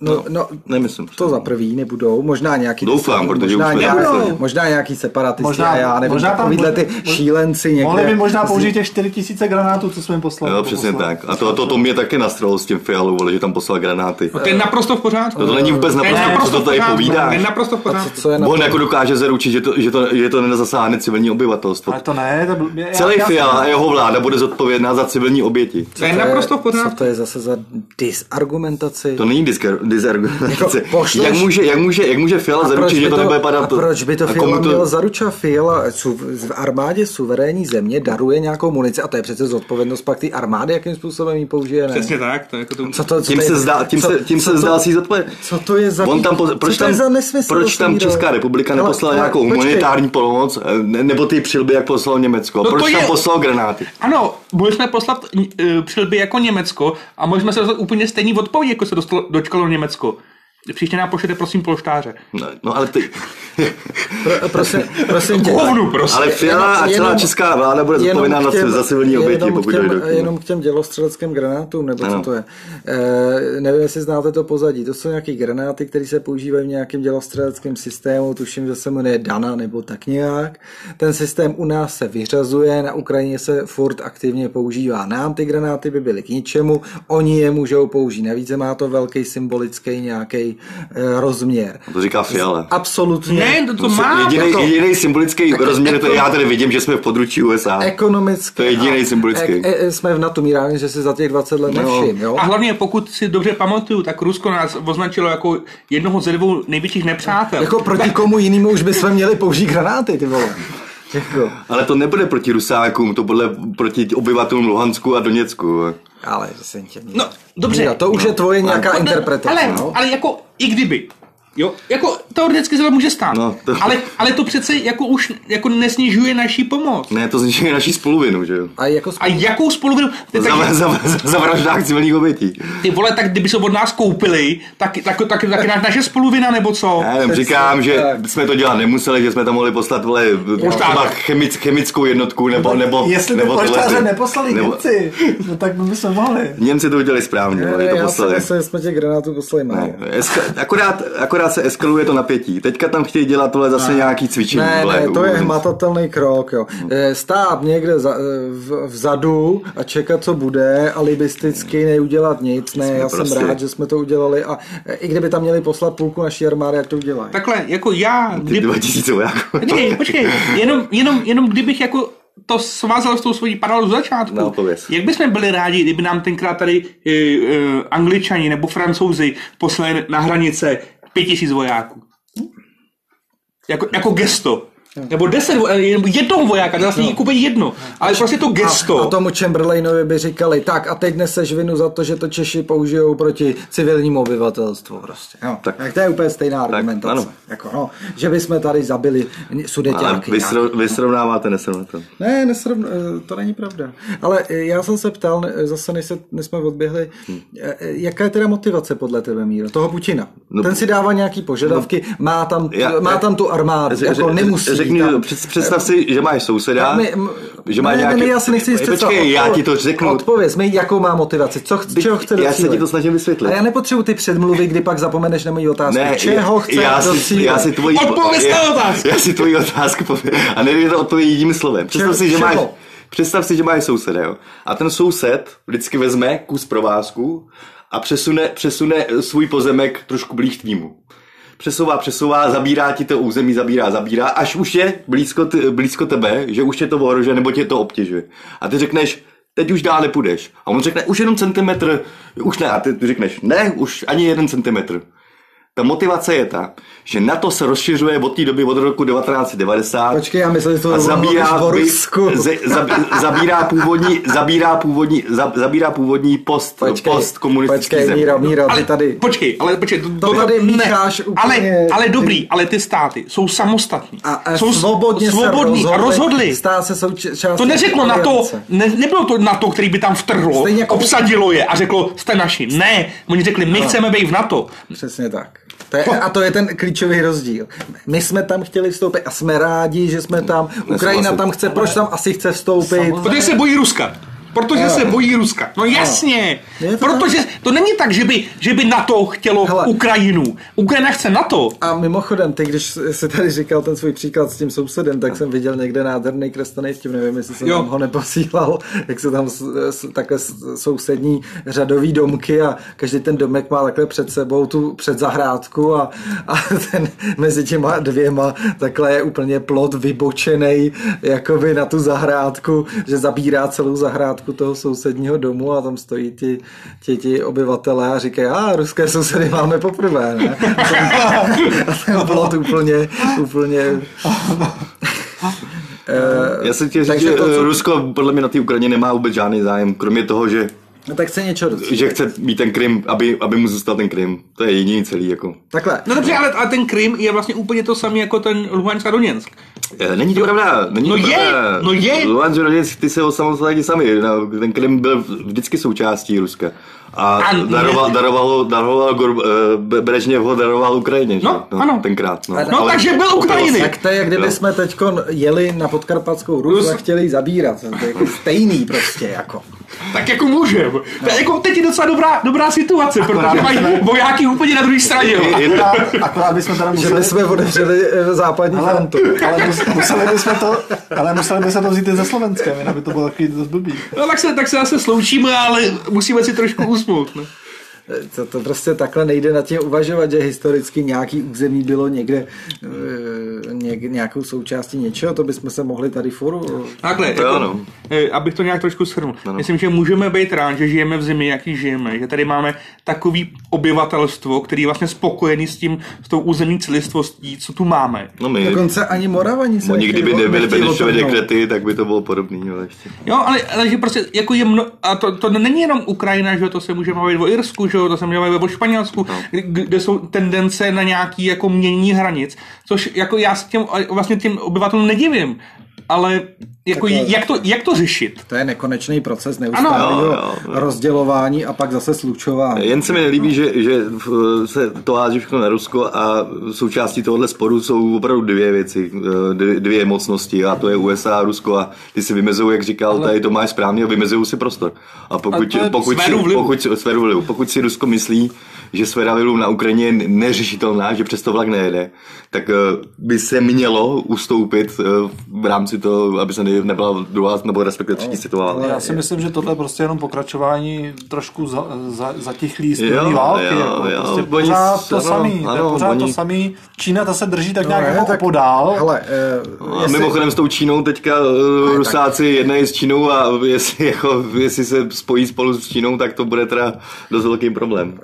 [SPEAKER 3] No, no,
[SPEAKER 1] Nemyslím.
[SPEAKER 3] to za prvý nebudou, možná nějaký...
[SPEAKER 1] Doufám, protože
[SPEAKER 3] možná
[SPEAKER 1] už jsme
[SPEAKER 3] nějaký,
[SPEAKER 1] nebudou.
[SPEAKER 3] možná nějaký separatisti
[SPEAKER 4] Možná-
[SPEAKER 3] možná, a já nevím,
[SPEAKER 4] možná
[SPEAKER 3] možná
[SPEAKER 4] tam-
[SPEAKER 3] takovýhle ty
[SPEAKER 4] možná-
[SPEAKER 3] šílenci někde.
[SPEAKER 4] Mohli by možná
[SPEAKER 3] z-
[SPEAKER 4] použít těch 4000 granátů, co jsme jim poslali.
[SPEAKER 1] Jo, přesně
[SPEAKER 4] poslali.
[SPEAKER 1] tak. A to, to, to mě taky nastralo s tím Fialou, vole, že tam poslal granáty.
[SPEAKER 2] To je naprosto v pořádku.
[SPEAKER 1] No to není vůbec
[SPEAKER 2] To je
[SPEAKER 1] naprosto, co to
[SPEAKER 2] v
[SPEAKER 1] tady
[SPEAKER 2] pořádku.
[SPEAKER 1] povídáš.
[SPEAKER 2] To je naprosto v
[SPEAKER 3] A co,
[SPEAKER 2] pořádku.
[SPEAKER 3] co je na
[SPEAKER 1] On jako dokáže zaručit, že to, že to, že to nezasáhne civilní obyvatelstvo.
[SPEAKER 4] Ale to ne, to byl, já,
[SPEAKER 1] Celý
[SPEAKER 4] já,
[SPEAKER 1] Fiala a jeho vláda bude zodpovědná za civilní oběti.
[SPEAKER 2] To je naprosto v
[SPEAKER 3] co
[SPEAKER 2] pořádku.
[SPEAKER 3] to je zase za disargumentaci?
[SPEAKER 1] To není diskar- disargumentace.
[SPEAKER 3] Jako pošleš-
[SPEAKER 1] jak, může, jak, může, jak může Fiala zaručit,
[SPEAKER 3] by
[SPEAKER 1] že to nebude padat?
[SPEAKER 3] a proč by to
[SPEAKER 1] a komu
[SPEAKER 3] Fiala to... měl zaručovat? Fiala su, v armádě suverénní země daruje nějakou munici a to je přece zodpovědnost pak té armády, jakým způsobem ji použije, ne?
[SPEAKER 2] Přesně tak. To je jako to...
[SPEAKER 3] Co to, co
[SPEAKER 1] Tím
[SPEAKER 3] to je-
[SPEAKER 1] se zdá, tím
[SPEAKER 3] co-
[SPEAKER 1] se, tím
[SPEAKER 3] co
[SPEAKER 1] se
[SPEAKER 3] to-
[SPEAKER 1] zdá si zodpovědět.
[SPEAKER 3] Co to je za...
[SPEAKER 1] On tam, po-
[SPEAKER 3] co
[SPEAKER 1] proč
[SPEAKER 3] to je
[SPEAKER 1] tam,
[SPEAKER 3] za nesmysl?
[SPEAKER 1] proč tam
[SPEAKER 3] Hele,
[SPEAKER 1] Česká republika
[SPEAKER 3] hele,
[SPEAKER 1] neposlala
[SPEAKER 3] hele,
[SPEAKER 1] nějakou
[SPEAKER 3] počkej.
[SPEAKER 1] humanitární pomoc, eh, ne- nebo ty přilby, jak poslalo Německo?
[SPEAKER 3] No
[SPEAKER 2] to
[SPEAKER 1] proč tam
[SPEAKER 2] je-
[SPEAKER 1] poslal granáty?
[SPEAKER 2] Ano, mohli jsme poslat uh, přilby jako Německo a mohli jsme se dostat úplně stejný odpovědi, jako se dostalo, dočkalo Německo. Příště nám pošlete, prosím, polštáře.
[SPEAKER 1] No, no ale
[SPEAKER 3] <laughs>
[SPEAKER 1] ty...
[SPEAKER 3] Pro, prosím, prosím tě.
[SPEAKER 2] Hovnu, prostě.
[SPEAKER 1] Ale Fiala a celá
[SPEAKER 3] Jenom-
[SPEAKER 1] česká vláda bude zodpovědná
[SPEAKER 3] k těm-
[SPEAKER 1] za civilní oběti,
[SPEAKER 3] jenom
[SPEAKER 1] pokud
[SPEAKER 3] k těm,
[SPEAKER 1] dojde k tomu.
[SPEAKER 3] Jenom k těm dělostřeleckým granátům, nebo ano. co
[SPEAKER 1] Ano.
[SPEAKER 3] to je. E, nevím, jestli znáte to pozadí. To jsou nějaké granáty, které se používají v nějakém dělostřeleckém systému, tuším, že se jmenuje Dana nebo tak nějak. Ten systém u nás se vyřazuje, na Ukrajině se furt aktivně používá. Nám ty granáty by byly k ničemu, oni je můžou použít. Navíc má to velký symbolický nějaký e, rozměr.
[SPEAKER 1] To říká Fiala.
[SPEAKER 3] Absolutně.
[SPEAKER 2] Ne, to, to má.
[SPEAKER 1] Jediný,
[SPEAKER 2] proto-
[SPEAKER 1] jediný symbolický rozměr, to
[SPEAKER 3] jako-
[SPEAKER 1] já tady vidím, že jsme v područí USA.
[SPEAKER 3] ekonomicky.
[SPEAKER 1] To je jediný
[SPEAKER 3] a-
[SPEAKER 1] symbolický. No.
[SPEAKER 3] E, e, jsme v NATO míráni, že si za těch 20 let nevšim, jo?
[SPEAKER 2] A hlavně, pokud si dobře pamatuju, tak Rusko nás označilo jako jednoho ze dvou největších nepřátel.
[SPEAKER 3] Jako proti komu jinému už bychom měli použít granáty, ty vole. Jako,
[SPEAKER 1] Ale to nebude proti Rusákům, to bude proti obyvatelům Luhansku a Doněcku.
[SPEAKER 3] ale jsem tě...
[SPEAKER 2] No, dobře.
[SPEAKER 3] Míro, to už je tvoje
[SPEAKER 1] No.
[SPEAKER 3] nějaká
[SPEAKER 2] Ale-
[SPEAKER 3] interpretace,
[SPEAKER 2] ale,
[SPEAKER 3] no?
[SPEAKER 2] ale jako i kdyby. Jo, jako teoreticky se to může stát.
[SPEAKER 1] No, to-
[SPEAKER 2] Ale, ale to přece jako už jako nesnižuje naší pomoc.
[SPEAKER 1] Ne, to zničí <laughs> naší spoluvinu, že jo?
[SPEAKER 3] A jako
[SPEAKER 2] A
[SPEAKER 3] spolu...
[SPEAKER 2] jakou spoluvinu... Ty,
[SPEAKER 3] No.
[SPEAKER 1] Za,
[SPEAKER 2] tak,
[SPEAKER 1] za, za, za vraždách civilních obětí.
[SPEAKER 2] ty vole, tak kdyby se od nás koupili, tak, tak, tak, tak, tak naše spoluvina nebo co?
[SPEAKER 1] Já jenom říkám, že
[SPEAKER 3] tak.
[SPEAKER 1] jsme to dělat nemuseli, že jsme tam mohli poslat vole, třeba chemic, chemickou jednotku nebo nebo
[SPEAKER 4] Jestli ty
[SPEAKER 1] nebo tyhle
[SPEAKER 4] polštáře
[SPEAKER 1] ty-
[SPEAKER 4] neposlali
[SPEAKER 1] nebo-
[SPEAKER 4] Němci, no tak my bychom mohli.
[SPEAKER 1] Němci to udělali správně,
[SPEAKER 3] Ne,
[SPEAKER 1] vole, že to
[SPEAKER 3] já si
[SPEAKER 1] poslali.
[SPEAKER 3] myslím, že jsme těch granátů poslali málo.
[SPEAKER 1] Ne, eska- akorát, akorát se eskaluje to napětí. Teďka tam chtějí dělat tohle zase nějaký cvičení.
[SPEAKER 3] Ne,
[SPEAKER 1] vole,
[SPEAKER 3] ne, to je
[SPEAKER 1] u-
[SPEAKER 3] hmatatelný krok, jo.
[SPEAKER 1] Hm.
[SPEAKER 3] E, Stát někde za, e, v- vzadu a čekat, co bude, alibisticky neudělat nic, ne, já jsem
[SPEAKER 1] prostě-
[SPEAKER 3] rád, že jsme to udělali a e, i kdyby tam měli poslat půlku naší armády, jak to udělají.
[SPEAKER 2] Takhle, jako já...
[SPEAKER 1] Ty
[SPEAKER 2] Kdy...
[SPEAKER 1] 2000 vojáků.
[SPEAKER 2] Počkej, počkej, jenom, jenom, jenom kdybych jako to svázal s tou svojí paralelu z začátku.
[SPEAKER 1] No, pověz.
[SPEAKER 2] jak bychom byli rádi, kdyby nám tenkrát tady e, e, angličani nebo francouzi poslali na hranice pět tisíc vojáků. Jako, jako gesto. Nebo deset, vo- eh, jenom jednoho vojáka, vlastně no. úplně jedno. Ale prostě to gesto.
[SPEAKER 3] A tomu Chamberlainovi by říkali, tak a teď neseš vinu za to, že to Češi použijou proti civilnímu obyvatelstvu prostě. Jo, tak.
[SPEAKER 1] Tak.
[SPEAKER 3] tak to je úplně stejná argumentace.
[SPEAKER 1] ano.
[SPEAKER 3] Jako, no, že bychom tady zabili
[SPEAKER 1] <laughs> Ale
[SPEAKER 3] sudeťáky.
[SPEAKER 1] vy,
[SPEAKER 3] nějaký.
[SPEAKER 1] sro- vy srovnáváte nesrovnatelné.
[SPEAKER 3] Ne, nesrovn... eh, to není pravda. Ale eh, já jsem se ptal, eh, zase než, se, než jsme odběhli,
[SPEAKER 1] Hm.
[SPEAKER 3] eh, eh, jaká je teda motivace podle tebe, Míro, toho Putina? No,
[SPEAKER 1] No,
[SPEAKER 3] Ten si dává nějaký požadavky, má, tam,
[SPEAKER 1] Já-
[SPEAKER 3] má tam tu armádu,
[SPEAKER 1] Ř-
[SPEAKER 3] jako
[SPEAKER 1] ř-
[SPEAKER 3] nemusí.
[SPEAKER 1] Řekni,
[SPEAKER 3] tam.
[SPEAKER 1] před- představ si, že máš souseda,
[SPEAKER 3] Ne, m-
[SPEAKER 1] že má
[SPEAKER 3] ne,
[SPEAKER 1] nějaký...
[SPEAKER 3] ne, ne, já si nechci
[SPEAKER 1] Počkej,
[SPEAKER 3] jist představit.
[SPEAKER 1] já
[SPEAKER 3] Odpověď-
[SPEAKER 1] ti to řeknu.
[SPEAKER 3] Odpověz mi, jakou má motivaci, co chce,
[SPEAKER 1] Byť-
[SPEAKER 3] čeho chce
[SPEAKER 1] já se
[SPEAKER 3] docílit.
[SPEAKER 1] ti to snažím vysvětlit.
[SPEAKER 3] Ale já nepotřebuji ty předmluvy, kdy pak zapomeneš na moji otázku.
[SPEAKER 1] Ne,
[SPEAKER 3] čeho
[SPEAKER 1] já-
[SPEAKER 3] chce
[SPEAKER 1] já si,
[SPEAKER 3] docílit?
[SPEAKER 1] já si tvoji,
[SPEAKER 2] Odpověz na
[SPEAKER 1] já-
[SPEAKER 2] otázku.
[SPEAKER 1] Já si tvoji otázku povím. A nejde to odpovědět jedním slovem. Představ
[SPEAKER 3] Čeho-
[SPEAKER 1] si, že
[SPEAKER 3] čeho?
[SPEAKER 1] máš, představ si, že máš souseda, jo. A ten soused vždycky vezme kus provázku a přesune, přesune eh, svůj pozemek trošku blíž tvýmu. Přesouvá, přesouvá, zabírá ti to území, zabírá, zabírá, až už je blízko, t- blízko tebe, že už je to ohrožen nebo tě to obtěžuje. A ty řekneš, teď už dál nepůjdeš. A on řekne, už jenom centimetr, už ne. A ty, ty řekneš, ne, už ani jeden centimetr. Ta motivace je ta, že NATO se rozšiřuje od té doby od roku 1990
[SPEAKER 3] Počkej, já myslím, že to
[SPEAKER 1] a
[SPEAKER 3] bylo
[SPEAKER 1] zabírá,
[SPEAKER 3] zabírá o
[SPEAKER 1] by-
[SPEAKER 3] Rusku.
[SPEAKER 1] ze- zab, zabírá původní, zabírá původní, za, zabírá původní post,
[SPEAKER 3] Počkej,
[SPEAKER 1] post komunistický
[SPEAKER 3] počkej, Míra, Míra,
[SPEAKER 2] ale
[SPEAKER 3] ty tady.
[SPEAKER 2] Počkej, ale počkej. To,
[SPEAKER 3] To tady mícháš
[SPEAKER 2] ne,
[SPEAKER 3] úplně-
[SPEAKER 2] ale, ale dobrý, ale ty státy jsou samostatní.
[SPEAKER 3] A, a
[SPEAKER 2] jsou s-
[SPEAKER 3] svobodně
[SPEAKER 2] svobodní
[SPEAKER 3] se
[SPEAKER 2] a rozhodli.
[SPEAKER 3] Stá se součástí.
[SPEAKER 2] To neřeklo na to,
[SPEAKER 3] aliance.
[SPEAKER 2] ne, nebylo to na to, který by tam vtrhlo,
[SPEAKER 3] Stejně jako-
[SPEAKER 2] obsadilo je a řeklo, jste naši. Ne, oni řekli, my chceme být v NATO.
[SPEAKER 3] Přesně tak. To je, a to je ten klíčový rozdíl. My jsme tam chtěli vstoupit a jsme rádi, že jsme tam. Ukrajina tam chce, proč tam asi chce vstoupit?
[SPEAKER 4] Samozřejmě.
[SPEAKER 2] Protože se bojí Ruska. Protože se bojí Ruska. No jasně.
[SPEAKER 3] Je to
[SPEAKER 2] Protože to není tak, že by, že by NATO chtělo
[SPEAKER 3] Hele.
[SPEAKER 2] Ukrajinu. Ukrajina chce NATO.
[SPEAKER 3] A mimochodem, ty, když jsi tady říkal ten svůj příklad s tím sousedem, tak jsem viděl někde nádherný kreslený vtip, nevím, jestli jsem
[SPEAKER 2] Jo.
[SPEAKER 3] jo. ho neposílal, jak se tam s, s, takhle s- sousední řadový domky a každý ten domek má takhle před sebou tu předzahrádku a, a ten mezi těma dvěma takhle je úplně plot vybočený jakoby na tu zahrádku, že zabírá celou zahrádku toho sousedního domu a tam stojí ti, ti, ti obyvatelé a říkají, a ruské sousedy máme poprvé, ne? A ten plot úplně, úplně... Eh,
[SPEAKER 1] Já se tě říct,
[SPEAKER 3] Takže
[SPEAKER 1] že
[SPEAKER 3] to, co-
[SPEAKER 1] eh, Rusko podle mě na té Ukrajině nemá vůbec žádný zájem, kromě toho, že,
[SPEAKER 3] No tak se něco doc-
[SPEAKER 1] že chce mít ten Krym, aby, aby mu zůstal ten Krym. To je jediný celý. Jako.
[SPEAKER 3] Takhle,
[SPEAKER 2] No dobře, ale, ale ten Krym je vlastně úplně to samé jako ten Luhansk a Doněck.
[SPEAKER 1] Eh, Není to pravda. Není
[SPEAKER 2] No
[SPEAKER 1] to
[SPEAKER 2] je,
[SPEAKER 1] pravda.
[SPEAKER 2] no je.
[SPEAKER 1] Luhansk, Donetsk, ty se osamostatili sami. No, Ten Krym byl vždycky součástí Ruska. A,
[SPEAKER 2] A
[SPEAKER 1] daroval, daroval, daroval Gor, eh, Be- Brežněv ho daroval Ukrajině. že?
[SPEAKER 2] No, ano.
[SPEAKER 1] Tenkrát. No,
[SPEAKER 2] No
[SPEAKER 1] Ale-
[SPEAKER 2] takže byl Ukrajiny.
[SPEAKER 3] tak to je, jak kdyby jsme teď jeli na podkarpatskou Rus a chtěli ji zabírat. To je jako stejný prostě, jako.
[SPEAKER 2] Tak jako můžem. To je jako teď je docela dobrá, dobrá situace, protože mají vojáky úplně na druhé straně. jo.
[SPEAKER 1] Je- je-
[SPEAKER 4] Akorát, akorát bychom teda
[SPEAKER 3] Že
[SPEAKER 4] museli...
[SPEAKER 3] bychom odevřeli eh, západní
[SPEAKER 4] Ale,
[SPEAKER 3] frontu.
[SPEAKER 4] ale, mus- museli bychom to, ale museli bychom to vzít i ze Slovenskem, jinak by to bylo takový dost blbý.
[SPEAKER 2] No tak se, tak se zase sloučíme, ale musíme si trošku usmout. No.
[SPEAKER 3] To, to prostě takhle nejde na tím uvažovat, že historicky nějaký území bylo někde eh, něk, nějakou součástí něčeho, to bychom se mohli tady furu.
[SPEAKER 2] Takhle,
[SPEAKER 1] To
[SPEAKER 2] jako,
[SPEAKER 1] ano.
[SPEAKER 2] eh, abych to nějak trošku shrnul. Myslím, že můžeme být rád, že žijeme v zemi, jaký žijeme. Že tady máme takový obyvatelstvo, který je vlastně spokojený s tím, s tou územní celistvostí, co tu máme.
[SPEAKER 1] No my,
[SPEAKER 3] Dokonce ani Moravani se
[SPEAKER 1] no, nikdy by
[SPEAKER 3] nechtějí o-
[SPEAKER 1] nebyli
[SPEAKER 3] nechtějí o tom
[SPEAKER 1] Benešovi
[SPEAKER 3] mluvit.
[SPEAKER 1] dekrety, tak by to bylo podobný. Ale ještě.
[SPEAKER 2] Jo, ale, ale že prostě jako je mno, a to, to není jenom Ukrajina, že jo, to se můžeme bavit o Irsku, že jo, to se můžeme bavit o Španělsku,
[SPEAKER 1] No.
[SPEAKER 2] kde, kde jsou tendence na nějaký jako mění hranic, což jako já s těm a vlastně těm obyvatelům nedivím, ale jako
[SPEAKER 3] Takhle.
[SPEAKER 2] jak to, jak to řešit?
[SPEAKER 3] To je nekonečný proces neustálého
[SPEAKER 1] Ano, jo, jo.
[SPEAKER 3] rozdělování a pak zase slučování.
[SPEAKER 1] Jen se mi nelíbí, že, že v- se to hází všechno na Rusko a součástí tohohle sporu jsou opravdu dvě věci, eh, dvě, dvě mocnosti a to je USA a Rusko a ty si vymezují, jak říkal, tady to máš správně a vymezují si prostor. A pokud,
[SPEAKER 4] Ale to je
[SPEAKER 1] pokud, si,
[SPEAKER 2] sféru vlivu.
[SPEAKER 1] pokud, sféru vlivu. pokud si Rusko myslí, že sféra vlivu na Ukrajině je neřešitelná, že přesto vlak nejede, tak eh, by se mělo ustoupit eh, v rámci toho, aby se ne- nebyla druhá nebo respektive třetí situace.
[SPEAKER 4] Já si myslím, že tohle je prostě jenom pokračování trošku za, za, zatichlý
[SPEAKER 1] Jo,
[SPEAKER 4] studený války.
[SPEAKER 1] jo,
[SPEAKER 4] jako,
[SPEAKER 1] jo,
[SPEAKER 4] prostě
[SPEAKER 1] oni
[SPEAKER 4] pořád
[SPEAKER 1] s-
[SPEAKER 4] to
[SPEAKER 1] ano,
[SPEAKER 4] samý, to je
[SPEAKER 1] ano,
[SPEAKER 4] pořád to
[SPEAKER 1] oni-
[SPEAKER 4] samý. Čína ta se drží tak
[SPEAKER 3] No,
[SPEAKER 4] nějak
[SPEAKER 3] ne,
[SPEAKER 4] jako
[SPEAKER 3] tak-
[SPEAKER 4] opodál.
[SPEAKER 3] Hele,
[SPEAKER 1] A
[SPEAKER 3] eh,
[SPEAKER 1] jestli... mimochodem s tou Čínou teďka eh, Rusáci jednají s Čínou a jestli, jako, jestli se spojí spolu s Čínou, tak to bude teda dost velký problém.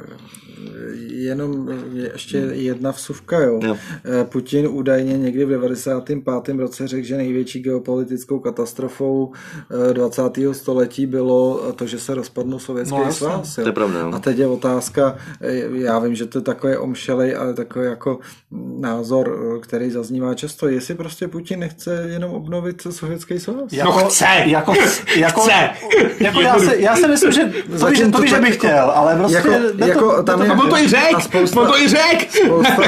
[SPEAKER 3] jenom eh, je ještě jedna vsuvka, jo.
[SPEAKER 1] Hmm. Jo.
[SPEAKER 3] Eh, Putin údajně někdy v 95. roce řekl, že největší geopolitickou katastrofou eh, 20. století bylo eh, to, že se rozpadnul Sovětský
[SPEAKER 4] No,
[SPEAKER 3] no,
[SPEAKER 4] jasně.
[SPEAKER 3] svaz. jo.
[SPEAKER 1] To je pravda, jo.
[SPEAKER 3] A teď je otázka, eh, já vím, že to je takový omšelej, ale takový jako názor, eh, který zaznívá často, jestli prostě Putin nechce jenom obnovit Sovětský svaz.
[SPEAKER 2] chce.
[SPEAKER 3] <laughs>
[SPEAKER 4] Jako, jako,
[SPEAKER 2] Chce.
[SPEAKER 4] jako já, si, já si myslím, že to víš,
[SPEAKER 3] Zatím
[SPEAKER 4] to víš, že
[SPEAKER 3] tak
[SPEAKER 4] bych
[SPEAKER 3] jako-
[SPEAKER 4] chtěl, ale prostě
[SPEAKER 3] jako,
[SPEAKER 4] jde to,
[SPEAKER 3] jako
[SPEAKER 4] jde
[SPEAKER 3] tam
[SPEAKER 4] to No
[SPEAKER 3] je,
[SPEAKER 2] A on to i řek!
[SPEAKER 3] a spousta,
[SPEAKER 2] On to i řek!
[SPEAKER 3] spousta,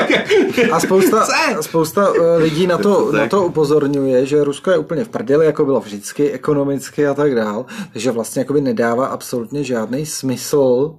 [SPEAKER 3] a spousta,
[SPEAKER 2] <laughs> Co?
[SPEAKER 3] spousta eh, lidí na to,
[SPEAKER 1] Tak.
[SPEAKER 3] na to upozorňuje, že Rusko je úplně v prdeli, jako bylo vždycky, ekonomicky a tak dál, takže vlastně jakoby nedává absolutně žádný smysl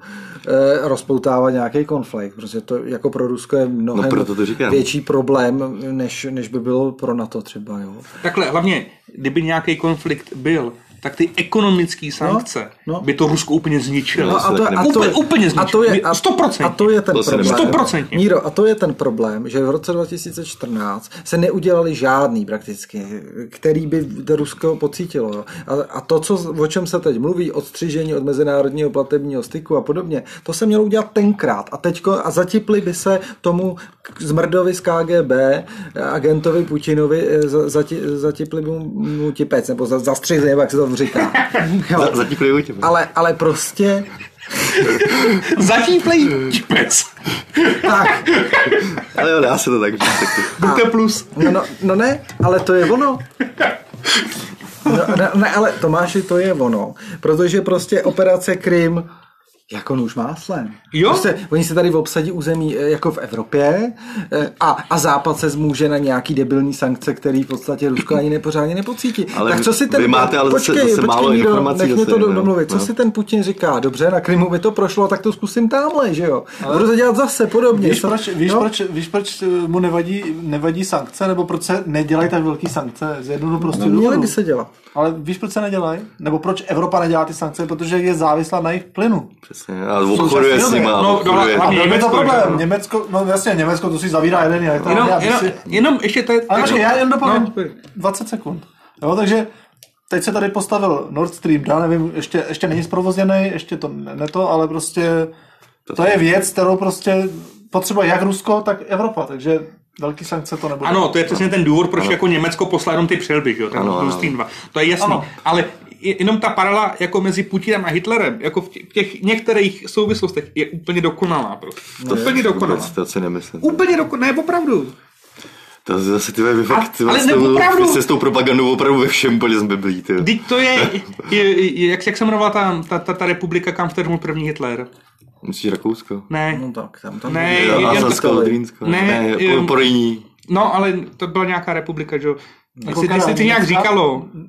[SPEAKER 3] eh, rozpoutávat nějaký konflikt, protože to jako pro Rusko je mnohem
[SPEAKER 1] No, proto to říkám.
[SPEAKER 3] větší problém, než, než by bylo pro NATO třeba. Jo.
[SPEAKER 2] Takhle, hlavně, kdyby nějaký konflikt byl, tak ty ekonomické sankce
[SPEAKER 3] No,
[SPEAKER 2] no,
[SPEAKER 3] no.
[SPEAKER 2] no. by to Rusko úplně zničilo.
[SPEAKER 1] No,
[SPEAKER 2] <laughs>
[SPEAKER 3] No, a, to, a, to,
[SPEAKER 2] Úplně- úplně
[SPEAKER 3] a to je,
[SPEAKER 2] zničil.
[SPEAKER 3] a,
[SPEAKER 2] 100%.
[SPEAKER 3] a to je ten
[SPEAKER 1] To se
[SPEAKER 3] problém.
[SPEAKER 1] nemá.
[SPEAKER 2] 100%.
[SPEAKER 3] Míro, a to je ten problém, že v roce 2014 se neudělali žádný prakticky, který by Rusko pocítilo. jo. A, a to, co, o čem se teď mluví, odstřižení od mezinárodního platebního styku a podobně, to se mělo udělat tenkrát. A teďko, a zatipli by se tomu k- zmrdovi z KGB, agentovi Putinovi, eh, za- zati, zatipli by mu, mu tipec, nebo za, zastřihli, nebo jak se
[SPEAKER 2] <laughs>
[SPEAKER 3] to říká. Jo.
[SPEAKER 1] Za- Zatím plivou tě.
[SPEAKER 3] Ale, ale prostě
[SPEAKER 2] Zatím play čipec.
[SPEAKER 3] tak,
[SPEAKER 1] Ale jo, dá se to tak říct. taky.
[SPEAKER 2] Buďte plus.
[SPEAKER 3] No, no, no ne, ale to je ono. No, ne, ne, ale Tomáši, to je ono. Protože prostě operace Krym jako nůž máslem.
[SPEAKER 2] Jo?
[SPEAKER 3] Prostě oni se tady obsadí území eh, jako v Evropě eh, a, a Západ se zmůže na nějaký debilní sankce, který v podstatě Rusko ani nepořádně nepocítí.
[SPEAKER 1] Ale
[SPEAKER 3] tak co si ten,
[SPEAKER 1] vy máte ale zase- zase málo
[SPEAKER 3] Míro,
[SPEAKER 1] informací
[SPEAKER 3] nech mě
[SPEAKER 1] zase,
[SPEAKER 3] to do-
[SPEAKER 1] no,
[SPEAKER 3] domluvit. Co
[SPEAKER 1] no.
[SPEAKER 3] si ten Putin říká? Dobře, na Krymu by to prošlo, tak to zkusím tamhle, že jo? Budu to dělat zase podobně.
[SPEAKER 4] Víš
[SPEAKER 3] Co-
[SPEAKER 4] proč, víš,
[SPEAKER 3] no?
[SPEAKER 4] proč, víš, proč eh, mu nevadí, nevadí sankce, nebo proč se nedělají tak velký sankce? Z jednoho prostě
[SPEAKER 3] Měly No, by se dělat.
[SPEAKER 4] Ale víš, proč se nedělají? Nebo proč Evropa nedělá ty sankce? Protože je závislá na jejich plynu.
[SPEAKER 1] Přesně. A obchoduje s
[SPEAKER 4] zase
[SPEAKER 1] nima.
[SPEAKER 2] dobré. No,
[SPEAKER 1] obchoduje.
[SPEAKER 2] no,
[SPEAKER 4] A
[SPEAKER 2] Tam je
[SPEAKER 4] byl by to
[SPEAKER 2] Německo, že
[SPEAKER 4] problém.
[SPEAKER 2] ano.
[SPEAKER 4] Německo, no jasně, Německo to si zavírá jeden elektrárny.
[SPEAKER 2] Jenom,
[SPEAKER 4] aby
[SPEAKER 2] jenom,
[SPEAKER 4] si-
[SPEAKER 2] jenom ještě to je...
[SPEAKER 4] Ale počkej, já jen dopovím.
[SPEAKER 2] No.
[SPEAKER 4] 20 sekund. Jo, takže teď se tady postavil Nord Stream, já nevím, ještě, ještě není zprovozněný, ještě to ne ne to, ale prostě to je věc, kterou prostě potřebuje jak Rusko, tak Evropa, takže velký sankce to nebude.
[SPEAKER 2] Ano, to je přesně ten důvod, proč jako Německo poslá jenom ty přelby, že jo, ten
[SPEAKER 1] Ano, ano.
[SPEAKER 2] Nord Stream 2. To je jasný.
[SPEAKER 4] Ano.
[SPEAKER 2] Ale je- jenom ta paralela jako mezi Putinem a Hitlerem, jako v tě- v těch některých souvislostech, je úplně dokonalá. Prostě.
[SPEAKER 1] To
[SPEAKER 2] úplně dokonalá.
[SPEAKER 1] No, vůbec, to si nemyslím.
[SPEAKER 2] Úplně dokonalá, ne, opravdu.
[SPEAKER 1] To zase ty vy fakt, ty
[SPEAKER 2] ale
[SPEAKER 1] vás s tou-
[SPEAKER 2] neopravdu.
[SPEAKER 1] se s tou propagandou opravdu ve všem byli zbyblí, ty.
[SPEAKER 2] Teď to je, je, je jak, jak se jmenovala ta, ta, ta, ta republika, kam vtrhnul první Hitler?
[SPEAKER 1] Musíš Rakousko.
[SPEAKER 2] Ne,
[SPEAKER 3] No tak, tam, tam
[SPEAKER 2] Ne,
[SPEAKER 1] Jo,
[SPEAKER 2] jen-
[SPEAKER 1] Alsasko,
[SPEAKER 3] jen-
[SPEAKER 1] Lodrínsko.
[SPEAKER 2] Ne,
[SPEAKER 1] Ne,
[SPEAKER 2] jen-
[SPEAKER 1] po- Porýní.
[SPEAKER 2] no ale to byla nějaká republika,
[SPEAKER 4] No,
[SPEAKER 2] že jo. Jak se- jak se
[SPEAKER 4] Kanada,
[SPEAKER 2] to nějak
[SPEAKER 4] Německa?
[SPEAKER 2] říkalo.
[SPEAKER 4] no,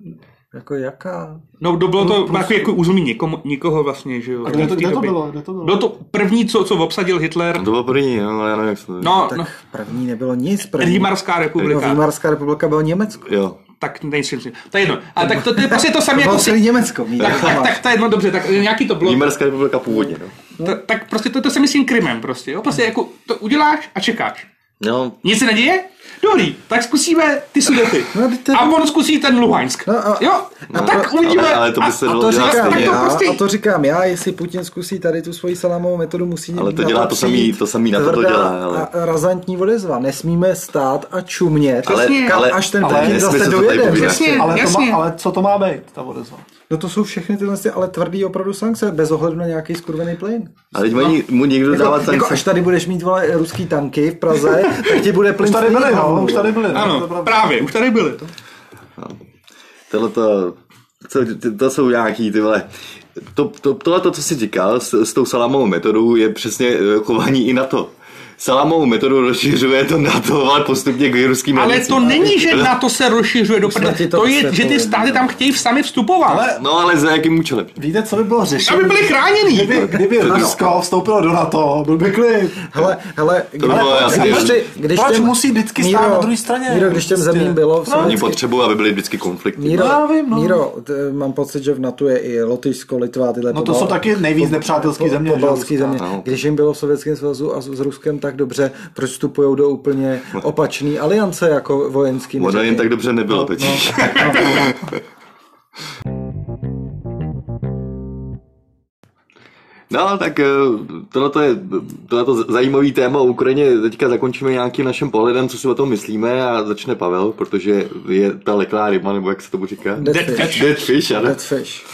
[SPEAKER 3] Jako jaká?
[SPEAKER 2] No, to bylo to takový jako území někomu, nikoho vlastně, že jo.
[SPEAKER 4] prostě- A kde
[SPEAKER 2] v
[SPEAKER 4] to,
[SPEAKER 2] té
[SPEAKER 4] kde to
[SPEAKER 2] době.
[SPEAKER 4] bylo? Kde to bylo?
[SPEAKER 2] Bylo to první, co, co obsadil Hitler.
[SPEAKER 1] No To bylo Porýní, no, ale já nevím, jak se to...
[SPEAKER 2] No,
[SPEAKER 3] Tak
[SPEAKER 2] no.
[SPEAKER 3] první nebylo nic. První.
[SPEAKER 2] Rýmarská
[SPEAKER 3] No,
[SPEAKER 2] republika.
[SPEAKER 3] Výmarská republika bylo Německo.
[SPEAKER 1] Jo.
[SPEAKER 2] Tak nejsem si. To je jedno. A tak to, to
[SPEAKER 3] <laughs>
[SPEAKER 2] je prostě to samé
[SPEAKER 3] Bylo
[SPEAKER 2] jako
[SPEAKER 3] celý
[SPEAKER 2] si...
[SPEAKER 3] Německo. Míra,
[SPEAKER 2] Tak, tak, tak, to je jedno, dobře, tak nějaký to bylo.
[SPEAKER 1] Výmarská republika původně, no.
[SPEAKER 2] Ta, tak prostě to, to se myslím krymem prostě, jo?
[SPEAKER 3] Hmm.
[SPEAKER 2] Prostě jako to uděláš a čekáš.
[SPEAKER 1] No,
[SPEAKER 2] Nic se neděje? Dobrý, tak zkusíme ty sudety.
[SPEAKER 3] No, teď to-
[SPEAKER 2] A on zkusí ten Luhansk.
[SPEAKER 3] No, a-
[SPEAKER 2] jo? A tak uvidíme.
[SPEAKER 1] ale, ale to by se
[SPEAKER 3] a
[SPEAKER 1] dalo
[SPEAKER 3] to
[SPEAKER 1] dělat
[SPEAKER 3] říkám,
[SPEAKER 1] stejně.
[SPEAKER 2] tak to
[SPEAKER 3] já,
[SPEAKER 2] prostě-
[SPEAKER 3] a to říkám já, jestli Putin zkusí tady tu svoji salámovou metodu, musí
[SPEAKER 1] Ale to
[SPEAKER 3] na
[SPEAKER 1] dělá to samý-
[SPEAKER 3] přijít
[SPEAKER 1] to samý na to to
[SPEAKER 3] tvrdá
[SPEAKER 1] dělá, ale-
[SPEAKER 3] a- a razantní odezva. Nesmíme stát a čumět,
[SPEAKER 1] Ale-
[SPEAKER 3] kam
[SPEAKER 1] ale-
[SPEAKER 3] až ten
[SPEAKER 1] ale
[SPEAKER 3] Putin
[SPEAKER 1] nesmysl
[SPEAKER 3] zase
[SPEAKER 1] to tady
[SPEAKER 3] dojede.
[SPEAKER 1] povídat.
[SPEAKER 2] Přesně,
[SPEAKER 4] ale, to
[SPEAKER 2] jasně.
[SPEAKER 4] má, ale co to má být, ta odezva?
[SPEAKER 3] No to jsou všechny tyhle ty, ale tvrdý opravdu sankce, bez ohledu na nějaký skurvený plyn.
[SPEAKER 1] A teď mají mu někdo
[SPEAKER 3] Jako,
[SPEAKER 1] dávat
[SPEAKER 3] jako
[SPEAKER 1] sankce.
[SPEAKER 3] až tady budeš mít vole, ruský tanky v Praze, tak ti bude plyn
[SPEAKER 4] Už tady
[SPEAKER 3] stejný
[SPEAKER 4] byli,
[SPEAKER 3] hlavu,
[SPEAKER 4] no, už tady byli. no, to je
[SPEAKER 2] Ano,
[SPEAKER 4] pravda.
[SPEAKER 2] právě, už tady byly. To.
[SPEAKER 1] Tohle to, co, ty- to jsou nějaký ty vole. To, to, tohle, to, co jsi říkal s, s tou salamovou metodou, je přesně eh, chování i na to. Salamovou metodu rozšiřuje to na to, ale postupně k ruským
[SPEAKER 2] Ale
[SPEAKER 1] hranicím.
[SPEAKER 2] to není, že na to se rozšiřuje do prdele.
[SPEAKER 3] jsme ti to
[SPEAKER 2] To je, že
[SPEAKER 3] vysvětlili,
[SPEAKER 2] ty státy tam chtějí sami vstupovat.
[SPEAKER 4] Ale
[SPEAKER 1] No ale za jakým účelem?
[SPEAKER 4] víte, co by bylo řešení?
[SPEAKER 2] Aby byli chráněni.
[SPEAKER 4] Kdyby, kdyby Rusko vstoupilo do NATO, byl by klid.
[SPEAKER 3] Hele, hele,
[SPEAKER 1] by
[SPEAKER 3] ale
[SPEAKER 1] bylo
[SPEAKER 3] proč-
[SPEAKER 1] jasný.
[SPEAKER 3] když ty- když
[SPEAKER 4] Proč
[SPEAKER 3] těm-
[SPEAKER 4] musí vždycky stát na druhé straně?
[SPEAKER 3] Míro, když těm
[SPEAKER 4] Prostě.
[SPEAKER 3] zemím bylo
[SPEAKER 1] Oni
[SPEAKER 3] v sovětský...
[SPEAKER 1] potřebují, aby byly vždycky konflikty.
[SPEAKER 3] Míro,
[SPEAKER 4] No, já vím, no.
[SPEAKER 3] Míro t, mám pocit, že v NATO je i Lotyšsko, Litva a tyhle
[SPEAKER 4] No to jsou taky nejvíc nepřátelský země, že jo,
[SPEAKER 3] Pobalský
[SPEAKER 4] Ruska.
[SPEAKER 3] země.
[SPEAKER 1] No.
[SPEAKER 3] Když jim bylo v Sovětském svazu a s, s Ruskem tak dobře, proč vstupují do úplně opačné aliance jako vojenský?
[SPEAKER 1] Ono
[SPEAKER 3] neřekni?
[SPEAKER 1] jim tak dobře nebylo, totiž. No, tak eh, tohleto je tohleto zajímavý téma o Ukrajině. Teďka zakončíme nějakým naším pohledem, co si o tom myslíme a začne Pavel, protože je ta leklá ryba, nebo jak se tomu říká?
[SPEAKER 3] Dead fish.
[SPEAKER 1] Dead fish, ano.
[SPEAKER 3] Dead fish.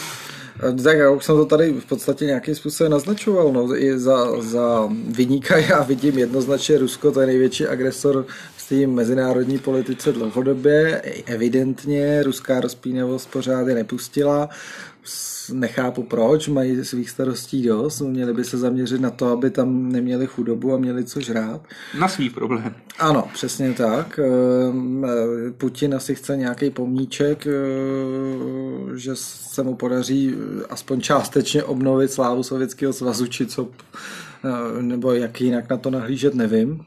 [SPEAKER 3] Eh, Tak já už jsem to tady v podstatě nějakým způsobem naznačoval. No. I za, za vyníka já vidím jednoznačně Rusko, to je největší agresor v té mezinárodní politice dlouhodobě. Evidentně ruská rozpínavost pořád je nepustila. S- Nechápu proč, mají svých starostí dost, měli by se zaměřit na to, aby tam neměli chudobu a měli co žrát.
[SPEAKER 2] Na svý problém.
[SPEAKER 3] Ano, přesně tak. Ehm, eh, Putin asi chce nějaký pomníček, eh, že se mu podaří eh, aspoň částečně obnovit slávu Sovětského svazu, či co, eh, nebo jak jinak na to nahlížet, nevím.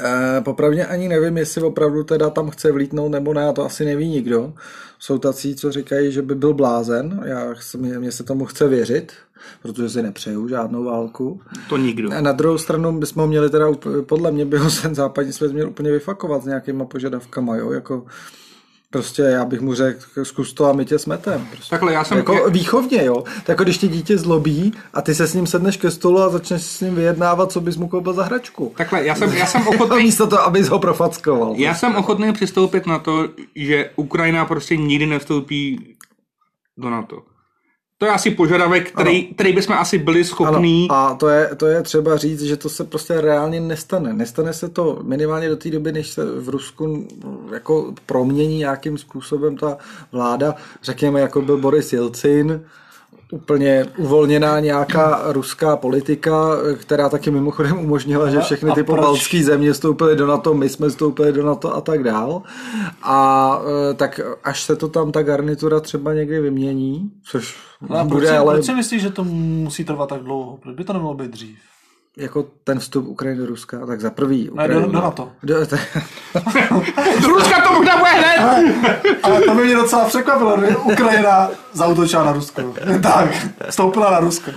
[SPEAKER 3] Eh, Popravdě ani nevím, jestli opravdu teda tam chce vlítnout nebo ne, a to asi neví nikdo. Jsou tací, co říkají, že by byl blázen, já, chci- mně mně se tomu chce věřit, protože si nepřeju žádnou válku.
[SPEAKER 2] To nikdo.
[SPEAKER 3] A na druhou stranu bychom ho měli teda, úplně- podle mě by ho ten západní svět měl úplně vyfakovat s nějakýma požadavkama, jo, jako prostě já bych mu řekl, zkus to a my tě smetem. Prostě.
[SPEAKER 2] Takhle, já jsem-
[SPEAKER 3] Jako výchovně, jo. Tak jako když tě dítě zlobí a ty se s ním sedneš ke stolu a začneš s ním vyjednávat, co bys mu koupil za hračku.
[SPEAKER 2] Takhle, já jsem, já jsem
[SPEAKER 3] A
[SPEAKER 2] ochotný,
[SPEAKER 3] místo toho, abys ho profackoval.
[SPEAKER 2] já jsem ochotný přistoupit na to, že Ukrajina prostě nikdy nevstoupí do NATO. To je asi požadavek, který, který bychom asi byli schopní.
[SPEAKER 3] a to je, to je třeba říct, že to se prostě reálně nestane. Nestane se to minimálně do té doby, než se v Rusku mm, jako promění nějakým způsobem ta vláda, řekněme, jako byl Boris Jelcin, úplně uvolněná nějaká ruská politika, která taky mimochodem umožnila, že
[SPEAKER 4] A-
[SPEAKER 3] všechny
[SPEAKER 4] a
[SPEAKER 3] ty
[SPEAKER 4] proč?
[SPEAKER 3] pobaltské země vstoupily do NATO, my jsme vstoupili do NATO a tak dál. A e, tak až se to tam ta garnitura třeba někdy vymění, což
[SPEAKER 4] Ale
[SPEAKER 3] bude,
[SPEAKER 4] No proč, si-
[SPEAKER 3] ale...
[SPEAKER 4] proč si myslíš, že to musí trvat tak dlouho? Proč by to nemohlo být dřív?
[SPEAKER 3] jako ten vstup Ukrajiny do Ruska, tak za prvý
[SPEAKER 4] Ne,
[SPEAKER 3] Ukrajina.
[SPEAKER 4] do, do NATO.
[SPEAKER 3] do, <laughs> to,
[SPEAKER 2] Z Ruska to možná bude hned!
[SPEAKER 4] Ale to by mě docela překvapilo, že Ukrajina zautočila na Rusko. <laughs> tak, vstoupila na Rusko.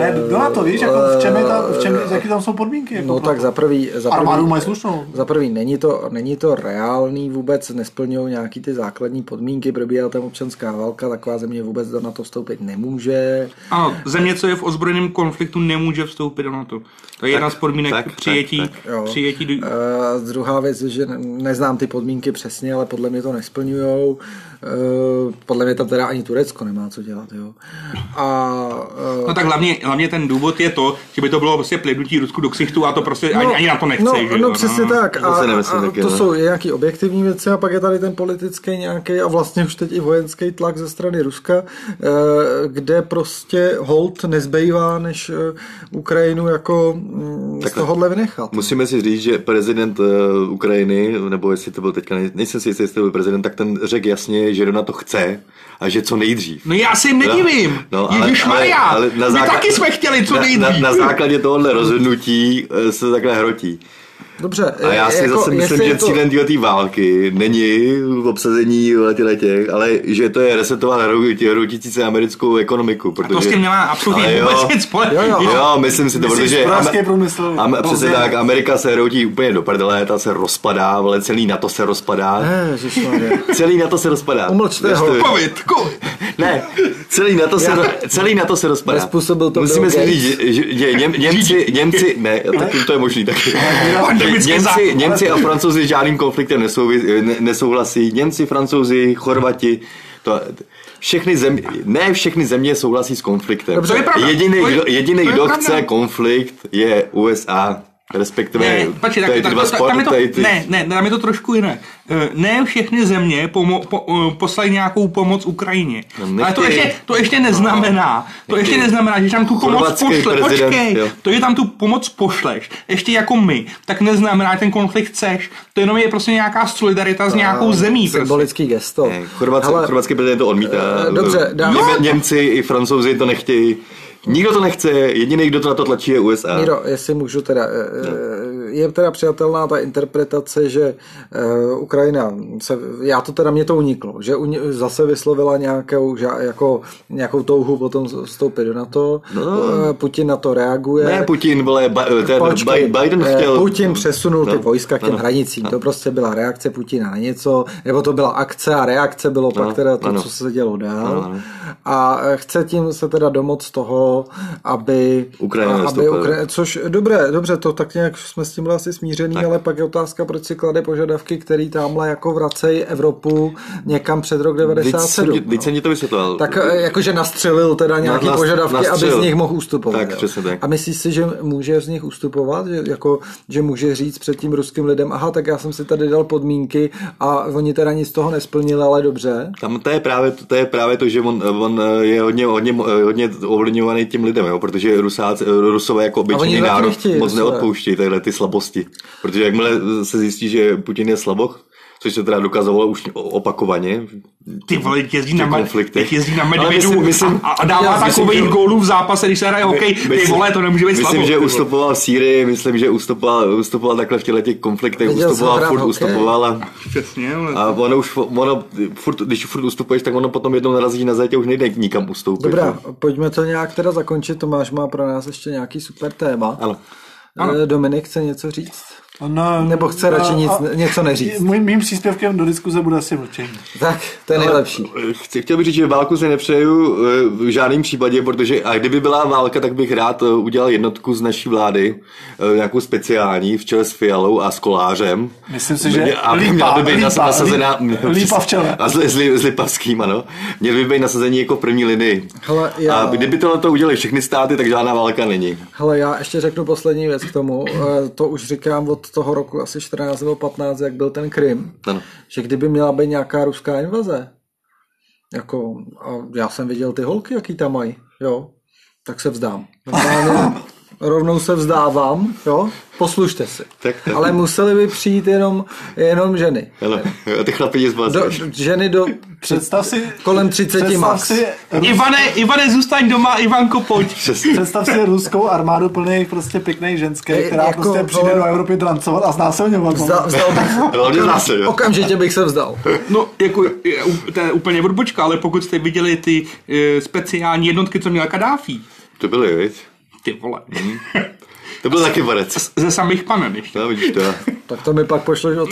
[SPEAKER 4] Ne, do NATO, víš, jako v čem je ta, v čem, jaký tam jsou podmínky? Jako
[SPEAKER 3] no
[SPEAKER 4] pro
[SPEAKER 3] tak
[SPEAKER 4] to?
[SPEAKER 3] za prvý, za
[SPEAKER 4] Armádu
[SPEAKER 3] prvý,
[SPEAKER 4] mají slušnou.
[SPEAKER 3] za prvý není, to, není to reálný vůbec, nesplňují nějaký ty základní podmínky, probíhá tam občanská válka, taková země vůbec na to vstoupit nemůže.
[SPEAKER 2] Ano, země, co je v ozbrojeném konfliktu, nemůže vstoupit do NATO. To je jedna z podmínek
[SPEAKER 1] tak, tak,
[SPEAKER 2] přijetí,
[SPEAKER 1] tak,
[SPEAKER 3] jo.
[SPEAKER 2] přijetí do,
[SPEAKER 3] Uh, druhá věc je, že ne- neznám ty podmínky přesně, ale podle mě to nesplňujou. Uh, podle mě tam teda ani Turecko nemá co dělat, jo. A uh,
[SPEAKER 2] No tak hlavně, hlavně ten důvod je to, že by to bylo prostě plivnutí Rusku do ksichtu a to prostě no, ani, ani na to nechce.
[SPEAKER 3] No,
[SPEAKER 2] že? jo,
[SPEAKER 3] no přesně tak.
[SPEAKER 1] To
[SPEAKER 3] A,
[SPEAKER 1] si
[SPEAKER 3] a,
[SPEAKER 1] nemyslím
[SPEAKER 3] a
[SPEAKER 1] taky,
[SPEAKER 3] to
[SPEAKER 1] no.
[SPEAKER 3] jsou nějaký objektivní věci a pak je tady ten politický nějaký a vlastně už teď i vojenský tlak ze strany Ruska, eh, kde prostě hold nezbývá, než eh, Ukrajinu jako mm, z
[SPEAKER 1] Takhle.
[SPEAKER 3] tohohle vynechat.
[SPEAKER 1] Musíme si říct, že prezident eh, Ukrajiny, nebo jestli to byl teďka, nej- nejsem si jistý, jestli to byl prezident, tak ten řekl jasně, že na to chce a že co nejdřív.
[SPEAKER 2] No já se jim nedivím. No, no, Ježíš Maria, ale, ale my taky jsme chtěli co nejdřív.
[SPEAKER 1] Na, na, na základě tohohle rozhodnutí eh, se takhle hrotí.
[SPEAKER 3] Dobře.
[SPEAKER 1] A já
[SPEAKER 3] eh,
[SPEAKER 1] si
[SPEAKER 2] jako,
[SPEAKER 1] zase myslím,
[SPEAKER 3] jestli je
[SPEAKER 1] že cílem to... té války není v obsazení těch, ale že to je resetovat hroutí- hroutící se americkou ekonomiku. Protože...
[SPEAKER 2] to s tím nemá absolutně
[SPEAKER 1] Ale jo.
[SPEAKER 2] vůbec nic společného.
[SPEAKER 3] Jo,
[SPEAKER 1] Jo, myslím si to,
[SPEAKER 4] Myslíš
[SPEAKER 1] protože...
[SPEAKER 4] hospodářský
[SPEAKER 1] Ame-
[SPEAKER 4] průmysl,
[SPEAKER 1] Ame- přesně
[SPEAKER 4] rozdělení.
[SPEAKER 1] tak, Amerika se hroutí úplně do prdele, ta se rozpadá, vole, celý na to se rozpadá.
[SPEAKER 3] Ježišmarja.
[SPEAKER 1] Celý na to se rozpadá.
[SPEAKER 3] Eh. Umlčte ho.
[SPEAKER 1] Věřte mi.
[SPEAKER 2] Covid, covid.
[SPEAKER 1] Ne, celý na to se, celý na to se rozpadá.
[SPEAKER 3] Nezpůsobil to
[SPEAKER 1] Musíme
[SPEAKER 3] Bill
[SPEAKER 1] si
[SPEAKER 3] Gates.
[SPEAKER 1] říct, že, že, že Něm, Němci, Němci, ne, tak to je možný taky.
[SPEAKER 2] Pandemický
[SPEAKER 1] Němci,
[SPEAKER 2] zákon.
[SPEAKER 1] Němci a Francouzi s žádným konfliktem nesouvi, ne, nesouhlasí. Němci, Francouzi, Chorvati, to, všechny země, ne všechny země souhlasí s konfliktem.
[SPEAKER 2] Dobře, to je pravda.
[SPEAKER 1] Jediný,
[SPEAKER 2] To je-
[SPEAKER 1] kdo, jediný,
[SPEAKER 2] to je
[SPEAKER 1] kdo
[SPEAKER 2] pravda.
[SPEAKER 1] chce konflikt, je USA. Respektive,
[SPEAKER 2] Ne, počkej, tak,
[SPEAKER 1] tady ty
[SPEAKER 2] tak,
[SPEAKER 1] dva
[SPEAKER 2] tak,
[SPEAKER 1] spor-
[SPEAKER 2] tam je to,
[SPEAKER 1] tady ty-
[SPEAKER 2] ne, ne, tam je to trošku jiné. Eh, Ne všechny země pomo, po, eh, poslají nějakou pomoc Ukrajině.
[SPEAKER 1] No, nechtějí. No,
[SPEAKER 2] Ale to ještě, to ještě neznamená, to ještě neznamená, že tam tu pomoc
[SPEAKER 1] Chorvatský
[SPEAKER 2] pošle.
[SPEAKER 1] prezident,
[SPEAKER 2] Počkej,
[SPEAKER 1] jo.
[SPEAKER 2] to, že tam tu pomoc pošleš, ještě jako my, tak neznamená, že ten konflikt chceš. To jenom je prostě nějaká solidarita s nějakou zemí. Prostě.
[SPEAKER 3] Symbolický gesto.
[SPEAKER 1] Ne, Chorvatský,
[SPEAKER 3] Hele,
[SPEAKER 1] chorvatský prezident to odmítá.
[SPEAKER 3] Eh, dobře, dám-
[SPEAKER 1] Něme, Němci i Francouzi to nechtějí. Nikdo to nechce, jediný, kdo to na to tlačí, je USA.
[SPEAKER 3] Miro, jestli můžu teda, eh,
[SPEAKER 1] No.
[SPEAKER 3] eh, je teda přijatelná ta interpretace, že eh, Ukrajina, se, já to teda, mě to uniklo, že uni, zase vyslovila nějakou, ža- jako, nějakou touhu potom vstoupit do NATO, no. Putin na to reaguje.
[SPEAKER 1] Ne, Putin, vole, ba, eh, ten
[SPEAKER 3] eh, Počkej,
[SPEAKER 1] Bi- Biden
[SPEAKER 3] eh,
[SPEAKER 1] chtěl...
[SPEAKER 3] Putin přesunul ty
[SPEAKER 1] No,
[SPEAKER 3] vojska k těm
[SPEAKER 1] ano.
[SPEAKER 3] hranicím, to prostě byla reakce Putina na něco, nebo to byla akce a reakce bylo pak teda to,
[SPEAKER 1] No, ano.
[SPEAKER 3] co se dělo dál. A eh, chce tím se teda domoc toho, aby...
[SPEAKER 1] Ukrajina
[SPEAKER 3] a- aby
[SPEAKER 1] nestoupila.
[SPEAKER 3] Ukra- což dobré, dobře, to tak nějak jsme s tímhle asi smířený, tak. ale pak je otázka, proč si klade požadavky, který tamhle jako vracejí Evropu někam před rok
[SPEAKER 1] Teď jsem,
[SPEAKER 3] 97.
[SPEAKER 1] ti- teď
[SPEAKER 3] no.
[SPEAKER 1] jsem ti to vysvětloval.
[SPEAKER 3] Tak eh, jakože nastřelil teda nějaký
[SPEAKER 1] Na-
[SPEAKER 3] na,
[SPEAKER 1] nas-
[SPEAKER 3] požadavky,
[SPEAKER 1] nastřelil.
[SPEAKER 3] aby z nich mohl ustupovat.
[SPEAKER 1] Tak,
[SPEAKER 3] jo.
[SPEAKER 1] přesně tak.
[SPEAKER 3] A myslíš si, že může z nich ustupovat? Že, jako, že může říct před tím ruským lidem, aha, tak já jsem si tady dal podmínky a oni teda nic z toho nesplnili, ale dobře.
[SPEAKER 1] Tam to je právě to, to, je právě to že on, on eh, je hodně, hodně, eh, hodně ovlivňovaný tím lidem, jo? protože Rusáci, eh, Rusové jako obyčejný
[SPEAKER 3] to taky
[SPEAKER 1] národ
[SPEAKER 3] nechtějí,
[SPEAKER 1] moc
[SPEAKER 3] Rusové.
[SPEAKER 1] neodpouštějí tyhle ty slabosti. Protože jakmile se zjistí, že Putin je slaboch, což se teda dokazovalo už opakovaně.
[SPEAKER 2] Ty vole, teď jezdí, na, med-
[SPEAKER 1] konfliktech.
[SPEAKER 2] teď jezdí na
[SPEAKER 1] Ale
[SPEAKER 2] medvědu
[SPEAKER 1] myslím- myslím-
[SPEAKER 2] a, a
[SPEAKER 1] já
[SPEAKER 2] dává
[SPEAKER 1] myslím,
[SPEAKER 2] takový
[SPEAKER 1] že-
[SPEAKER 2] gólů v zápase, když se hraje hokej. Ty
[SPEAKER 1] Myslím-
[SPEAKER 2] vole, to nemůže být
[SPEAKER 1] Myslím,
[SPEAKER 2] slabo.
[SPEAKER 1] že
[SPEAKER 2] ty vole.
[SPEAKER 1] ustupoval v Sýrii, myslím, že ustupoval, ustupoval takhle v těchto těch konfliktech,
[SPEAKER 3] Viděl jsem
[SPEAKER 1] ustupoval,
[SPEAKER 3] hrát
[SPEAKER 1] furt
[SPEAKER 3] hokej.
[SPEAKER 1] ustupoval a,
[SPEAKER 2] Přesně, ale...
[SPEAKER 1] a ono už, ono, furt, když furt ustupuješ, tak ono potom jednou narazí na zajtě, už nejde nikam ustoupit.
[SPEAKER 3] Dobrá, pojďme to nějak teda zakončit. Tomáš má pro nás ještě nějaký super téma.
[SPEAKER 1] Ano.
[SPEAKER 3] Eh, Dominik chce něco říct?
[SPEAKER 4] No,
[SPEAKER 3] Nebo chce radši nic, něco neříct? <laughs>
[SPEAKER 4] Mým, mým příspěvkem do diskuze bude asi mlčení.
[SPEAKER 3] Tak, to je nejlepší.
[SPEAKER 1] Chci, chtěl bych říct, že válku si nepřeju eh, v žádném případě, protože a kdyby byla válka, tak bych rád eh, udělal jednotku z naší vlády, eh, nějakou speciální, v čele s Fialou a s Kolářem.
[SPEAKER 4] Myslím si, že
[SPEAKER 1] a
[SPEAKER 4] Lípa,
[SPEAKER 1] měla by být
[SPEAKER 4] Lípa,
[SPEAKER 1] nas- nasazená...
[SPEAKER 4] Lípa, Lípa v čele.
[SPEAKER 1] A s, s, s Lipavským, ano. Měli by být nasazení jako v první linii.
[SPEAKER 3] Hele, já-
[SPEAKER 1] A kdyby tohle to udělali všechny státy, tak žádná válka není.
[SPEAKER 3] Hele, já ještě řeknu poslední věc k tomu. Eh, To už říkám od toho roku asi 14 nebo 15, jak byl ten Krym.
[SPEAKER 1] Ano.
[SPEAKER 3] Že kdyby měla být nějaká ruská invaze, jako, a já jsem viděl ty holky, jaký tam mají, jo, tak se vzdám.
[SPEAKER 1] <laughs>
[SPEAKER 3] Normálně, rovnou se vzdávám, jo, poslušte si.
[SPEAKER 1] Tak, tak.
[SPEAKER 3] Ale museli by přijít jenom, jenom ženy.
[SPEAKER 1] Ano. A ty chlapi z vás.
[SPEAKER 3] Do, ženy do
[SPEAKER 4] Představ si...
[SPEAKER 3] kolem 30
[SPEAKER 4] představ
[SPEAKER 3] max.
[SPEAKER 4] Si,
[SPEAKER 2] Ivane, Ivane, zůstaň doma,
[SPEAKER 1] <laughs>
[SPEAKER 2] Ivanko, pojď.
[SPEAKER 1] Přesně.
[SPEAKER 4] představ si ruskou armádu plných prostě pěkných ženské,
[SPEAKER 3] Je-
[SPEAKER 4] která
[SPEAKER 3] jako,
[SPEAKER 4] prostě přijde
[SPEAKER 3] vole-
[SPEAKER 4] do Evropy drancovat a znásilňovat.
[SPEAKER 3] Vzdal, vzdal bych,
[SPEAKER 1] Hlavně znásilňovat.
[SPEAKER 3] okamžitě bych se vzdal.
[SPEAKER 2] No, jako, je, u- to je úplně odbočka, ale pokud jste viděli ty e, speciální jednotky, co měla Kadáfi,
[SPEAKER 1] To byly, viď?
[SPEAKER 2] ty vole,
[SPEAKER 1] Hmm. To byl taky varec.
[SPEAKER 2] ze samých panen ještě.
[SPEAKER 1] No, vidíš to.
[SPEAKER 3] Tak to mi pak pošleš od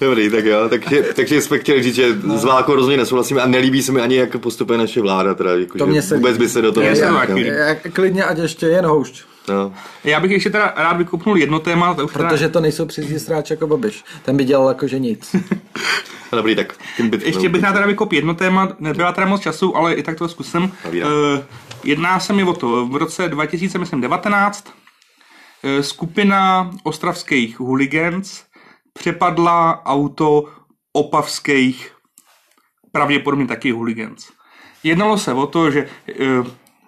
[SPEAKER 1] Dobrý, tak jo, takže, takže jsme chtěli říct, že s válkou rozhodně nesouhlasíme a nelíbí se mi ani, jak postupuje naše vláda, teda jako,
[SPEAKER 3] To
[SPEAKER 1] že
[SPEAKER 3] mě se
[SPEAKER 1] vůbec
[SPEAKER 3] líbí.
[SPEAKER 1] by se do toho
[SPEAKER 2] Mně se to
[SPEAKER 1] nevnikal.
[SPEAKER 2] taky líbí.
[SPEAKER 3] Já Eh, klidně, ať ještě jen houšť.
[SPEAKER 1] no.
[SPEAKER 2] Já bych ještě teda rád vykopnul jedno téma, to už teda-
[SPEAKER 3] Protože to nejsou přizí sráč jako Babiš. Ten by dělal jakože nic.
[SPEAKER 1] A No, Dobrý, tak tím byt,
[SPEAKER 2] Ještě bych rád teda vykop jedno téma, nebyla teda moc času, ale i tak to zkusím.
[SPEAKER 1] Povídám.
[SPEAKER 2] Eh, jedná se mi o to, v roce 2019 eh, skupina ostravských huligans přepadla auto opavských pravděpodobně taky huligans. Jednalo se o to, že eh,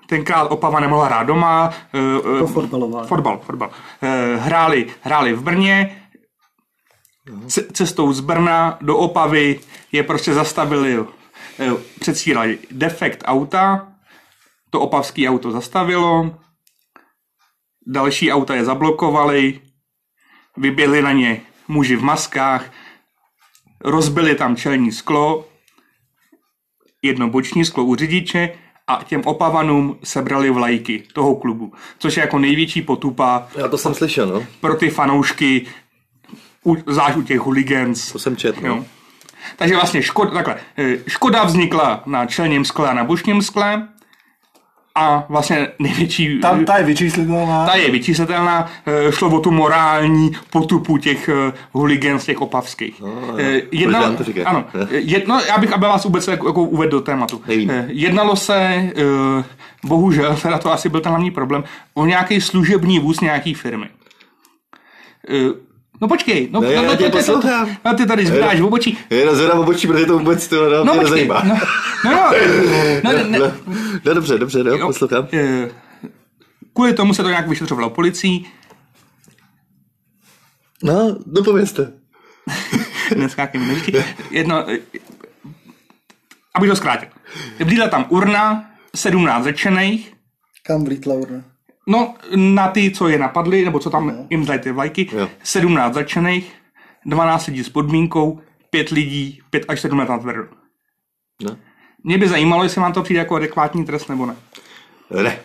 [SPEAKER 2] tenkrát Opava nemohla hrát doma. eh, eh,
[SPEAKER 3] To fotbalová.
[SPEAKER 2] Fotbal, fotbal. Eh, Hráli, hráli v Brně, ce- cestou z Brna do Opavy je prostě zastavili, eh, předstírali defekt auta, to opavský auto zastavilo, další auta je zablokovali, vyběhli na ně muži v maskách, rozbili tam čelní sklo, jedno boční sklo u řidiče a těm opavanům sebrali vlajky toho klubu, což je jako největší potupa
[SPEAKER 1] Já to jsem slyšel, no.
[SPEAKER 2] pro ty fanoušky, u, zvlášť u těch huligans.
[SPEAKER 1] To jsem četl. No.
[SPEAKER 2] Jo. Takže vlastně škoda, takhle, eh, škoda vznikla na čelním skle a na bočním skle a vlastně největší...
[SPEAKER 4] Tam ta je vyčíslitelná.
[SPEAKER 2] Ta je vyčíslitelná, eh, šlo o tu morální potupu těch eh, huligans, těch opavských.
[SPEAKER 1] No,
[SPEAKER 2] Eh,
[SPEAKER 1] jo. Proč nám to říkáš?
[SPEAKER 2] ano, eh, jedno, já bych aby vás vůbec jako, jako uvedl do tématu.
[SPEAKER 1] Nevím.
[SPEAKER 2] Eh, Jednalo se, eh, bohužel, teda to asi byl ten hlavní problém, o nějaký služební vůz nějaký firmy. Eh, No počkej, no,
[SPEAKER 1] Ne, já
[SPEAKER 2] no, no,
[SPEAKER 1] tě
[SPEAKER 2] to- to- to-
[SPEAKER 1] poslouchám.
[SPEAKER 2] no ty tady zbíráš v obočí.
[SPEAKER 1] Je na zvedám obočí, protože to vůbec to no,
[SPEAKER 2] No
[SPEAKER 1] mě
[SPEAKER 2] počkej,
[SPEAKER 1] nezajímá.
[SPEAKER 2] no, no, no,
[SPEAKER 1] <laughs>
[SPEAKER 2] no, ne, ne,
[SPEAKER 1] No, no, dobře, dobře, no,
[SPEAKER 2] Jo.
[SPEAKER 1] poslouchám.
[SPEAKER 2] Eh, Kvůli tomu se to nějak vyšetřovalo policií,
[SPEAKER 1] No, dopovězte.
[SPEAKER 2] dneska ke mně Jedno, eh, abych to zkrátil. Vlídla tam urna, 17 řečených,
[SPEAKER 3] Kam vlítla urna? No.
[SPEAKER 2] no na ty, co je napadli, nebo co tam jim dali ty vlajky,
[SPEAKER 1] Jo.
[SPEAKER 2] 17 řečených, 12 lidí s podmínkou, 5 lidí, 5 až 7 let na tvrdu.
[SPEAKER 1] No.
[SPEAKER 2] Mě by zajímalo, jestli vám to přijde jako adekvátní trest nebo ne.
[SPEAKER 1] Ne.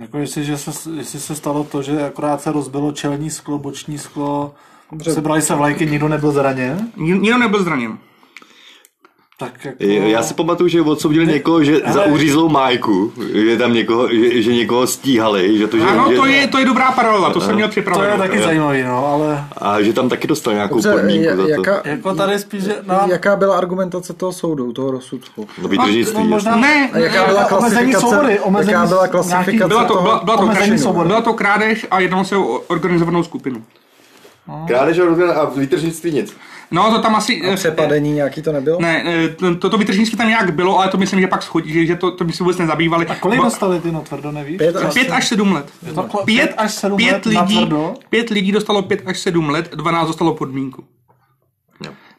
[SPEAKER 4] Jako jestli, že se, jestli se stalo to, že akorát se rozbilo čelní sklo, boční sklo, sebrali se vlajky, nikdo nebyl zraněn,
[SPEAKER 2] Ni- Nikdo nebyl zraněn.
[SPEAKER 4] tak jako...
[SPEAKER 1] Já si pamatuju, že odsoudili někoho, že za uřízlou májku, že tam někoho, že, že někoho stíhali, že to, že,
[SPEAKER 2] Ano,
[SPEAKER 1] že,
[SPEAKER 2] to je, to je dobrá paralela, to jsem měl
[SPEAKER 4] To je
[SPEAKER 2] připravenou.
[SPEAKER 4] taky zajímavý, no, ale...
[SPEAKER 1] a že tam taky dostal nějakou podmínku za to.
[SPEAKER 3] jaká,
[SPEAKER 4] Jako tady spíš, že... No,
[SPEAKER 3] jaká byla argumentace toho soudu, toho rozsudku?
[SPEAKER 1] No, výdržnictví,
[SPEAKER 4] no možná...
[SPEAKER 2] Ne,
[SPEAKER 3] A jaká
[SPEAKER 2] ne,
[SPEAKER 3] byla
[SPEAKER 4] omezení
[SPEAKER 3] klasifikace,
[SPEAKER 4] svobody, omezení
[SPEAKER 3] jaká byla
[SPEAKER 4] nějaký-
[SPEAKER 3] klasifikace
[SPEAKER 2] Byla to,
[SPEAKER 3] toho
[SPEAKER 2] byla, byla, to
[SPEAKER 4] omezení
[SPEAKER 2] krádež,
[SPEAKER 4] svobody.
[SPEAKER 2] byla to krádež a jednalo se o organizovanou skupinu.
[SPEAKER 1] Krádež a rozměn a výtržnictví nic.
[SPEAKER 2] No to tam asi...
[SPEAKER 3] A přepadení nějaký to nebylo?
[SPEAKER 2] Ne, eh, to- toto vytržnictví tam nějak bylo, ale to myslím, že pak schodí, že- že to, to by si vůbec nezabývali.
[SPEAKER 4] A kolik
[SPEAKER 2] Bo-
[SPEAKER 4] dostali ty no tvrdo, nevíš?
[SPEAKER 3] Pět a-
[SPEAKER 2] Pět až sedm let.
[SPEAKER 4] Je to klo- pět až sedm
[SPEAKER 2] pět
[SPEAKER 4] let
[SPEAKER 2] lidí,
[SPEAKER 4] natvrdo?
[SPEAKER 2] Pět lidí dostalo pět až sedm let, 12 dostalo podmínku.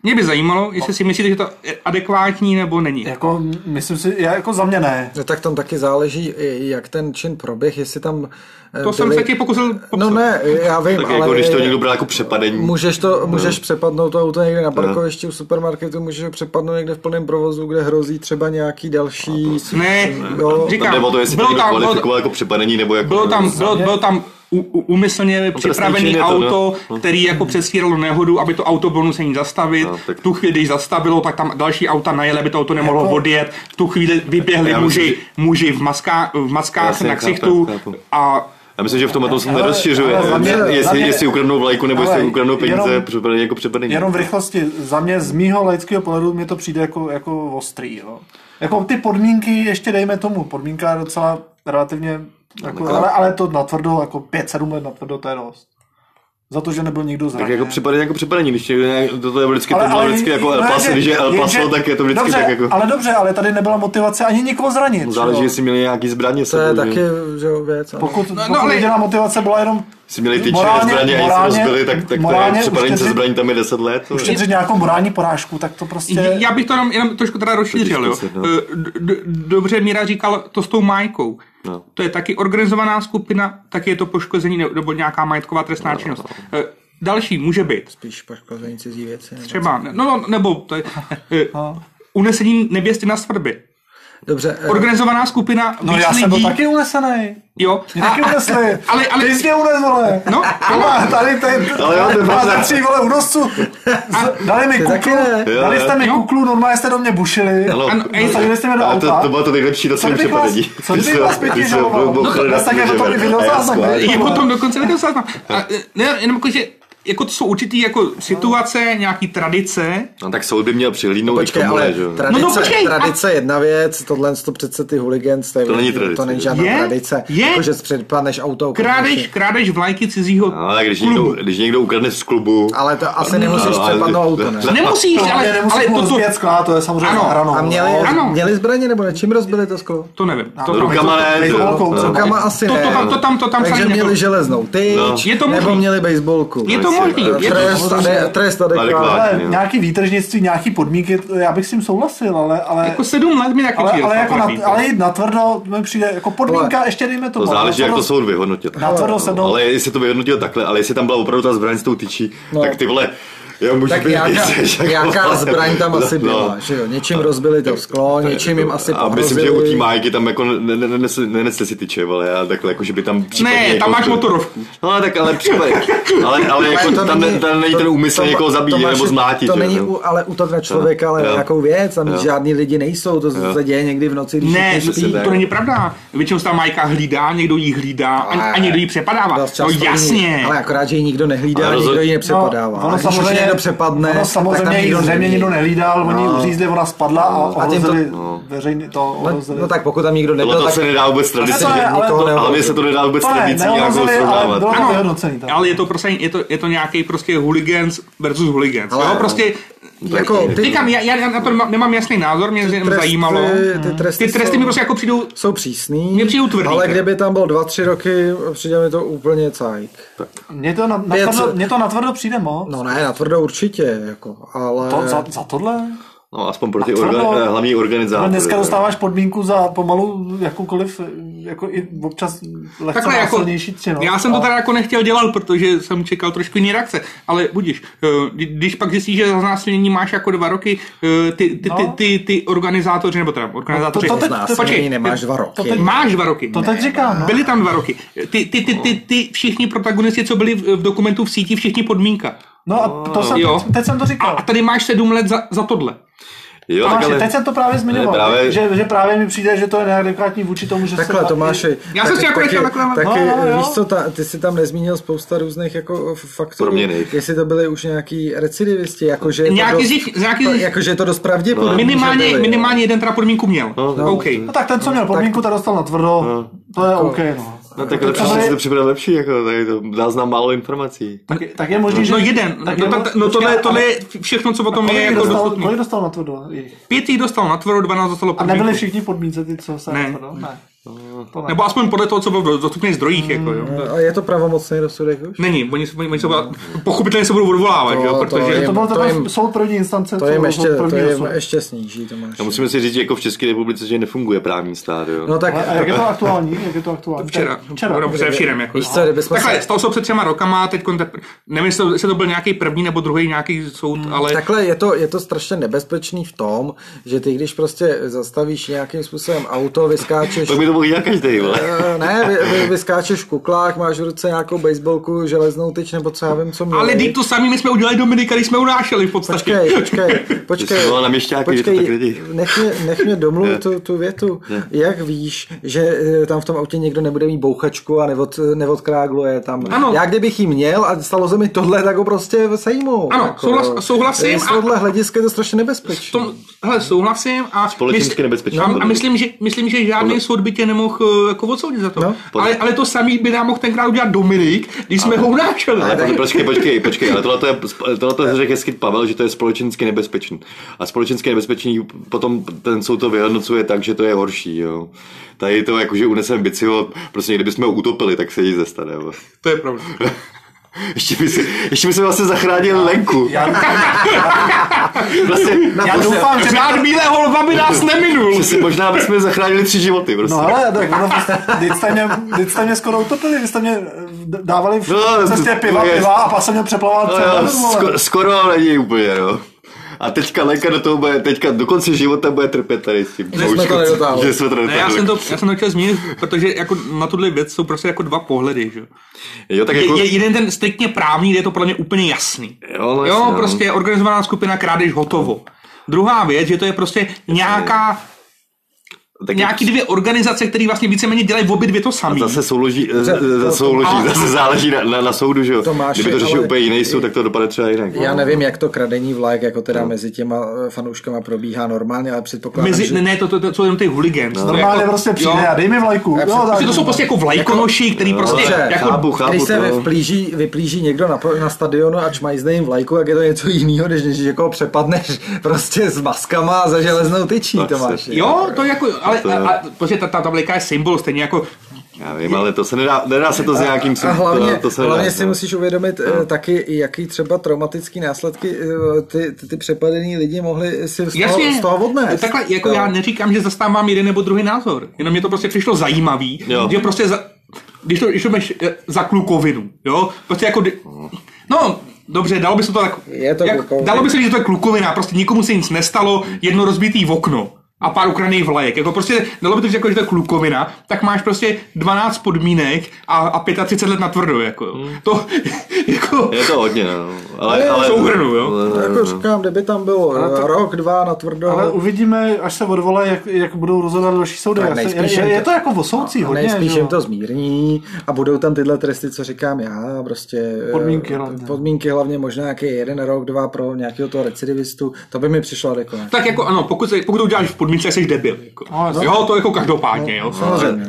[SPEAKER 2] Mě by zajímalo, jestli si myslíte, že to je adekvátní nebo není.
[SPEAKER 4] Jako, myslím si, já jako za mě ne.
[SPEAKER 3] No tak tam taky záleží, i jak ten čin proběh, jestli tam eh,
[SPEAKER 2] To jsem
[SPEAKER 3] byli-
[SPEAKER 2] se ti pokusil popsat.
[SPEAKER 3] No ne, já vím,
[SPEAKER 1] Tak
[SPEAKER 3] ale...
[SPEAKER 1] jako když to někdo No. bral jako přepadení.
[SPEAKER 3] Můžeš, to, můžeš přepadnout to auto někde na parkovišti u supermarketu, můžeš ho přepadnout někde v plném provozu, kde hrozí třeba nějaký další...
[SPEAKER 2] Ne,
[SPEAKER 3] Jo.
[SPEAKER 1] Tam
[SPEAKER 2] říkám,
[SPEAKER 1] jde o to, jestli to
[SPEAKER 2] bylo
[SPEAKER 1] někdo
[SPEAKER 2] tam, bylo,
[SPEAKER 1] kvalifikoval jako přepadení nebo jako...
[SPEAKER 2] bylo tam, bylo, bylo tam u- u- úmyslně
[SPEAKER 1] čin
[SPEAKER 2] připravený
[SPEAKER 1] je to, no. Hm.
[SPEAKER 2] auto, který jako přestíralo nehodu, aby to auto bylo nucení zastavit.
[SPEAKER 1] No, tak-
[SPEAKER 2] V tu chvíli, když zastavilo, tak tam další auta najeli, aby to auto nemohlo
[SPEAKER 4] Jako-
[SPEAKER 2] odjet. V tu chvíli vyběhli
[SPEAKER 1] Já
[SPEAKER 2] muži,
[SPEAKER 1] myslím,
[SPEAKER 2] muži v, maska, v maskách
[SPEAKER 1] Jasně,
[SPEAKER 2] na
[SPEAKER 1] chápu,
[SPEAKER 2] ksichtu
[SPEAKER 1] chápu.
[SPEAKER 2] a
[SPEAKER 1] Já myslím, že v tomhle tom se to
[SPEAKER 4] Ale-
[SPEAKER 1] nerozšiřuje.
[SPEAKER 4] ale za mě-
[SPEAKER 1] Ne,
[SPEAKER 4] za
[SPEAKER 1] Jestli,
[SPEAKER 4] mě-
[SPEAKER 1] jestli ukradnou vlajku nebo jestli
[SPEAKER 4] ale
[SPEAKER 1] ukradnou peníze,
[SPEAKER 4] jenom-
[SPEAKER 1] přepadení jako přepadení.
[SPEAKER 4] Jenom v rychlosti, za mě z mýho laického pohledu mě to přijde jako, jako ostrý, jo. Jako ty podmínky ještě dejme tomu, podmínka je docela relativně, jako, ale, ale to natvrdo, jako 5-7 let natvrdo, to je dost. Za to, že nebyl nikdo
[SPEAKER 1] Tak
[SPEAKER 4] zraněn.
[SPEAKER 1] jako připadení jako připadení, když někdo nějak- to je vždycky, to bylo vždycky jako El
[SPEAKER 4] no,
[SPEAKER 1] Paso,
[SPEAKER 4] že-
[SPEAKER 1] když je El Paso,
[SPEAKER 4] jenže-
[SPEAKER 1] tak je to vždycky
[SPEAKER 4] dobře,
[SPEAKER 1] tak jako... No,
[SPEAKER 4] Ale dobře, ale tady nebyla motivace ani nikoho zranit.
[SPEAKER 1] Záleží,
[SPEAKER 4] jo.
[SPEAKER 1] jestli měli nějaký zbraně s
[SPEAKER 3] To je
[SPEAKER 1] sebou,
[SPEAKER 3] taky
[SPEAKER 1] že?
[SPEAKER 3] že jo, věc. ano.
[SPEAKER 4] Pokud, no,
[SPEAKER 2] no,
[SPEAKER 4] pokud
[SPEAKER 2] ale-
[SPEAKER 4] jediná motivace byla jenom
[SPEAKER 1] Jestli měli tyče
[SPEAKER 4] Morálně-
[SPEAKER 1] zbraně a nic
[SPEAKER 4] morálně-
[SPEAKER 1] rozbili, tak, tak to je
[SPEAKER 4] morálně
[SPEAKER 1] připadení se
[SPEAKER 4] uštědřit-
[SPEAKER 1] zbraní, tam je 10 let. to je-
[SPEAKER 4] uštědřit nějakou morální porážku, tak to prostě...
[SPEAKER 2] Já bych to jenom, jenom trošku teda rozšířil. Jo.
[SPEAKER 1] Totiž to se, no.
[SPEAKER 2] Eh, d- d- Dobře, Míra říkal to s tou majkou.
[SPEAKER 1] No.
[SPEAKER 2] To je taky organizovaná skupina, tak je to poškození ne- nebo nějaká majetková trestná
[SPEAKER 1] No,
[SPEAKER 2] činnost. Eh, Další může být
[SPEAKER 3] Spíš poškození cizí věci. nebo-
[SPEAKER 2] třeba, ne- no, no nebo to
[SPEAKER 4] <laughs>
[SPEAKER 2] je, eh,
[SPEAKER 4] No.
[SPEAKER 2] unesení nevěsty na svatby.
[SPEAKER 3] Dobře, eh,
[SPEAKER 2] Organizovaná skupina
[SPEAKER 4] No
[SPEAKER 2] víc
[SPEAKER 4] já jsem byl
[SPEAKER 2] lidí,
[SPEAKER 4] taky unesený.
[SPEAKER 2] jo.
[SPEAKER 4] Mě taky unesli.
[SPEAKER 2] ale- ale-
[SPEAKER 4] Ty jsi mě unes, vole.
[SPEAKER 2] No,
[SPEAKER 4] Hele, tady, tady,
[SPEAKER 1] Ale jo, to je
[SPEAKER 4] dva
[SPEAKER 1] pravda.
[SPEAKER 4] za tří, vole, unosců. Dali mi
[SPEAKER 3] taky
[SPEAKER 4] kuklu,
[SPEAKER 3] ne.
[SPEAKER 1] Jo,
[SPEAKER 4] dali jste mi
[SPEAKER 2] jo.
[SPEAKER 4] kuklu, normálně jste do mě bušili.
[SPEAKER 1] Ano,
[SPEAKER 2] Ano,
[SPEAKER 1] a-
[SPEAKER 2] ej,
[SPEAKER 4] Zasadili jste mě do
[SPEAKER 1] a to,
[SPEAKER 4] auta.
[SPEAKER 1] to bylo to nejlepší na
[SPEAKER 4] Co
[SPEAKER 1] celém
[SPEAKER 4] kdybych
[SPEAKER 1] přepadení.
[SPEAKER 4] vás- co kdybych vás pěkně žaloval? No,
[SPEAKER 1] No,
[SPEAKER 4] tak je to taky video zázrak, ne?
[SPEAKER 2] Je potom dokonce video záznam. A, eh, Ne, jenom jako, že jako to jsou určitý jako situace, nějaký tradice,
[SPEAKER 1] No tak soud by měl přihlídnout i k
[SPEAKER 3] Počkej,
[SPEAKER 1] tomu,
[SPEAKER 3] ale
[SPEAKER 1] ne, že jo?
[SPEAKER 3] tradice,
[SPEAKER 2] No, no, počkej, a-
[SPEAKER 3] tradice je jedna věc, tohle to přece ty hooligans, to, je
[SPEAKER 1] To není
[SPEAKER 3] věc,
[SPEAKER 1] tradice.
[SPEAKER 3] to není žádná
[SPEAKER 2] Je?
[SPEAKER 3] tradice.
[SPEAKER 2] Je?
[SPEAKER 3] Jako, že předpadneš auto.
[SPEAKER 2] Krádež,
[SPEAKER 3] ukradneš si.
[SPEAKER 2] krádež vlajky cizího
[SPEAKER 1] No, ale když
[SPEAKER 2] klubu.
[SPEAKER 1] někdo, když někdo ukradne z klubu,
[SPEAKER 3] Ale to asi nemusíš
[SPEAKER 1] No, ale-
[SPEAKER 3] přepadnout auto, ne?
[SPEAKER 2] Nemusíš,
[SPEAKER 4] Eh, To
[SPEAKER 2] ale,
[SPEAKER 4] ale,
[SPEAKER 2] ale
[SPEAKER 4] nemusím mu
[SPEAKER 2] to, to,
[SPEAKER 4] rozbět skla, to je samozřejmě
[SPEAKER 2] Ano.
[SPEAKER 4] za hranou.
[SPEAKER 3] A měli,
[SPEAKER 4] no.
[SPEAKER 2] Ano.
[SPEAKER 3] měli zbraně nebo ne? Čím rozbili to sklo?
[SPEAKER 2] to nevím. To,
[SPEAKER 1] No,
[SPEAKER 2] tam-
[SPEAKER 1] rukama ne,
[SPEAKER 4] Nejsou
[SPEAKER 1] to-
[SPEAKER 4] velkou,
[SPEAKER 1] no.
[SPEAKER 4] co?
[SPEAKER 3] Rukama asi
[SPEAKER 2] to, to,
[SPEAKER 3] ne.
[SPEAKER 2] tam, to tam, to tam
[SPEAKER 3] Takže
[SPEAKER 2] psali
[SPEAKER 3] měli
[SPEAKER 2] někdo.
[SPEAKER 3] železnou tyč,
[SPEAKER 1] No.
[SPEAKER 2] Je to
[SPEAKER 3] nebo
[SPEAKER 2] možný.
[SPEAKER 3] měli baseballku.
[SPEAKER 2] Je to možný, je to
[SPEAKER 3] Trest,
[SPEAKER 4] možný.
[SPEAKER 3] ade, trest adekvátní.
[SPEAKER 1] Adekvátní.
[SPEAKER 4] Ale
[SPEAKER 1] jo.
[SPEAKER 4] nějaký výtržnictví, nějaký podmínky, to já bych s tím souhlasil, ale... ale...
[SPEAKER 2] Jako sedm let mi taky
[SPEAKER 4] ale,
[SPEAKER 2] přijde
[SPEAKER 4] ale, jako
[SPEAKER 2] svatý.
[SPEAKER 4] na, ale jít na tvrdo mi přijde jako podmínka, ještě dejme tomu.
[SPEAKER 1] To záleží,
[SPEAKER 4] ale
[SPEAKER 1] jak to
[SPEAKER 4] natvrdo-
[SPEAKER 1] soud vyhodnotil.
[SPEAKER 4] Natvrdo se
[SPEAKER 1] No,
[SPEAKER 4] no,
[SPEAKER 1] ale jestli to vyhodnotil takhle, ale jestli tam byla opravdu ta zbraň s tou tyčí,
[SPEAKER 3] No.
[SPEAKER 1] tak ty vole, já můžu
[SPEAKER 3] Tak
[SPEAKER 1] být
[SPEAKER 3] nějaká,
[SPEAKER 1] jistý, že jako-
[SPEAKER 3] nějaká zbraň tam asi
[SPEAKER 1] No,
[SPEAKER 3] byla, že jo? Něčím rozbili to sklo, něčím jim asi
[SPEAKER 1] jako- A
[SPEAKER 3] pohrozili.
[SPEAKER 1] myslím, že u té májky tam jako ne- ne- nenes- nenesli si tyče, ale a takhle, jako že by tam případně...
[SPEAKER 2] Ne,
[SPEAKER 1] jako-
[SPEAKER 2] tam máš motorovku.
[SPEAKER 1] No ale tak ale
[SPEAKER 4] <laughs>
[SPEAKER 1] případně, ale, ale jako
[SPEAKER 3] to
[SPEAKER 1] tam, ne, tam není ten úmysl
[SPEAKER 3] to-
[SPEAKER 1] někoho
[SPEAKER 3] to
[SPEAKER 1] zabít
[SPEAKER 3] máš-
[SPEAKER 1] nebo zmátit,
[SPEAKER 3] To
[SPEAKER 1] že jo?
[SPEAKER 3] není u, ale útok na člověka, ale
[SPEAKER 1] Jo.
[SPEAKER 3] na nějakou věc, tam žádný lidi nejsou, to se děje někdy v
[SPEAKER 4] Jako-
[SPEAKER 3] noci, když
[SPEAKER 2] Ne,
[SPEAKER 3] všichni
[SPEAKER 2] to-
[SPEAKER 3] spí.
[SPEAKER 2] to není pravda. Většinou se ta Majka hlídá, někdo jí hlídá a, a někdo jí přepadává.
[SPEAKER 3] Dost
[SPEAKER 2] No
[SPEAKER 3] často není.
[SPEAKER 2] jasně.
[SPEAKER 3] Ale akorát, že ji nikdo nehlídá,
[SPEAKER 1] Ale rozho-
[SPEAKER 3] nikdo ji
[SPEAKER 4] No,
[SPEAKER 3] nepřepadává.
[SPEAKER 4] ono
[SPEAKER 3] A když už
[SPEAKER 4] samozřejmě-
[SPEAKER 3] někdo přepadne,
[SPEAKER 4] ono
[SPEAKER 3] tak
[SPEAKER 4] samozřejmě
[SPEAKER 3] tam
[SPEAKER 4] jí
[SPEAKER 3] nikdo
[SPEAKER 4] země nikdo nehlídal, oni ji uřízli, ona spadla a
[SPEAKER 3] No, A tím to-
[SPEAKER 4] ohrozili veřejný to
[SPEAKER 3] No,
[SPEAKER 4] ohrozili.
[SPEAKER 3] no tak pokud tam nikdo
[SPEAKER 1] Tohle
[SPEAKER 3] nebyl,
[SPEAKER 1] to
[SPEAKER 3] tak
[SPEAKER 1] se nedá vůbec tradici,
[SPEAKER 4] to je, ale-
[SPEAKER 3] nikoho
[SPEAKER 1] ale mě se
[SPEAKER 3] neohrozil.
[SPEAKER 1] to nedá vůbec
[SPEAKER 4] To ne,
[SPEAKER 1] tradici nějak
[SPEAKER 4] neohrozili, ale
[SPEAKER 1] srovnávat.
[SPEAKER 4] bylo-
[SPEAKER 2] Ano,
[SPEAKER 4] vyhodnocený, tak.
[SPEAKER 2] ale je to prostě, je to, je to nějaký prostě hooligans versus hooligans. Ale, jo, prostě,
[SPEAKER 3] Jako ty-
[SPEAKER 2] říkám, já, já na to nemám- nemám jasný názor, mě jenom
[SPEAKER 3] tresty-
[SPEAKER 2] zajímalo.
[SPEAKER 3] ty tresty
[SPEAKER 2] Ty tresty
[SPEAKER 3] jsou-
[SPEAKER 2] mi prostě jako přijdou
[SPEAKER 3] jsou přísný,
[SPEAKER 2] Mně přijdou tvrdý,
[SPEAKER 3] ale
[SPEAKER 2] ne?
[SPEAKER 3] kdyby tam byl 2-3 roky, přijde mi to úplně cajk.
[SPEAKER 4] Mně to, na,
[SPEAKER 3] Pět-
[SPEAKER 4] natvrdo, mně to natvrdo přijde moc.
[SPEAKER 3] No ne, na tvrdo určitě, jako, ale...
[SPEAKER 4] To, za, za tohle?
[SPEAKER 1] No aspoň pro ty
[SPEAKER 4] A tvrdo.
[SPEAKER 1] orga- hlavní
[SPEAKER 4] Ale
[SPEAKER 1] organizátory.
[SPEAKER 4] dneska
[SPEAKER 1] tak.
[SPEAKER 4] dostáváš podmínku za pomalu jakoukoliv, jako i občas lehce
[SPEAKER 2] Takhle jako,
[SPEAKER 4] násilnější no. činnost.
[SPEAKER 2] já jsem
[SPEAKER 4] A-
[SPEAKER 2] to teda jako nechtěl dělat, protože jsem čekal trošku jiný reakce, ale budíš, eh, kdy- když pak zjistíš, že za znásilnění máš jako dva roky, eh, ty, ty, ty,
[SPEAKER 4] No.
[SPEAKER 2] ty, ty organizátoři, nebo teda organizátoři,
[SPEAKER 4] to teď-
[SPEAKER 3] Znásilnění
[SPEAKER 2] počkej,
[SPEAKER 3] nemáš
[SPEAKER 2] ty-
[SPEAKER 3] dva roky.
[SPEAKER 2] to teď- máš dva roky.
[SPEAKER 4] To teď říkám, no.
[SPEAKER 2] Byli tam dva roky. Ty, ty, ty, ty, ty všichni protagonisti, co byli v, v dokumentu v síti, všichni podmínka.
[SPEAKER 4] No a to jsem,
[SPEAKER 2] Jo.
[SPEAKER 4] teď jsem to
[SPEAKER 2] A,
[SPEAKER 4] říkal.
[SPEAKER 2] a tady máš sedm let za, za tohle.
[SPEAKER 1] Jo, tak
[SPEAKER 4] Tomáši,
[SPEAKER 1] ale...
[SPEAKER 4] teď jsem to právě zmiňoval,
[SPEAKER 1] Ne, právě-
[SPEAKER 4] Že, že právě mi přijde, že to je neadekvátní vůči tomu, že
[SPEAKER 3] Takhle,
[SPEAKER 4] se...
[SPEAKER 3] Tomáši.
[SPEAKER 2] Já jsem si jako nechtěl takhle-
[SPEAKER 3] taky,
[SPEAKER 4] No, no, jo.
[SPEAKER 3] víš co, ta, ty si tam nezmínil spousta různých jako f- faktorů.
[SPEAKER 1] Proměnej.
[SPEAKER 3] Jestli to byli už nějaký recidivisti, jakože je to
[SPEAKER 2] Nějaký
[SPEAKER 3] dost,
[SPEAKER 2] z nich- nějaký z nich-
[SPEAKER 3] jakože je to dost pravděpodobný, že
[SPEAKER 2] Minimálně,
[SPEAKER 3] byli.
[SPEAKER 2] minimálně jeden teda podmínku měl.
[SPEAKER 1] No,
[SPEAKER 2] OK.
[SPEAKER 4] No tak ten, co měl podmínku, ten dostal na tvrdo. To je OK, no.
[SPEAKER 1] No tak lepší,
[SPEAKER 4] ale-
[SPEAKER 1] že si to připravil lepší, jako, tady to dá znám málo informací.
[SPEAKER 4] Tak, tak je možný, že...
[SPEAKER 2] No jeden,
[SPEAKER 4] tak
[SPEAKER 2] no,
[SPEAKER 4] je mo-
[SPEAKER 2] tak, no tohle,
[SPEAKER 4] počkej,
[SPEAKER 2] tohle
[SPEAKER 4] ale
[SPEAKER 2] je všechno, co o tom je
[SPEAKER 4] Kolik
[SPEAKER 2] jako
[SPEAKER 4] dostal,
[SPEAKER 2] dostupný.
[SPEAKER 4] kolik dostal na to do jejich?
[SPEAKER 2] Pět jich dostal na tvrdo, 12 dostalo
[SPEAKER 4] A
[SPEAKER 2] podmínku.
[SPEAKER 4] nebyli všichni v podmínce ty, co se
[SPEAKER 2] Ne.
[SPEAKER 4] na to do? Ne. To ne.
[SPEAKER 2] Nebo aspoň podle toho, co bylo v dostupných zdrojích, jako jo.
[SPEAKER 3] A je to pravomocný rozsudek už?
[SPEAKER 2] Není, oni se, oni, oni se pochopitelně se budou odvolávat,
[SPEAKER 3] To-
[SPEAKER 2] jo,
[SPEAKER 3] to
[SPEAKER 2] protože...
[SPEAKER 4] To
[SPEAKER 3] je-
[SPEAKER 4] byl
[SPEAKER 3] To
[SPEAKER 4] takový
[SPEAKER 3] jim-
[SPEAKER 4] soud první instance,
[SPEAKER 3] To
[SPEAKER 4] co
[SPEAKER 3] jim
[SPEAKER 4] byl
[SPEAKER 3] ještě, to
[SPEAKER 4] první
[SPEAKER 3] jim
[SPEAKER 4] rozsudek.
[SPEAKER 3] ještě sníží, to máš.
[SPEAKER 1] A musíme si říct, že jako v České republice, že nefunguje právní stát, jo.
[SPEAKER 3] No tak,
[SPEAKER 4] Ale a jak je to aktuální? Jak je to aktuální?
[SPEAKER 2] Včera.
[SPEAKER 4] Včera.
[SPEAKER 2] Včera. Předevčírem, jako.
[SPEAKER 3] Víš co, kdybychom
[SPEAKER 2] Takhle,
[SPEAKER 3] se-
[SPEAKER 2] stalo se před třema rokama, teď nevím, jestli to, jestli to byl nějaký první nebo druhý nějaký soud, ale
[SPEAKER 3] Takhle je to, je to strašně nebezpečný v tom, že ty když prostě zastavíš nějakým způsobem auto, vyskáčeš...
[SPEAKER 1] Tak by to mohl dělat každý, vole.
[SPEAKER 3] Eh, ne, vy, vy, vyskáčeš v kuklách, máš v ruce nějakou baseballku, železnou tyč, nebo co já vím, co měli.
[SPEAKER 2] ale teď to samý my jsme udělali Dominika, když jsme unášeli v podstatě.
[SPEAKER 3] Počkej,
[SPEAKER 1] <laughs>
[SPEAKER 3] počkej, počkej.
[SPEAKER 1] jsi volal na měšťáky, je to tak lidi.
[SPEAKER 3] nech mě, nech mě domluvit tu, tu větu. Jak víš, že eh, tam v tom autě někdo nebude mít bouchačku a neod, neodkrágluje tam.
[SPEAKER 2] Ano.
[SPEAKER 3] Já kdybych ji měl a stalo se mi tohle, tak ho prostě sejmu.
[SPEAKER 2] Ano,
[SPEAKER 3] jako,
[SPEAKER 2] souhlas- souhlasím
[SPEAKER 3] Z
[SPEAKER 2] a-
[SPEAKER 3] tohohle hlediska je to strašně nebezpečné.
[SPEAKER 2] tom, hele, souhlasím a,
[SPEAKER 1] Společensky nebezpečný
[SPEAKER 2] a, a
[SPEAKER 1] podle mě.
[SPEAKER 2] myslím, že, myslím, že žádný soud by tě nemohl eh, jako odsoudit za to.
[SPEAKER 3] No.
[SPEAKER 2] ale, ale to samý by nám mohl tenkrát udělat Dominik, když jsme ho unášeli.
[SPEAKER 1] Ale po- počkej, počkej, počkej, ale tohle je, tohle je řekl hezky Pavel, že to je společensky nebezpečný. A společensky nebezpečný potom ten soud to vyhodnocuje tak, že to je horší, jo. Tady to jakože unesem bicyho, prostě kdybychom ho utopili, tak se jí zestane. vole.
[SPEAKER 2] To je pravda.
[SPEAKER 1] <laughs> Ještě by, si, ještě by se vlastně zachránil Lenku.
[SPEAKER 4] Já
[SPEAKER 1] Vlastně,
[SPEAKER 4] Já doufám, že...
[SPEAKER 2] Řád bílého lva by nás neminul.
[SPEAKER 1] vlastně možná bychom zachránili tři životy, prostě.
[SPEAKER 4] No ale tak ono, prostě- vždyť jste mě, vždyť jste mě skoro utopili, vy jste mě eh, dávali v
[SPEAKER 1] No,
[SPEAKER 4] cestě
[SPEAKER 1] to-
[SPEAKER 4] piva,
[SPEAKER 1] to je-
[SPEAKER 4] piva a pak jsem mě přeplaval
[SPEAKER 1] No
[SPEAKER 4] celé.
[SPEAKER 1] jo, skoro, skoro ale není úplně, no. A teďka Lenka do toho bude, teďka do konce života bude trpět tady s tím. Že
[SPEAKER 3] jsme to nedotáhli.
[SPEAKER 1] Že jsme to
[SPEAKER 2] Ne,
[SPEAKER 1] nedotáhli.
[SPEAKER 2] já jsem to, já jsem to chtěl zmínit, protože jako na tuhle věc jsou prostě jako dva pohledy, že? jo.
[SPEAKER 1] Jo, tak
[SPEAKER 2] Je,
[SPEAKER 1] jako...
[SPEAKER 2] je, jeden ten striktně právní, kde je to podle mě úplně jasný.
[SPEAKER 1] Jo, no jasně,
[SPEAKER 2] jo
[SPEAKER 1] no.
[SPEAKER 2] prostě organizovaná skupina krádež hotovo. Druhá věc, že to je prostě nějaká,
[SPEAKER 1] tak
[SPEAKER 2] nějaký dvě organizace, které vlastně víceméně dělají obě dvě to samé.
[SPEAKER 1] Zase souloží,
[SPEAKER 3] to- to-
[SPEAKER 1] zase, souloží,
[SPEAKER 2] a-
[SPEAKER 1] zase záleží na, na, na soudu, že jo.
[SPEAKER 3] Tomáši,
[SPEAKER 1] Kdyby to řešil
[SPEAKER 3] ale-
[SPEAKER 1] úplně jiný soud, tak to dopadne třeba jinak.
[SPEAKER 3] Já nevím, jak to kradení vlajek jako teda mezi těma eh, fanouškama probíhá normálně, ale předpokládám,
[SPEAKER 2] Mezi,
[SPEAKER 3] že...
[SPEAKER 2] ne, ne, to, to, to jsou jenom ty hooligans. No.
[SPEAKER 1] Jako,
[SPEAKER 4] Normálně prostě přijde a dej mi vlajku. Jo, tak-
[SPEAKER 2] Prostě to jsou prostě jako vlajkonoši, který prostě
[SPEAKER 3] Dobře,
[SPEAKER 2] jako
[SPEAKER 1] chápu, chápu
[SPEAKER 3] Když se
[SPEAKER 1] to.
[SPEAKER 3] vplíží, vyplíží někdo na, pro- na stadionu a čmajzne jim vlajku, jak je to něco jiného, než když někoho přepadneš <laughs> prostě s maskama a za železnou tyčí,
[SPEAKER 1] Tak se-
[SPEAKER 3] Tomáš.
[SPEAKER 2] Jo, to jako, ale
[SPEAKER 1] To je-
[SPEAKER 2] a, a, prostě ta, ta, ta vlajka je symbol, stejně jako
[SPEAKER 1] Já vím, ale to se nedá, nedá se to s nějakým
[SPEAKER 3] A
[SPEAKER 1] soudem.
[SPEAKER 3] hlavně,
[SPEAKER 1] to, to se nedá,
[SPEAKER 3] hlavně si
[SPEAKER 1] no.
[SPEAKER 3] musíš uvědomit no. taky, jaký třeba traumatický následky eh, ty, ty, ty přepadený lidi mohli si z toho,
[SPEAKER 2] Jasně,
[SPEAKER 3] z toho odnést.
[SPEAKER 2] takhle, jako
[SPEAKER 3] Jo.
[SPEAKER 2] já neříkám, že zastávám jeden nebo druhý názor, jenom mě to prostě přišlo zajímavý,
[SPEAKER 1] Jo.
[SPEAKER 2] že prostě za, když to, když to máš eh, za klukovinu, jo, prostě jako, kdy- no, dobře, dalo by se to tak,
[SPEAKER 3] Je to
[SPEAKER 2] jak,
[SPEAKER 3] klukovina.
[SPEAKER 2] dalo by se říct, že to je klukovina, prostě nikomu se nic nestalo, jedno rozbitý v okno a pár ukraných vlajek, jako prostě, dalo by to říct, jako, že to je klukovina, tak máš prostě 12 podmínek a, a 35 let na tvrdo, jako, jo. to, <laughs> jako,
[SPEAKER 1] Je to hodně, no. Ale, ale,
[SPEAKER 2] souhrnu, jo.
[SPEAKER 1] ale-
[SPEAKER 3] Jako říkám, kdyby tam bylo
[SPEAKER 4] to-
[SPEAKER 3] to... rok, dva na tvrdo,
[SPEAKER 4] Ale uvidíme, až se odvolají, jak, jak budou rozhodovat další soudy.
[SPEAKER 3] Tak
[SPEAKER 4] Já se-
[SPEAKER 3] nejspíš
[SPEAKER 4] je,
[SPEAKER 3] jim to-
[SPEAKER 4] je,
[SPEAKER 3] No,
[SPEAKER 4] to jako o soudcích hodně.
[SPEAKER 3] Nejspíš
[SPEAKER 4] že jo.
[SPEAKER 3] jim to zmírní a budou tam tyhle tresty, co říkám já, prostě eh,
[SPEAKER 4] Podmínky hlavně.
[SPEAKER 3] podmínky hlavně možná nějaký jeden rok, dva pro nějakého toho recidivistu, to by mi přišlo adekvátně.
[SPEAKER 2] Tak jako ano, pokud, se, pokud to uděláš v podmínce, jsi debil. Jako.
[SPEAKER 4] No,
[SPEAKER 2] jo, to jako každopádně. Jo.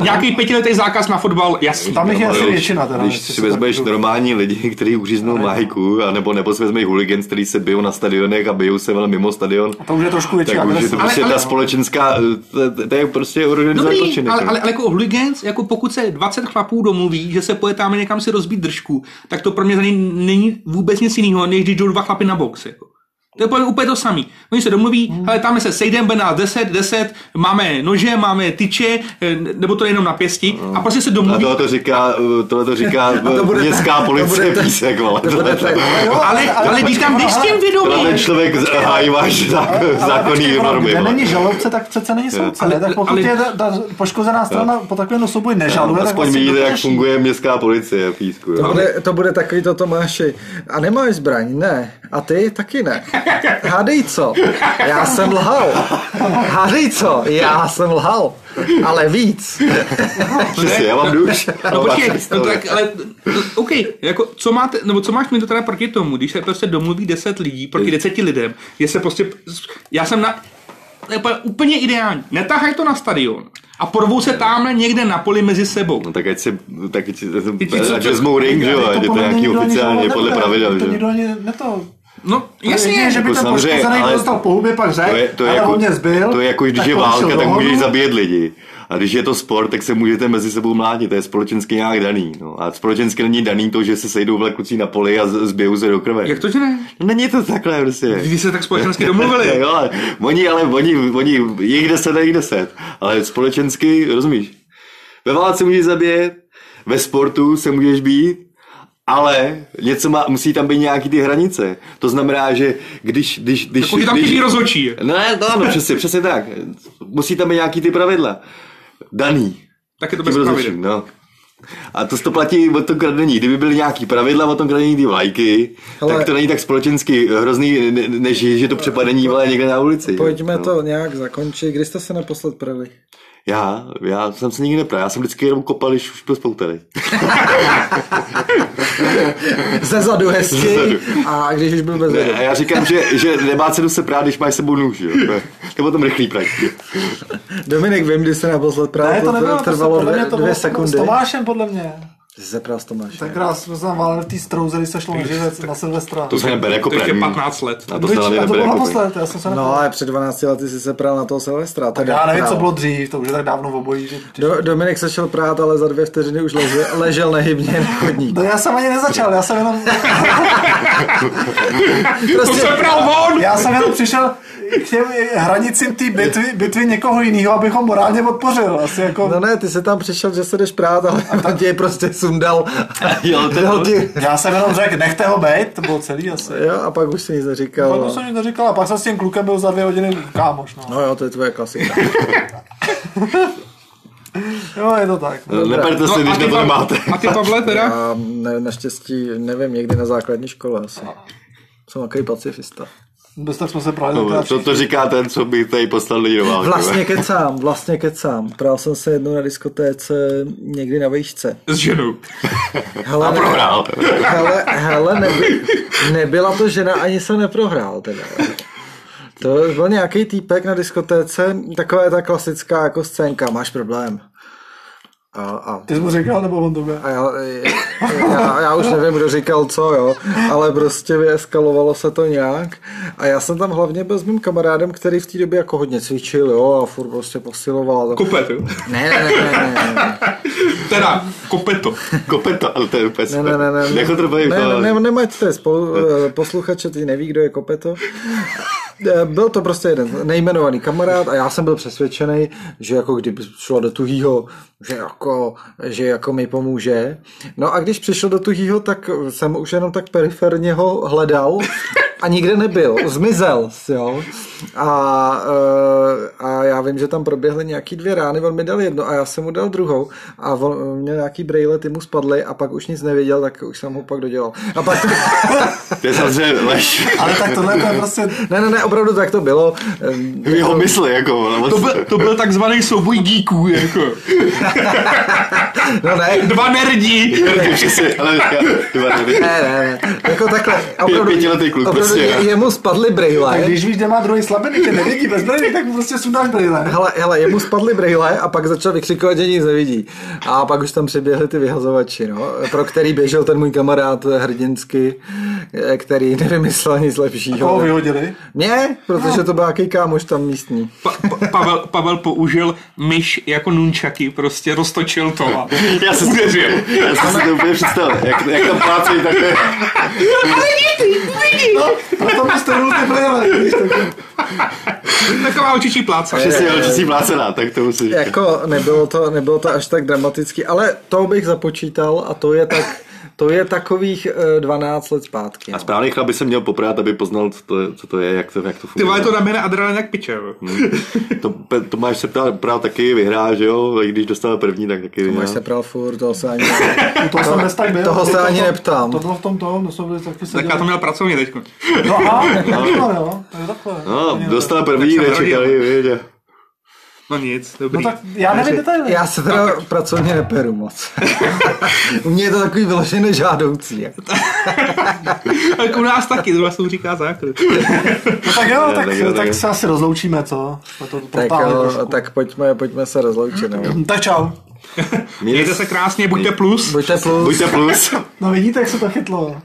[SPEAKER 2] Nějaký pětiletý zákaz na fotbal, jasný.
[SPEAKER 4] Tam jich je
[SPEAKER 1] Ale
[SPEAKER 4] asi
[SPEAKER 1] když-
[SPEAKER 4] většina. Teda,
[SPEAKER 1] Když
[SPEAKER 4] jestli
[SPEAKER 1] si
[SPEAKER 4] se tak-
[SPEAKER 1] vezmeš normální lidi, kteří uříznou májku, anebo, nebo si vezmeš hooligans, kteří se bijou na stadionech a bijou se ale mimo stadion,
[SPEAKER 4] To už je trošku větší
[SPEAKER 1] tak už je to
[SPEAKER 4] agrese.
[SPEAKER 1] prostě
[SPEAKER 2] Ale- ale-
[SPEAKER 1] ta společenská, to- to- to je prostě organizovaný
[SPEAKER 2] Dobrý,
[SPEAKER 1] zločin.
[SPEAKER 2] ale,
[SPEAKER 1] jako.
[SPEAKER 2] ale, ale jako hooligans, jako pokud se 20 chlapů domluví, že se pojetáme někam si rozbít držku, tak to pro mě za ně není vůbec nic jiného, než když jdou dva chlapy na box. Jako. To je pro mě úplně to samý. Oni se domluví, hmm. ale tam se sejdeme, bude nás 10, 10, máme nože, máme tyče, eh, nebo to je jenom na pěsti, a prostě se
[SPEAKER 1] A
[SPEAKER 2] domluví.
[SPEAKER 1] tohle to říká, tohle to říká
[SPEAKER 3] to bude-
[SPEAKER 1] městská
[SPEAKER 3] to
[SPEAKER 1] policie
[SPEAKER 3] bude-
[SPEAKER 1] písek, vole.
[SPEAKER 3] to bude-
[SPEAKER 1] Tohle-
[SPEAKER 2] Ale, ale když tam jdeš s tím
[SPEAKER 1] Tohle
[SPEAKER 2] vědomím,
[SPEAKER 1] ten člověk z- hájí váš zákon- zákonný normy.
[SPEAKER 4] Kde
[SPEAKER 1] vole.
[SPEAKER 4] není žalobce, tak přece není soudce.
[SPEAKER 2] Ale-
[SPEAKER 4] ne? Tak pokud
[SPEAKER 2] ale-
[SPEAKER 4] je ta, ta poškozená strana po takovém souboji nežaluje, tak
[SPEAKER 1] Aspoň
[SPEAKER 4] vlastně
[SPEAKER 1] vidíte, jak
[SPEAKER 4] dokáží.
[SPEAKER 1] funguje městská policie v písku.
[SPEAKER 3] To
[SPEAKER 1] jo.
[SPEAKER 3] bude, to bude takový to Tomáši. A nemáš zbraň? Ne. A ty taky ne. Hádej co? Já jsem lhal. Hádej co? Já jsem lhal. Ale víc.
[SPEAKER 1] Přesně, já mám duš.
[SPEAKER 2] No počkej, no tak, ale, no, OK, jako, co, máte, nebo co máš mi to teda proti tomu, když se prostě domluví 10 lidí proti 10 lidem, je se prostě, já jsem na, To je úplně- úplně ideální. Netahaj to na stadion. A porvou se tamhle někde na poli mezi sebou.
[SPEAKER 1] No tak ať si, tak ať,
[SPEAKER 2] ti, co
[SPEAKER 1] ať
[SPEAKER 2] to-
[SPEAKER 1] vezmou ring, že jo,
[SPEAKER 4] Ale
[SPEAKER 1] ať je to
[SPEAKER 4] podle mě
[SPEAKER 1] nějaký
[SPEAKER 4] nikdo ani
[SPEAKER 1] oficiálně
[SPEAKER 4] žalovat
[SPEAKER 1] podle
[SPEAKER 4] nebude,
[SPEAKER 1] pravidel,
[SPEAKER 4] To
[SPEAKER 1] že jo.
[SPEAKER 4] nikdo ani ne to...
[SPEAKER 2] No,
[SPEAKER 4] Jedině,
[SPEAKER 2] jasně.
[SPEAKER 4] že by
[SPEAKER 1] jako
[SPEAKER 4] ten
[SPEAKER 1] samozřejmě,
[SPEAKER 4] poškozený
[SPEAKER 1] ale-
[SPEAKER 4] dostal po hubě, pak řek,
[SPEAKER 1] To je, to, je
[SPEAKER 4] ale
[SPEAKER 1] jako,
[SPEAKER 4] on mě zbyl.
[SPEAKER 1] to je jako, když
[SPEAKER 4] tak
[SPEAKER 1] je
[SPEAKER 4] on šel
[SPEAKER 1] válka,
[SPEAKER 4] do
[SPEAKER 1] tak
[SPEAKER 4] hodu.
[SPEAKER 1] můžeš zabíjet lidi. A když je to sport, tak se můžete mezi sebou mlátit, to je společensky nějak daný. No. A společensky není daný to, že se sejdou vle kluci na poli a z- zbijou se do krve.
[SPEAKER 2] Jak to, že ne?
[SPEAKER 1] No Není to takhle prostě.
[SPEAKER 2] Když se
[SPEAKER 1] <laughs>
[SPEAKER 2] tak společensky domluvili.
[SPEAKER 1] jo, ale oni, ale oni, oni, jich deset a jich deset. Ale společensky, rozumíš? Ve válce můžeš zabít, ve sportu se můžeš být, ale něco má, musí tam být nějaký ty hranice. To znamená, že když... když, když
[SPEAKER 2] Pokud je Jako, tam
[SPEAKER 1] když,
[SPEAKER 2] chybí rozhodčí.
[SPEAKER 1] No, ne, to ano, přesně, přesně tak. Musí tam být nějaký ty pravidla. Daný.
[SPEAKER 2] Tak je to
[SPEAKER 1] Tím
[SPEAKER 2] bez
[SPEAKER 1] rozhodčím,
[SPEAKER 2] pravidel.
[SPEAKER 1] no. A to se to platí o tom kradení. Kdyby byly nějaký pravidla o tom kradení ty vlajky,
[SPEAKER 3] Hele.
[SPEAKER 1] tak to není tak společensky hrozný, ne- než že to přepadení vole někde na ulici.
[SPEAKER 3] Pojďme
[SPEAKER 1] no.
[SPEAKER 3] to nějak zakončit. Kdy jste se naposled prali?
[SPEAKER 1] Já, já jsem se nikdy nepral, já jsem vždycky jenom kopal, když už byl spoutaný.
[SPEAKER 3] Ze zadu hezky a když už byl bez zadu.
[SPEAKER 1] A já říkám, že, že nemá cenu se prát, když máš s sebou nůž, jo. To je- To je potom rychlý prak.
[SPEAKER 3] Dominik, vím, kdy se naposled prál,
[SPEAKER 4] Ne, to nebylo,
[SPEAKER 3] trvalo
[SPEAKER 4] podle
[SPEAKER 3] dvě,
[SPEAKER 4] mě to
[SPEAKER 3] dvě
[SPEAKER 4] bylo s
[SPEAKER 3] sekundy.
[SPEAKER 4] Tomášem, podle mě.
[SPEAKER 3] Ty jsi se prál s Tomášem.
[SPEAKER 4] Tenkrát jsme se váleli v té strouze, když se šlo na živec, na Silvestra.
[SPEAKER 1] To se nebere jako
[SPEAKER 2] To ještě
[SPEAKER 1] první.
[SPEAKER 2] 15 let.
[SPEAKER 1] A to se
[SPEAKER 4] Byč,
[SPEAKER 1] hlavně
[SPEAKER 4] a
[SPEAKER 1] nebere
[SPEAKER 4] to bylo
[SPEAKER 1] jako první.
[SPEAKER 4] naposled, já jsem se
[SPEAKER 3] No
[SPEAKER 4] no,
[SPEAKER 3] ale před 12 lety jsi se prál na toho Silvestra. Teda
[SPEAKER 4] Já nevím,
[SPEAKER 3] prál.
[SPEAKER 4] co bylo dřív, to už je tak dávno v obojí. Že...
[SPEAKER 3] Do, Dominik se šel prát, ale za dvě vteřiny už ležel, ležel nehybně na chodník.
[SPEAKER 4] <laughs> No já jsem ani nezačal, já jsem jenom,
[SPEAKER 1] Prostě-
[SPEAKER 2] To se pral on!
[SPEAKER 4] já jsem jenom přišel k těm hranicím té bitvy, bitvy někoho jiného, abych ho morálně podpořil. Asi jako...
[SPEAKER 3] No ne, ty jsi tam přišel, že se jdeš prát, ale on tě prostě sundal.
[SPEAKER 1] Jo, to je
[SPEAKER 3] Dal ti,
[SPEAKER 4] Já jsem jenom řekl, nechte ho být, to bylo celý asi.
[SPEAKER 3] jo, a pak už si nic neříkal.
[SPEAKER 4] No, to jsem mi to říkal, a pak jsem s tím klukem byl za dvě hodiny kámoš, no.
[SPEAKER 3] No jo, to je tvoje klasika.
[SPEAKER 4] Jo, je to tak. No.
[SPEAKER 1] Neperte se, když
[SPEAKER 2] a, ty,
[SPEAKER 1] nebo nemáte.
[SPEAKER 2] a ty
[SPEAKER 1] <laughs>
[SPEAKER 2] Pavle teda?
[SPEAKER 3] A ne, naštěstí, nevím, někdy na základní škole asi. Jsem takový pacifista.
[SPEAKER 4] Bez tak jsme se právě
[SPEAKER 1] To,
[SPEAKER 4] tenkrát
[SPEAKER 1] to, to říká ten, co by tady poslal lidi do války.
[SPEAKER 3] Vlastně kecám, vlastně kecám. Prál jsem se jednou na diskotéce někdy na vejšce.
[SPEAKER 2] S ženou.
[SPEAKER 3] Hele, ne-
[SPEAKER 1] Prohrál.
[SPEAKER 3] hele, hele neby, nebyla to žena, ani se neprohrál teda. To byl nějaký týpek na diskotéce, taková ta klasická jako scénka, máš problém. A, a
[SPEAKER 4] Ty jsi mu říkal, nebo on tobě?
[SPEAKER 3] A já, já, já už nevím, kdo říkal co, jo, ale prostě vyeskalovalo se to nějak. A já jsem tam hlavně byl s mým kamarádem, který v té době jako hodně cvičil, jo, a furt prostě posiloval.
[SPEAKER 2] Kopet, jo?
[SPEAKER 3] Ne, ne, ne, ne, ne, ne.
[SPEAKER 2] Teda, kopeto.
[SPEAKER 1] Kope to, ale to je úplně
[SPEAKER 3] Ne, ne, ne, ne.
[SPEAKER 1] Nechod to jako-
[SPEAKER 3] ne,
[SPEAKER 1] bavit,
[SPEAKER 3] ne,
[SPEAKER 1] ale-
[SPEAKER 3] ne, nemaďte spolu, eh, posluchače, ty neví, kdo je Kopeto. Eh, Byl to prostě jeden nejmenovaný kamarád a já jsem byl přesvědčený, že jako kdyby šlo do tuhýho, že jako, že jako mi pomůže. No a když přišel do tuhýho, tak jsem už jenom tak periferně ho hledal a nikde nebyl, zmizel, jo. A, eh, a já vím, že tam proběhly nějaký dvě rány, on mi dal jedno a já jsem mu dal druhou a on měl nějaký brejle, ty mu spadly a pak už nic nevěděl, tak už jsem ho pak dodělal. A pak <laughs> to...
[SPEAKER 1] To je samozřejmě lež.
[SPEAKER 4] Ale tak tohle to je prostě...
[SPEAKER 3] ne, ne, ne, opravdu tak to bylo. Ehm,
[SPEAKER 1] V jeho mysli, jako. vole,
[SPEAKER 2] To
[SPEAKER 1] vlastně.
[SPEAKER 2] byl, to byl takzvaný souboj díků, jako.
[SPEAKER 3] No ne,
[SPEAKER 2] Dva nerdi.
[SPEAKER 1] Že si- ale já- Dva nerdy.
[SPEAKER 3] ne, ne, ne. Jako takhle, opravdu,
[SPEAKER 1] pětiletý kluk,
[SPEAKER 3] opravdu
[SPEAKER 1] prostě,
[SPEAKER 3] je,
[SPEAKER 1] ne?
[SPEAKER 3] jemu spadly brejle.
[SPEAKER 4] Tak když víš, kde má druhý slabiny, tě nevidí bez brýlí, tak mu prostě sundáš brýle.
[SPEAKER 3] Hele, hele, jemu spadly brejle a pak začal vykřikovat, že nic nevidí. A pak už tam přiběhli ty vyhazovači, no, pro který běžel ten můj kamarád hrdinsky, eh, který nevymyslel nic
[SPEAKER 4] Koho
[SPEAKER 3] lepšího.
[SPEAKER 1] Jako
[SPEAKER 4] vyhodili?
[SPEAKER 3] Ne, protože to byl nějaký kámoš tam místní.
[SPEAKER 2] Pa, pa, Pavel, Pavel použil myš jako nunčaky, prostě roztočil to. a-
[SPEAKER 1] Já jsem si věřil. Já jsem si to úplně představil. Jak, jak tam plácejí takhle.
[SPEAKER 4] No, Proto mi strnul ty brýle. víš, tak-
[SPEAKER 2] Taková očičí pláca.
[SPEAKER 1] Přesně, ale čistí plácená, tak to musí říkat.
[SPEAKER 3] Jako nebylo to, nebylo to až tak dramatický, ale to bych započítal a to je tak, to je takových eh, 12 let zpátky.
[SPEAKER 1] A
[SPEAKER 3] No.
[SPEAKER 1] správný chlap by se měl poprát, aby poznal, co to, je- co to je, jak to, jak to
[SPEAKER 2] Ty vole,
[SPEAKER 1] funguje.
[SPEAKER 2] to na mě na adrenalin jak piče. jo.
[SPEAKER 4] No.
[SPEAKER 1] to, pe- to máš se prát, prát taky, vyhrá, že jo? I když dostal první, tak taky vyhrá.
[SPEAKER 3] Máš se pral furt, toho se ani...
[SPEAKER 4] U toho jsem bez tak byl.
[SPEAKER 3] toho se
[SPEAKER 4] to-
[SPEAKER 3] ani
[SPEAKER 4] to-
[SPEAKER 3] neptám.
[SPEAKER 4] To bylo v tom tom, to jsme byli taky se
[SPEAKER 2] Tak já to měl pracovně teď.
[SPEAKER 4] No a, takhle, jo, to je takhle.
[SPEAKER 1] No,
[SPEAKER 4] To je
[SPEAKER 1] dostal
[SPEAKER 2] Tak
[SPEAKER 1] první,
[SPEAKER 2] jsem
[SPEAKER 1] nečekali, víš. a-
[SPEAKER 2] No nic,
[SPEAKER 4] No
[SPEAKER 2] dobrý.
[SPEAKER 4] tak já nevím
[SPEAKER 3] <laughs>
[SPEAKER 4] detaily.
[SPEAKER 3] Já se teda pracovně neperu moc. <laughs> U mě je to takový vyloženě nežádoucí. Jako.
[SPEAKER 2] Tak u nás taky, zrovna jsou říká základ.
[SPEAKER 4] No tak jo, tak,
[SPEAKER 1] tak jo, tak
[SPEAKER 4] tak,
[SPEAKER 1] jo.
[SPEAKER 4] se asi rozloučíme, co? Jsme to
[SPEAKER 3] Tak,
[SPEAKER 4] protáhli
[SPEAKER 3] jo,
[SPEAKER 4] trošku.
[SPEAKER 3] tak pojďme, pojďme se rozloučit.
[SPEAKER 4] <laughs>
[SPEAKER 3] No.
[SPEAKER 4] tak čau.
[SPEAKER 2] Mějte se krásně, buďte plus.
[SPEAKER 3] Buďte plus.
[SPEAKER 1] Buďte plus.
[SPEAKER 4] No vidíte, jak se to chytlo.